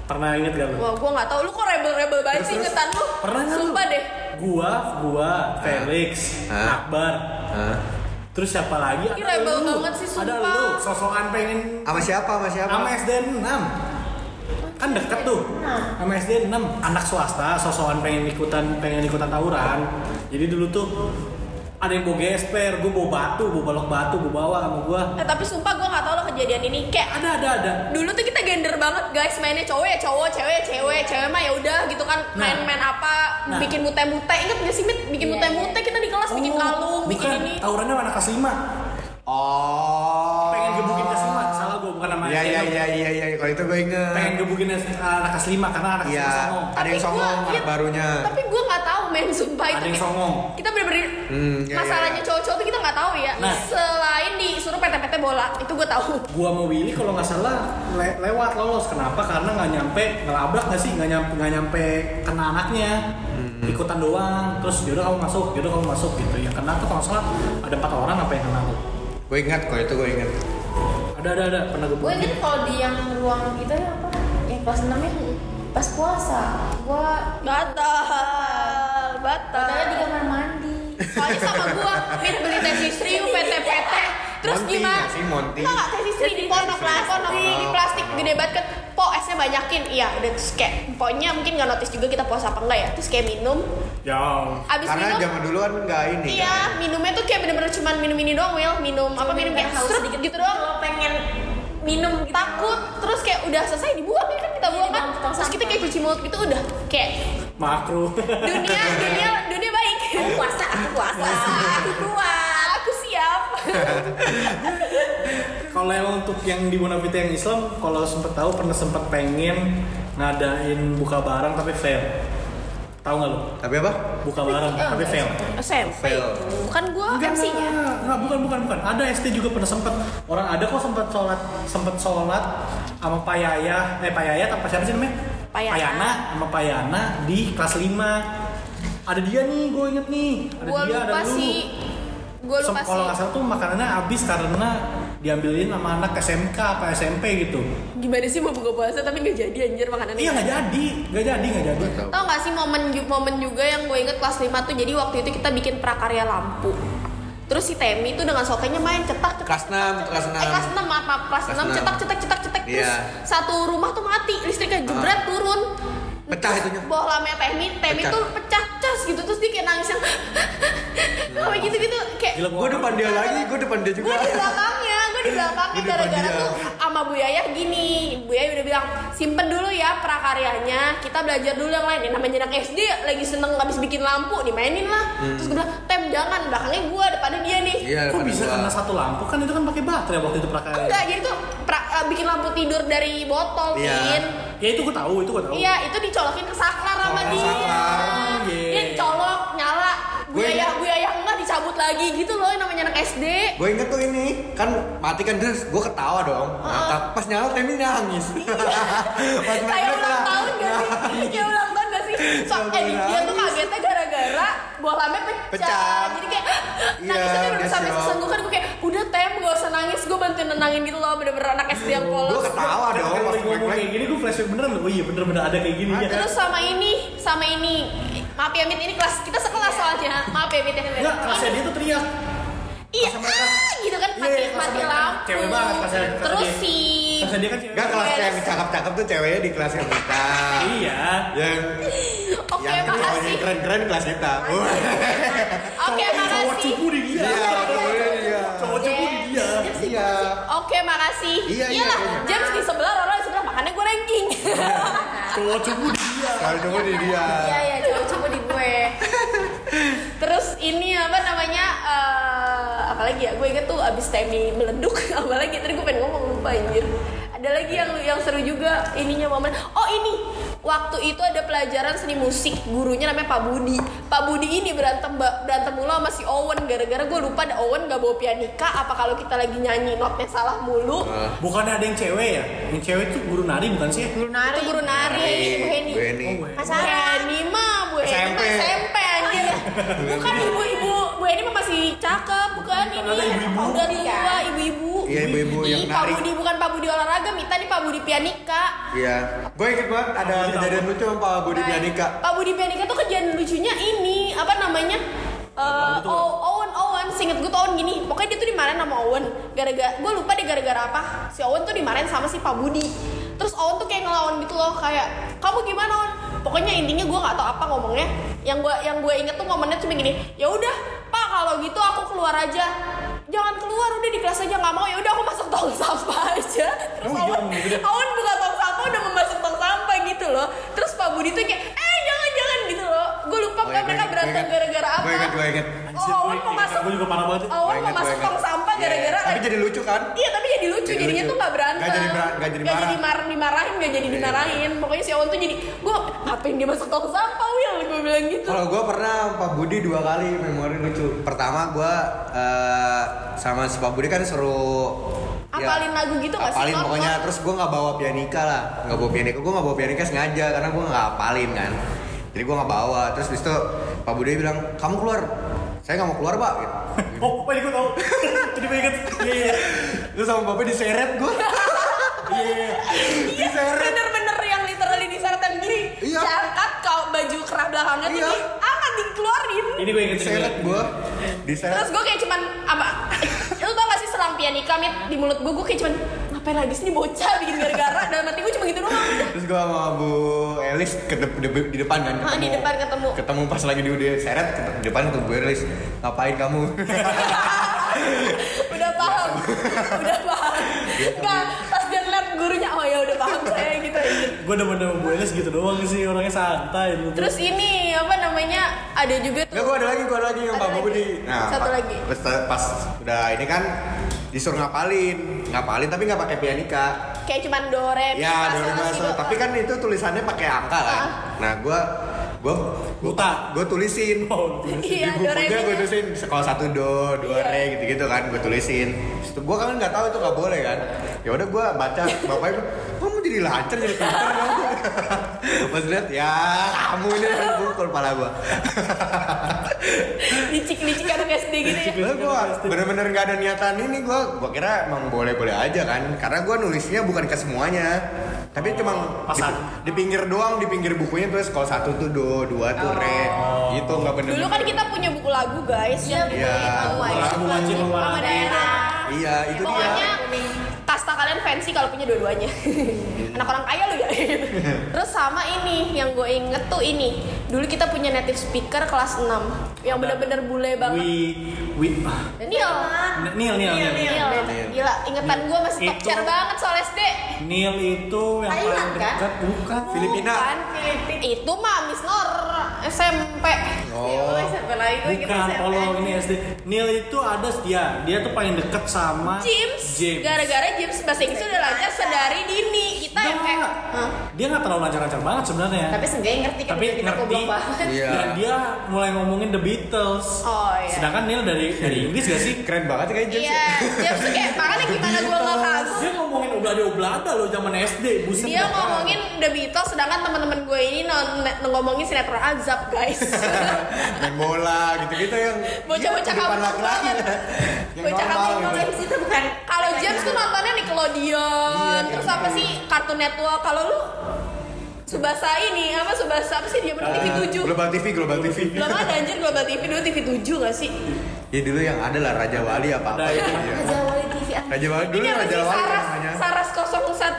Speaker 1: Pernah inget gak lu?
Speaker 3: wah gua gak tau lu kok rebel rebel banget sih ingetan lu
Speaker 1: Pernah nggak lu?
Speaker 3: sumpah deh
Speaker 1: Gua, gua, Felix,
Speaker 2: Hah?
Speaker 1: Akbar Terus siapa lagi?
Speaker 3: Ih, rebel banget sih,
Speaker 1: Ada
Speaker 3: sumpah.
Speaker 1: lu, sosokan pengen
Speaker 2: sama siapa sama siapa
Speaker 1: sama SD 6 kan deket tuh sama SD 6 anak swasta sosokan pengen ikutan pengen ikutan tawuran jadi dulu tuh ada yang bawa gesper, gue bawa batu, bawa balok batu, gue bawa sama gue.
Speaker 3: Eh, tapi sumpah gue gak tau loh kejadian ini kayak
Speaker 1: Ada, ada, ada.
Speaker 3: dulu tuh kita gender banget guys mainnya cowok ya cowok cewek ya cewek cewek mah ya udah gitu kan
Speaker 1: Nah.
Speaker 3: main main apa
Speaker 1: Nah.
Speaker 3: bikin mute mute inget gak sih mit bikin
Speaker 4: Iya,
Speaker 3: mute mute kita di kelas bikin
Speaker 1: Oh,
Speaker 3: kalung bikin
Speaker 1: bukan,
Speaker 3: ini
Speaker 1: tawurannya sama anak kelas lima.
Speaker 2: Oh.
Speaker 1: Pengen gebukin kelas lima, salah gue bukan nama
Speaker 2: Iya
Speaker 1: anak
Speaker 2: iya
Speaker 1: kelas
Speaker 2: iya iya iya kalau itu gue inget.
Speaker 1: lima. Pengen gebukin anak kelas lima karena anak kelas
Speaker 2: Iya,
Speaker 1: lima songong.
Speaker 2: ada yang
Speaker 3: Tapi gua-
Speaker 2: songong anak
Speaker 3: iya,
Speaker 2: barunya.
Speaker 3: tapi gue nggak tahu men sumpah itu
Speaker 1: Ada yang
Speaker 3: kayak-
Speaker 1: songong.
Speaker 3: kita bener-bener
Speaker 2: Hmm, iya, iya,
Speaker 3: masalahnya
Speaker 2: iya.
Speaker 3: cowok-cowok tuh kita nggak tahu ya
Speaker 1: Nah.
Speaker 3: selain disuruh PT-PT bola itu gue tahu
Speaker 1: gua mau Willy kalau nggak salah le- lewat lolos kenapa karena nggak nyampe ngelabrak nggak sih nggak nyampe nggak nyampe kena anaknya ikutan doang terus yaudah kamu masuk yaudah kamu masuk gitu yang kena tuh kalau nggak salah ada empat orang apa yang kena tuh
Speaker 2: Gue ingat kalau itu gue inget.
Speaker 1: ada ada ada pernah gue
Speaker 4: Gue inget kalau di yang ruang itu yang apa? Yang kelas 6 yang pas puasa. Gue
Speaker 3: batal batal
Speaker 4: katanya di kamar mandi.
Speaker 3: soalnya sama gue mit beli teh istri PT-PT terus
Speaker 2: Monty
Speaker 3: gimana
Speaker 2: nggak sih, Monty?
Speaker 3: Tau nggak teh istri di pondok lah pondok di plastik gede banget kan po esnya banyakin iya udah terus kayak pokoknya mungkin nggak notice juga kita puasa apa enggak ya terus kayak minum
Speaker 1: Ya,
Speaker 3: abis
Speaker 2: Karena
Speaker 3: minum
Speaker 2: zaman dulu kan nggak ini.
Speaker 3: Iya,
Speaker 2: kan.
Speaker 3: minumnya tuh kayak bener-bener cuman minum ini doang, Will. Minum apa minum kayak haus sedikit gitu doang.
Speaker 5: Lo pengen minum gitu.
Speaker 3: Takut, terus kayak udah selesai dibuang ya kan kita buang kan.
Speaker 1: Iya,
Speaker 4: dibuang ke tong
Speaker 3: Terus kita kayak cuci mulut gitu udah kayak
Speaker 1: makro
Speaker 3: dunia dunia dunia baik. Aku puasa, aku puasa. aku kuat, aku siap.
Speaker 1: kalau emang untuk yang di Bonavita yang Islam kalau sempet tahu pernah sempet pengen ngadain buka barang tapi fail tahu nggak lo
Speaker 2: kan. Tapi apa?
Speaker 1: buka barang
Speaker 3: oh,
Speaker 1: tapi fail
Speaker 3: SMP.
Speaker 2: Fail.
Speaker 3: Bukan Kan gua MC-nya.
Speaker 1: enggak, enggak, bukan, bukan, bukan. Ada SD juga pernah sempet orang ada kok sempet sholat, sempet sholat sama Pak Yaya, eh Pak Yaya apa siapa sih namanya?
Speaker 3: Pak Yana.
Speaker 1: Payana sama Pak Yana di kelas 5 Ada dia nih, gue inget nih. Ada
Speaker 3: Gua
Speaker 1: dia,
Speaker 3: lupa
Speaker 1: ada lu.
Speaker 3: sih. Gua
Speaker 1: Sem-
Speaker 3: lupa
Speaker 1: Kalau
Speaker 3: sih.
Speaker 1: nggak salah tuh makanannya habis karena diambilin sama anak SMK apa SMP gitu.
Speaker 3: Gimana sih mau buka puasa tapi nggak jadi anjir makanannya.
Speaker 1: Iya nggak jadi, nggak jadi, nggak jadi.
Speaker 2: Iya.
Speaker 3: Tau gak sih momen ju- momen juga yang gue inget kelas 5 tuh jadi waktu itu kita bikin prakarya lampu Terus si Temi tuh dengan sotenya main cetak cetak
Speaker 2: Kelas 6, kelas
Speaker 3: Eh kelas 6 apa kelas
Speaker 2: Kelas
Speaker 3: 6
Speaker 2: enam.
Speaker 3: cetak cetak cetak cetak terus
Speaker 2: Iya. Ah.
Speaker 3: satu rumah tuh mati listriknya jebret turun
Speaker 2: Pecah
Speaker 3: Terus
Speaker 2: itunya.
Speaker 3: bawah lamanya Temi Temi
Speaker 2: Pecah.
Speaker 3: tuh pecah cas gitu terus dia kayak nangis yang
Speaker 2: Nah.
Speaker 3: kayak gitu gitu kayak
Speaker 1: Gila,
Speaker 2: Gue depan dia lagi, gue depan dia juga.
Speaker 3: Gue di belakangnya, gue di belakangnya
Speaker 2: Di depan
Speaker 3: gara-gara
Speaker 2: dia.
Speaker 3: tuh sama Bu Yaya gini. Bu Yaya udah bilang, simpen dulu ya prakaryanya, kita belajar dulu yang lain. Ya, namanya anak SD lagi seneng habis bikin lampu, dimainin lah. Terus gue bilang, tem jangan, belakangnya gue, depannya dia nih.
Speaker 2: Hmm. Iya,
Speaker 1: Kok
Speaker 2: depan
Speaker 1: bisa
Speaker 2: gua.
Speaker 1: karena satu lampu kan itu kan pakai baterai waktu itu prakarya.
Speaker 3: Enggak, jadi tuh pra- eh, bikin lampu tidur dari botol,
Speaker 2: Iya.
Speaker 3: Min.
Speaker 1: Ya itu gue tahu, itu gue tahu.
Speaker 3: Iya, itu dicolokin ke saklar sama
Speaker 2: Oh,
Speaker 3: dia.
Speaker 2: saklar.
Speaker 1: Iya.
Speaker 3: Dia colok, nyala. Bu
Speaker 2: Gue
Speaker 3: Yaya,
Speaker 2: ingat.
Speaker 3: Bu Yaya enggak dicabut lagi gitu loh, namanya anak SD.
Speaker 2: Gue inget tuh ini, kan mati kan terus gue ketawa dong. Mantap. Pas nyala Temi nangis. Pas nah. main
Speaker 1: Iya,
Speaker 3: Iya. kayak
Speaker 2: mereka,
Speaker 3: ulang tahun gak sih? Kayak ulang tahun gak sih? So,
Speaker 2: Sampai
Speaker 3: eh, dia tuh
Speaker 2: nangis.
Speaker 3: kagetnya gara-gara bolamnya pecah.
Speaker 2: Pecah.
Speaker 3: Jadi kayak "Ah,
Speaker 2: Iya,
Speaker 3: nangisnya tuh udah
Speaker 2: dia
Speaker 3: sampai
Speaker 2: shock.
Speaker 3: sesenggukan. Gue kayak, udah tem, gak usah nangis. Gue bantuin nenangin gitu loh, bener-bener anak SD yang
Speaker 2: Gue
Speaker 3: polos.
Speaker 2: ketawa dong.
Speaker 1: Kalau
Speaker 2: Pas
Speaker 1: Kan ngomong
Speaker 2: main
Speaker 1: kayak gini gue flashback beneran loh. Oh iya bener-bener ada kayak gini ya.
Speaker 3: Terus sama ini, sama ini. Maaf ya, Mit, ini kelas, kita
Speaker 1: Iya.
Speaker 3: sekelas soalnya. Maaf ya, Mit. ya.
Speaker 1: Enggak, kelasnya dia tuh teriak.
Speaker 3: Iya,
Speaker 1: kelas Iya, mereka.
Speaker 3: ah, gitu kan, mati,
Speaker 1: Iya, kelas
Speaker 3: mati
Speaker 1: mereka.
Speaker 3: lampu.
Speaker 1: Cewek banget kelasnya- kelasnya
Speaker 3: Terus
Speaker 1: dia.
Speaker 3: si...
Speaker 1: Kelasnya dia kan cewek.
Speaker 2: Gak kelas yang
Speaker 3: Iya.
Speaker 2: cakep-cakep tuh ceweknya di kelas yang kita.
Speaker 1: Iya.
Speaker 2: Yang
Speaker 3: Oke,
Speaker 2: yang cowoknya
Speaker 3: makasih.
Speaker 2: keren-keren kelas kita. Wah.
Speaker 3: Oke,
Speaker 1: Cowok- Cowok
Speaker 3: makasih.
Speaker 1: cupu di dia.
Speaker 2: Iya, cowoknya dia.
Speaker 1: Cowok cupu di dia.
Speaker 2: Iya.
Speaker 3: Oke, makasih.
Speaker 2: Iya, iya,
Speaker 3: Iyalah,
Speaker 2: iya.
Speaker 3: James di sebelah, Roro di sebelah, makanya gue ranking.
Speaker 1: Cowok cupu di dia.
Speaker 2: Kalau cowok di dia.
Speaker 4: Iya
Speaker 3: Ya,
Speaker 4: iya coba coba di gue.
Speaker 3: Terus ini apa namanya? eh, apalagi ya? Gue inget tuh abis Temi meleduk, apalagi tadi gue pengen ngomong lupa anjir. Ada lagi yang yang seru juga ininya momen. Oh ini waktu itu ada pelajaran seni musik gurunya namanya Pak Budi. Pak Budi ini berantem ba- berantem mulu sama si Owen gara-gara gue lupa ada Owen gak bawa pianika apa kalau kita lagi nyanyi notnya salah mulu.
Speaker 2: Ah.
Speaker 1: Bukannya ada yang cewek ya? Yang cewek tuh guru nari bukan sih?
Speaker 3: Itu guru nari, Bu
Speaker 2: Bu Iya,
Speaker 3: Heni.
Speaker 2: Heni.
Speaker 1: Oh, Bu Heni.
Speaker 3: Bu Heni mah, Bu Heni
Speaker 2: SMP.
Speaker 3: mah SMP anjir. Bukan ibu-ibu, Bu Heni mah masih cakep, bukan ini.
Speaker 1: Ternyata ibu-ibu.
Speaker 3: Udah tua, ibu-ibu.
Speaker 2: Iya, ibu-ibu yang
Speaker 3: Ih, Pak
Speaker 2: nari.
Speaker 3: Budi bukan Pak Budi olahraga, Mita nih Pak Budi pianika.
Speaker 2: Iya. Gue inget banget ada kejadian lucu sama Pak Budi Pianika.
Speaker 3: Pak Budi pianika tuh kejadian lucunya ini, apa namanya? Eh, O- Owen, Owen, singet gue tuh Owen gini Pokoknya dia tuh dimarahin sama Owen Gara-gara, gue lupa deh gara-gara apa Si Owen tuh dimarahin sama si Pak Budi Terus Owen tuh kayak ngelawan gitu loh Kayak, kamu gimana Owen? Pokoknya intinya gue gak tau apa ngomongnya Yang gue yang gue inget tuh momennya cuma gini ya udah Pak kalau gitu aku keluar aja jangan keluar udah di kelas aja nggak mau ya udah aku masuk tong sampah aja terus
Speaker 1: Oh, iya,
Speaker 3: Awan
Speaker 1: gitu deh.
Speaker 3: Awan buka tong sampah udah mau masuk tong sampah gitu loh terus Pak Budi tuh kayak eh jangan jangan gitu loh gue lupa
Speaker 2: Oh, iya, gua
Speaker 3: kan mereka
Speaker 2: ingat, gua
Speaker 3: berantem
Speaker 2: ingat.
Speaker 3: gara-gara apa
Speaker 2: Gue inget, gue inget.
Speaker 3: oh Awan mau masuk
Speaker 1: Gue juga parah banget.
Speaker 3: Awan
Speaker 2: Gua
Speaker 3: mau
Speaker 2: ingat, gua ingat.
Speaker 3: masuk
Speaker 2: Iya,
Speaker 3: tong sampah gara-gara
Speaker 2: Tapi jadi lucu kan?
Speaker 3: Iya tapi jadi lucu
Speaker 2: Jadi
Speaker 3: jadinya
Speaker 2: lucu.
Speaker 3: tuh gak berantem
Speaker 2: Nggak jadi bera- nggak jadi marah. Iya,
Speaker 3: dimar- dimarahin gak jadi dimarahin Pokoknya si Awan tuh jadi Gue ngapain dia masuk tong sampah Will Gue bilang gitu
Speaker 2: Kalau gue pernah Pak Budi dua kali memori lucu. Pertama gue eh, sama si Pak Budi kan Iya. suruh
Speaker 3: Apalin lagu gitu nggak sih,
Speaker 2: Apalin
Speaker 3: Ton?
Speaker 2: pokoknya terus gue nggak bawa pianika lah, nggak bawa pianika. Gue nggak bawa pianika sengaja karena gue nggak apalin kan. Jadi gue nggak bawa. Terus habis itu Pak Budi bilang kamu keluar. Saya nggak mau keluar pak. Gitu.
Speaker 1: Oh, apa ini gue tau. Jadi gue inget. Iya, iya.
Speaker 2: Terus sama Bapak diseret gue.
Speaker 1: Iya,
Speaker 3: Iya bener-bener yang literally disertan gini
Speaker 2: Iya.
Speaker 3: Diangkat kau baju kerah belakangnya
Speaker 2: Iya.
Speaker 3: tuh Angkat dikeluarin
Speaker 1: Ini gue inget.
Speaker 2: diseret gue. Diseret.
Speaker 3: Terus gue kayak cuman apa? Lu tau gak sih selang pianika Mit? di mulut gue gue kayak cuman ngapain lagi sih ini bocah bikin gara-gara dalam hati gue cuma gitu doang.
Speaker 2: Terus gue sama Bu Elis ke de- de- di depan kan
Speaker 3: Ah, di depan ketemu.
Speaker 2: Ketemu pas lagi di udah seret ketemu- di depan ketemu Bu Elis Ngapain kamu?
Speaker 3: udah paham, udah paham. Enggak, pas dia ngeliat gurunya oh ya udah paham saya gitu.
Speaker 1: Gue demen sama Bu Elis gitu doang sih. Orangnya santai. gitu.
Speaker 3: Terus ini apa namanya ada juga
Speaker 2: Enggak
Speaker 3: tuh.
Speaker 2: gue ada lagi, gue ada lagi yang
Speaker 3: Ada
Speaker 2: Pak
Speaker 3: lagi.
Speaker 2: Budi
Speaker 3: Satu
Speaker 2: pa-
Speaker 3: lagi.
Speaker 2: Pas, pas udah ini kan disuruh ngapalin Ngapalin tapi nggak pakai pianika
Speaker 3: kayak cuman gitu. dore
Speaker 2: Ya dari masuk Tapi kan itu tulisannya pakai angka kan
Speaker 3: Ah.
Speaker 2: Nah gue gue
Speaker 1: Buta.
Speaker 2: gue tulisin
Speaker 1: Oh, Elis.
Speaker 2: di
Speaker 3: Iya,
Speaker 2: bukunya
Speaker 3: Doremi.
Speaker 2: gue tulisin sekolah satu do dua re gitu gitu kan gue tulisin Terus itu gue kan nggak tahu itu nggak boleh kan ya udah gue baca bapaknya bilang, kamu jadi lancar jadi pinter kamu pas lihat ya kamu ini pukul kepala gue
Speaker 3: licik-licik anak SD gitu ya.
Speaker 2: Lalu gue bener-bener nggak ada niatan ini gue gue kira emang boleh-boleh aja kan karena gue nulisnya bukan ke semuanya tapi cuma di,
Speaker 1: pasan.
Speaker 2: di pinggir doang di pinggir bukunya tuh sekolah satu tuh do dua tuh re gitu nggak bener
Speaker 3: Dulu kan kita punya buku lagu guys yang
Speaker 2: Iya,
Speaker 3: buku
Speaker 2: buku
Speaker 1: lagu wajib
Speaker 3: sama
Speaker 1: sama
Speaker 3: daerah.
Speaker 2: iya itu
Speaker 3: Pokoknya
Speaker 2: dia
Speaker 3: kasta kalian fancy kalau punya dua-duanya. Anak orang kaya lu ya. Terus sama ini yang gue inget tuh ini. Dulu kita punya native speaker kelas 6 yang bener-bener bule banget.
Speaker 1: Wi, Wi, ah,
Speaker 3: Nil.
Speaker 1: Nil, Nil, Nil.
Speaker 3: Iya, Nil.
Speaker 2: Nil.
Speaker 3: Gila, ingetan gue masih
Speaker 1: Itu-
Speaker 3: topcer banget soal SD.
Speaker 1: Nil itu yang paling
Speaker 5: Thailand, kan?
Speaker 1: dekat bukan
Speaker 3: Oh, iya,
Speaker 2: Filipina.
Speaker 3: Bukan. Itu mah Miss Nor SMP.
Speaker 2: oh
Speaker 3: iya,
Speaker 1: Bukan kalau ini ya. SD. Nil itu ada ya, dia, dia tuh paling dekat sama
Speaker 3: James.
Speaker 1: James.
Speaker 3: Gara-gara James bahasa Inggris udah lancar sedari dini. Kita yang
Speaker 1: Nggak.
Speaker 3: kayak Hah?
Speaker 1: Dia nggak terlalu lancar-lancar banget sebenarnya.
Speaker 4: Tapi seenggaknya ngerti kan
Speaker 1: Tapi
Speaker 4: kita kita
Speaker 1: ngerti.
Speaker 4: goblok banget.
Speaker 2: Iya.
Speaker 1: Dan dia mulai ngomongin The Beatles.
Speaker 3: Oh, iya.
Speaker 1: Sedangkan Neil dari dari Inggris gak sih?
Speaker 2: keren banget ya, kayak James
Speaker 3: Iya, James tuh kayak makanya gimana gue gak
Speaker 1: Beatles.
Speaker 3: kagum
Speaker 1: Dia ngomongin oblada-oblada loh zaman SD, buset.
Speaker 3: dia
Speaker 1: dah.
Speaker 3: ngomongin The Beatles sedangkan teman-teman gue ini non ngomongin sinetron azab guys
Speaker 2: main bola gitu-gitu yang
Speaker 3: Bocah-bocah
Speaker 2: di depan
Speaker 3: kampung
Speaker 2: laki-laki.
Speaker 3: banget.
Speaker 2: yang
Speaker 3: Bocah
Speaker 2: normal
Speaker 3: kampung
Speaker 2: gitu.
Speaker 5: James itu bukan
Speaker 3: kalau James
Speaker 4: gitu.
Speaker 3: tuh nontonnya Nickelodeon
Speaker 2: Iya,
Speaker 3: terus
Speaker 2: iya.
Speaker 3: apa sih Cartoon Network kalau lu Subasa ini apa Subasa apa sih dia bener TV 7
Speaker 2: Ah, Global TV, Global TV.
Speaker 3: belum ada anjir Global TV dulu TV 7 gak sih
Speaker 2: Ya dulu yang ada lah Raja Wali apa apa
Speaker 1: Ada,
Speaker 2: itu.
Speaker 1: iya.
Speaker 2: iya.
Speaker 4: Raja Wali TV ah.
Speaker 2: Raja Wali dulu
Speaker 3: ini apa
Speaker 2: Raja
Speaker 3: sih
Speaker 2: Wali
Speaker 3: Saras
Speaker 2: namanya.
Speaker 3: Saras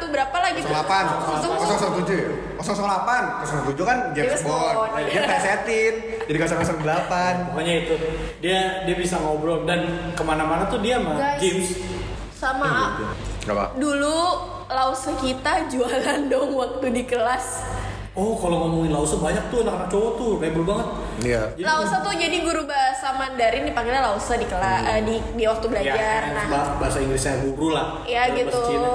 Speaker 3: 01 berapa lagi tuh?
Speaker 2: 08, 007, 008, 007 kan James
Speaker 4: James
Speaker 2: Bond.
Speaker 4: Bond.
Speaker 2: Dia pesetin jadi 008.
Speaker 1: Pokoknya itu dia dia bisa ngobrol dan kemana-mana tuh dia sama
Speaker 3: Guys.
Speaker 1: James.
Speaker 3: sama
Speaker 2: Gak apa.
Speaker 3: dulu lause kita jualan dong waktu di kelas
Speaker 1: Oh, kalau ngomongin Lause banyak tuh anak-anak cowok tuh rebel banget.
Speaker 2: Iya.
Speaker 1: Jadi-
Speaker 3: Lausa tuh jadi guru bahasa Mandarin dipanggilnya Lausa di kela eh, di di waktu
Speaker 1: Ya,
Speaker 3: belajar. nah,
Speaker 1: bah- Hmm. bahasa Inggrisnya guru lah.
Speaker 3: ya
Speaker 1: Dalam
Speaker 3: gitu.
Speaker 1: bahasa Cina.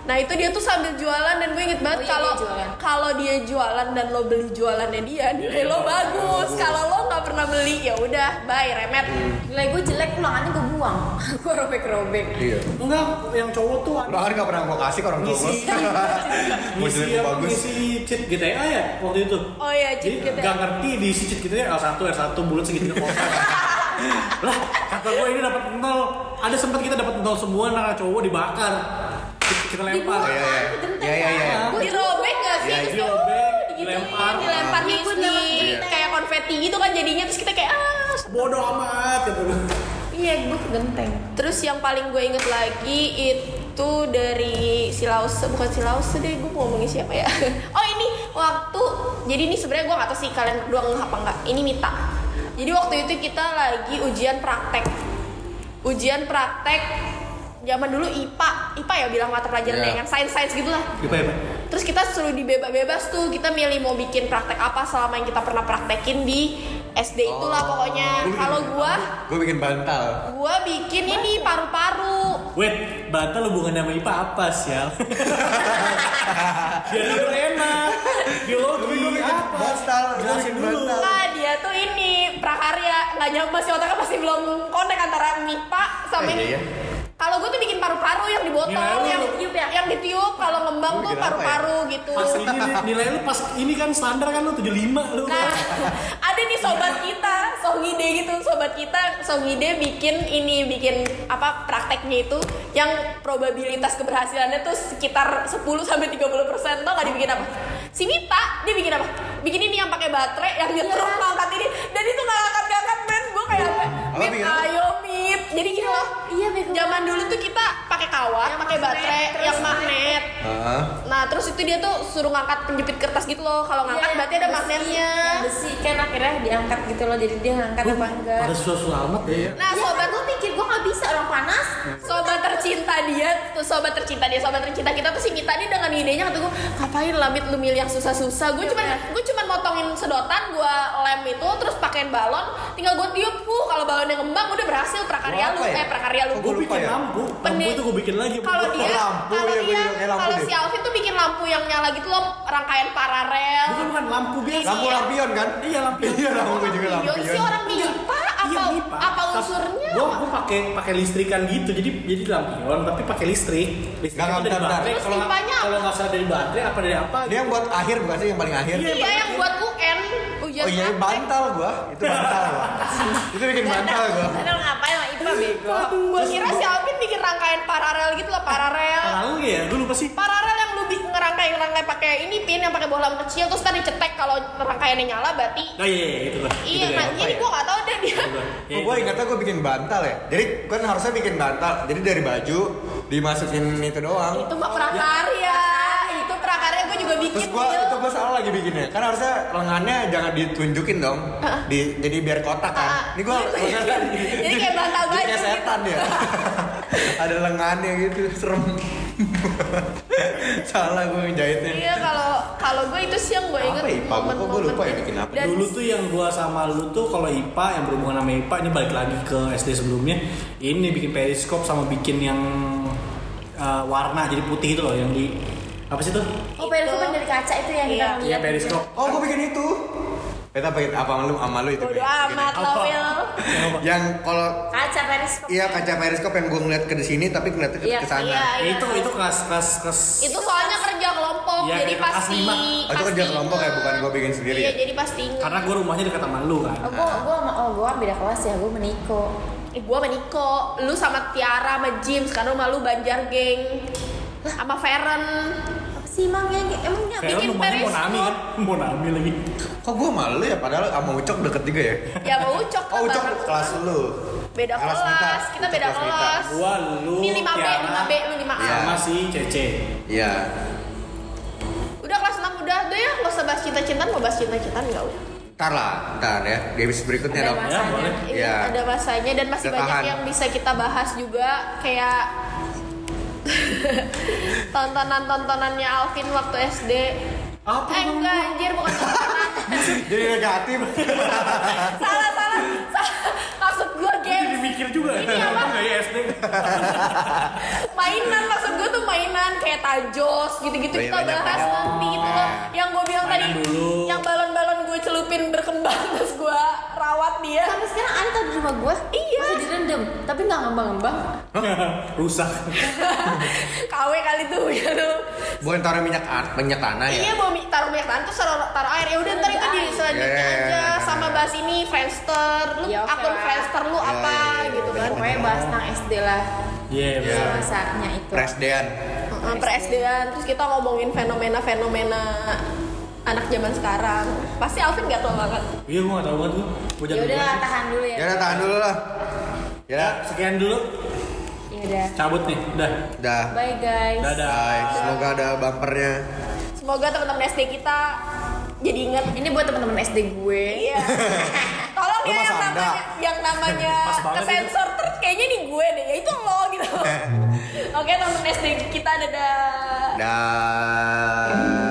Speaker 3: Nah, itu dia tuh sambil jualan dan gue inget
Speaker 4: Oh,
Speaker 3: banget
Speaker 4: iya,
Speaker 3: kalau
Speaker 4: dia jualan.
Speaker 3: kalau dia jualan dan lo beli jualannya
Speaker 1: Iya,
Speaker 3: dia, nilai lo bagus. Kalau lo nggak pernah beli, ya udah, bye remet.
Speaker 1: Hmm.
Speaker 4: Nilai gue jelek ulangannya gue buang. gue robek-robek.
Speaker 2: Iya.
Speaker 1: Enggak, yang cowok tuh ada
Speaker 2: Bahkan gak pernah gue kasih ke orang tua gue.
Speaker 1: ngisi
Speaker 2: Mau
Speaker 1: ngisi
Speaker 2: jelek
Speaker 1: apa
Speaker 2: bagus.
Speaker 1: ngisi cheat GTA ya waktu itu.
Speaker 3: Oh iya, cheat
Speaker 1: Jadi
Speaker 3: GTA.
Speaker 1: Gak ngerti diisi cheat GTA L1 R1 bulat segitiga kotak. lah kata gue ini dapat nol. Ada sempat kita dapat nol semua anak cowok dibakar. Kita, kita lempar.
Speaker 4: Dibuang
Speaker 2: iya, iya.
Speaker 4: kan, kejenteng
Speaker 2: Iya, iya, iya.
Speaker 4: kan. Gue
Speaker 3: Dirobek gak
Speaker 2: Iya,
Speaker 3: sih? Terus kayak,
Speaker 1: dirobek,
Speaker 3: "Uh," digituin,
Speaker 1: dilempar.
Speaker 3: dilempar
Speaker 4: Iya,
Speaker 3: nih
Speaker 4: gue
Speaker 3: di
Speaker 4: dapat
Speaker 2: cerita.
Speaker 3: kayak konfeti gitu kan jadinya terus kita kayak ah
Speaker 1: Bodoh amat kata gue.
Speaker 4: Iya, gue kegenteng.
Speaker 3: Terus yang paling gue inget lagi itu dari Silause, bukan Silause deh, gue mau ngomongin siapa ya? Oh ini waktu, jadi ini sebenarnya gue gak tau sih kalian berdua ngeh apa enggak. Ini Mita. Jadi waktu itu kita lagi ujian praktek. Ujian praktek zaman dulu IPA, IPA ya bilang mata pelajaran
Speaker 2: Iya.
Speaker 3: kan sains-sains gitu lah.
Speaker 1: Gitu ya, Pak?
Speaker 3: Terus kita suruh dibebas-bebas tuh, kita milih mau bikin praktek apa selama yang kita pernah praktekin di SD
Speaker 2: Oh.
Speaker 3: itulah pokoknya. Kalau gua,
Speaker 2: gue bikin bantal
Speaker 3: gua bikin ini paru-paru.
Speaker 1: Wait, bantal hubungannya sama IPA apa sih ya? Biar lu enak.
Speaker 2: Tapi
Speaker 1: Biologi
Speaker 2: gua mikir
Speaker 1: apa?
Speaker 2: bantal, gua
Speaker 1: Jelasin
Speaker 2: mikir
Speaker 1: dulu.
Speaker 2: bantal.
Speaker 3: Nah, dia tuh ini prakarya nggak nyampe masih otaknya masih belum konek antara MIPA sama
Speaker 2: Eh, iya,
Speaker 3: ini.
Speaker 2: iya.
Speaker 3: Kalau gue tuh bikin paru-paru yang di botol,
Speaker 1: Gila lu.
Speaker 3: yang ditiup ya? Yang ditiup kalau
Speaker 2: Lu
Speaker 3: ngembang tuh
Speaker 2: bikin apa ya?
Speaker 3: paru-paru gitu.
Speaker 1: Pas ini nih, nilai lu pas ini kan standar kan lu 75 lu.
Speaker 3: Nah, ada nih sobat kita, Songide gitu, sobat kita Songide bikin ini bikin apa prakteknya itu yang probabilitas keberhasilannya tuh sekitar 10 sampai 30 persen tau gak dibikin apa? Si Mita dia bikin apa? Bikin ini yang pakai baterai yang nyetrum ngangkat ini dan itu nggak ngangkat ngangkat men gue kayak apa?
Speaker 2: Apa
Speaker 3: Mit,
Speaker 2: bikin apa?
Speaker 3: ayo Mit, jadi gini loh.
Speaker 4: Iya, bego
Speaker 3: Zaman dulu tuh kita pakai kawat, pakai baterai, yang magnet.
Speaker 2: Hah?
Speaker 3: Nah, terus itu dia tuh suruh ngangkat penjepit kertas gitu loh. Kalau
Speaker 5: Iya,
Speaker 3: ngangkat berarti ada magnetnya.
Speaker 4: besi kan akhirnya diangkat gitu loh jadi dia ngangkat apa enggak
Speaker 1: Ada susu amat
Speaker 2: Iya.
Speaker 1: ya.
Speaker 3: Nah, sobat
Speaker 5: gue mikir gue nggak bisa orang panas
Speaker 3: sobat tercinta dia tuh sobat tercinta dia sobat tercinta kita tuh si Mita nih dengan idenya kata gue ngapain lamit lu milih yang susah-susah gue
Speaker 2: Iya.
Speaker 3: cuman gue cuman motongin sedotan gue lem itu terus pakein balon tinggal gue tiup uh kalau balonnya ngembang udah berhasil prakarya
Speaker 2: Gua
Speaker 3: lu
Speaker 2: apa ya?
Speaker 3: eh prakarya lu
Speaker 2: Kok
Speaker 1: Gue
Speaker 2: Gua lupa
Speaker 1: bikin
Speaker 2: ya?
Speaker 1: lampu. Lampu
Speaker 3: Pening.
Speaker 1: itu gue bikin lagi.
Speaker 3: kalau dia
Speaker 2: Lampu, iya, gua
Speaker 3: kalau dia
Speaker 2: juga kayak lampu
Speaker 3: kalau
Speaker 2: deh.
Speaker 3: si Alvin tuh bikin lampu yang nyala gitu loh rangkaian paralel
Speaker 1: kan bukan bukan lampu biasa.
Speaker 2: lampu lampion kan
Speaker 1: Iya, lampion.
Speaker 2: iya lampu juga
Speaker 3: Iya
Speaker 2: lampion
Speaker 3: sih orang IPA
Speaker 1: Iya,
Speaker 3: apa apa unsurnya
Speaker 1: Gue gue pakai pakai listrikan gitu, jadi jadi lampion tapi pakai listrik. Listrik
Speaker 2: Nggak,
Speaker 1: itu dari
Speaker 2: nggak, nggak.
Speaker 1: baterai.
Speaker 3: Terus
Speaker 1: Kalau nggak-
Speaker 3: pipanya apa?
Speaker 1: kalau nggak salah dari baterai apa dari apa?
Speaker 2: dia yang buat akhir bukan sih yang paling akhir
Speaker 3: Iya yang buat UN ujian
Speaker 2: oh iya
Speaker 3: praktek.
Speaker 2: bantal gua itu bantal gua itu bikin bantal gua
Speaker 5: Padahal ngapain lah IPA bego
Speaker 3: Gue kira si Alvin bikin rangkaian paralel gitu loh, paralel.
Speaker 1: Paralel nggak ya, gue lupa sih.
Speaker 3: Paralel yang lu bikin ngerangkai-ngerangkai pakai ini pin yang pakai bohlam kecil terus kan dicetek kalau rangkaiannya nyala berarti
Speaker 1: Nah iya iya itu ya? lah.
Speaker 3: iya.
Speaker 1: Itu
Speaker 3: Nah,
Speaker 1: deh.
Speaker 3: jadi gua nggak tahu deh dia.
Speaker 1: Ya,
Speaker 2: Oh, gue ingatnya gue bikin bantal ya. Jadi kan harusnya bikin bantal. Jadi dari baju dimasukin itu doang.
Speaker 3: Itu
Speaker 1: Ya.
Speaker 3: mah prakarya, itu prakarya gue juga bikin.
Speaker 2: Terus gue
Speaker 3: Bil.
Speaker 2: itu gue salah lagi bikinnya. Kan harusnya lengannya jangan ditunjukin dong. Di, jadi biar kotak kan.
Speaker 3: Ah,
Speaker 2: Ini gue
Speaker 3: lu tunjukin. Jadi kayak bantal baju
Speaker 2: Kayak
Speaker 3: gitu.
Speaker 2: setan ya. Ada lengannya gitu serem. salah gue ngejahitnya.
Speaker 3: Iya kalau kalau gue itu sih yang gue
Speaker 2: Apa
Speaker 3: inget
Speaker 2: ya, Pak? Gua- gua
Speaker 3: momen-momen
Speaker 2: lupa ya
Speaker 3: itu.
Speaker 2: bikin apa.
Speaker 3: Dan
Speaker 1: dulu tuh yang gua sama lu tuh kalau IPA yang berhubungan sama IPA ini balik lagi ke SD sebelumnya ini bikin periskop sama bikin yang uh, warna jadi putih itu loh yang di apa sih tuh
Speaker 4: oh periskop yang dari kaca itu yang kita
Speaker 3: Iya.
Speaker 4: ngeliat
Speaker 1: Iya periskop
Speaker 2: Oh gue bikin itu. Kita bikin apa sama lu sama lu itu.
Speaker 3: bodo
Speaker 2: Bikin.
Speaker 3: amat lo
Speaker 1: Apa?
Speaker 3: Will.
Speaker 2: Yang kalau
Speaker 5: kaca periskop
Speaker 2: iya kaca periskop yang gue ngeliat ke di sini tapi ngeliatnya ke,
Speaker 5: Iya,
Speaker 2: ke sana.
Speaker 3: iya.
Speaker 1: Ya, itu itu kelas kelas kelas
Speaker 3: Itu soalnya kerja kelompok,
Speaker 1: Iya,
Speaker 3: jadi
Speaker 1: kayak kelas
Speaker 3: pasti
Speaker 1: lima.
Speaker 2: Oh, itu kerja
Speaker 3: pasti
Speaker 2: kelompok ya, bukan gua bikin sendiri
Speaker 3: Iya,
Speaker 2: ya?
Speaker 3: jadi pasti inget.
Speaker 1: karena gua rumahnya dekat sama lu kan
Speaker 4: oh gua gua sama oh gua beda kelas ya gua meniko
Speaker 3: Eh, gua sama Niko, lu sama Tiara sama Jim, sekarang sama lu Banjar Geng sama Feren
Speaker 4: apa sih mang yang emangnya
Speaker 3: Kayak- bikin
Speaker 1: Karena rumahnya
Speaker 3: periskop.
Speaker 1: Monami kan Monami lagi
Speaker 2: Kok gue malu ya padahal sama Ucok deket juga ya?
Speaker 3: ya sama Ucok
Speaker 2: Oh Ucok
Speaker 3: bareng.
Speaker 2: kelas lu.
Speaker 3: beda kelas,
Speaker 2: Mita.
Speaker 3: kita
Speaker 2: Ucok
Speaker 3: beda
Speaker 2: Mita.
Speaker 3: kelas
Speaker 1: gua lu
Speaker 3: ini 5B,
Speaker 1: Tiara,
Speaker 3: 5B, lu 5A
Speaker 2: Iya.
Speaker 1: sama si Cece
Speaker 2: Iya.
Speaker 3: udah kelas 6 udah, udah ya gak usah bahas cinta-cintaan, mau bahas cinta-cintaan gak udah
Speaker 2: Ntar lah, ntar ya. Di episode berikutnya dong.
Speaker 1: ya boleh
Speaker 3: Ini
Speaker 2: Iya.
Speaker 3: ada masanya dan masih
Speaker 2: Udah
Speaker 3: banyak
Speaker 2: tahan.
Speaker 3: yang bisa kita bahas juga kayak tontonan-tontonannya Alvin waktu SD
Speaker 1: Apa
Speaker 3: eh
Speaker 1: dong,
Speaker 3: enggak anjir bukan tontonan
Speaker 2: Jadi negatif.
Speaker 3: salah salah salah maksud gue game
Speaker 1: dipikir juga
Speaker 3: Ini apa?
Speaker 1: Enggak ya SD
Speaker 3: mainan maksud gue tuh mainan kayak tajos gitu-gitu kita
Speaker 2: Banyak-banyak
Speaker 3: bahas
Speaker 2: mainan.
Speaker 3: nanti gitu loh yang gue bilang tadi
Speaker 1: Mainan dulu.
Speaker 3: yang balon-balon gue celupin berkembang terus gue rawat dia
Speaker 4: sampai sekarang ada tau di rumah gua
Speaker 3: Iya.
Speaker 4: masih direndam tapi nggak ngembang-ngembang
Speaker 1: rusak
Speaker 3: KW kali tuh ya tuh
Speaker 2: Bukan taruh minyak an- minyak tanah ya.
Speaker 3: Iya mau mi- taruh minyak tanah terus taruh, taruh air ya udah ntar itu di selanjutnya
Speaker 2: Iya, iya,
Speaker 3: aja
Speaker 2: iya.
Speaker 3: sama bahas ini Friendster lu
Speaker 4: Ya, oke
Speaker 3: akun
Speaker 4: lah.
Speaker 3: Friendster lu apa
Speaker 2: iya, iya.
Speaker 3: gitu kan
Speaker 4: pokoknya bahas tentang SD lah
Speaker 3: Ya,
Speaker 1: iya
Speaker 2: Iya.
Speaker 4: masa-masanya itu
Speaker 2: Presdean.
Speaker 3: Heeh, per SD-an terus kita ngomongin fenomena-fenomena anak zaman sekarang pasti Alvin nggak tahu banget
Speaker 1: Iya, gue gak tau banget gue. Gue
Speaker 4: ya
Speaker 1: jalan
Speaker 4: udah
Speaker 1: duluan.
Speaker 4: tahan dulu ya
Speaker 3: Iya.
Speaker 2: Ya udah tahan dulu lah. Ya,
Speaker 1: Sekian dulu,
Speaker 4: ya udah
Speaker 1: cabut nih. Udah.
Speaker 2: dah.
Speaker 4: bye guys
Speaker 1: Dadah.
Speaker 2: Bye. Semoga ada bumpernya.
Speaker 3: semoga teman-teman SD kita jadi inget
Speaker 4: ini buat teman-teman SD gue
Speaker 3: iya tolong orang
Speaker 2: Lu
Speaker 3: ya
Speaker 2: masa
Speaker 3: yang
Speaker 2: anda?
Speaker 3: namanya yang namanya
Speaker 1: Pas banget
Speaker 3: kesensor terus kayaknya nih gue deh ya itu lo gitu oke teman SD kita dadah
Speaker 2: Dah.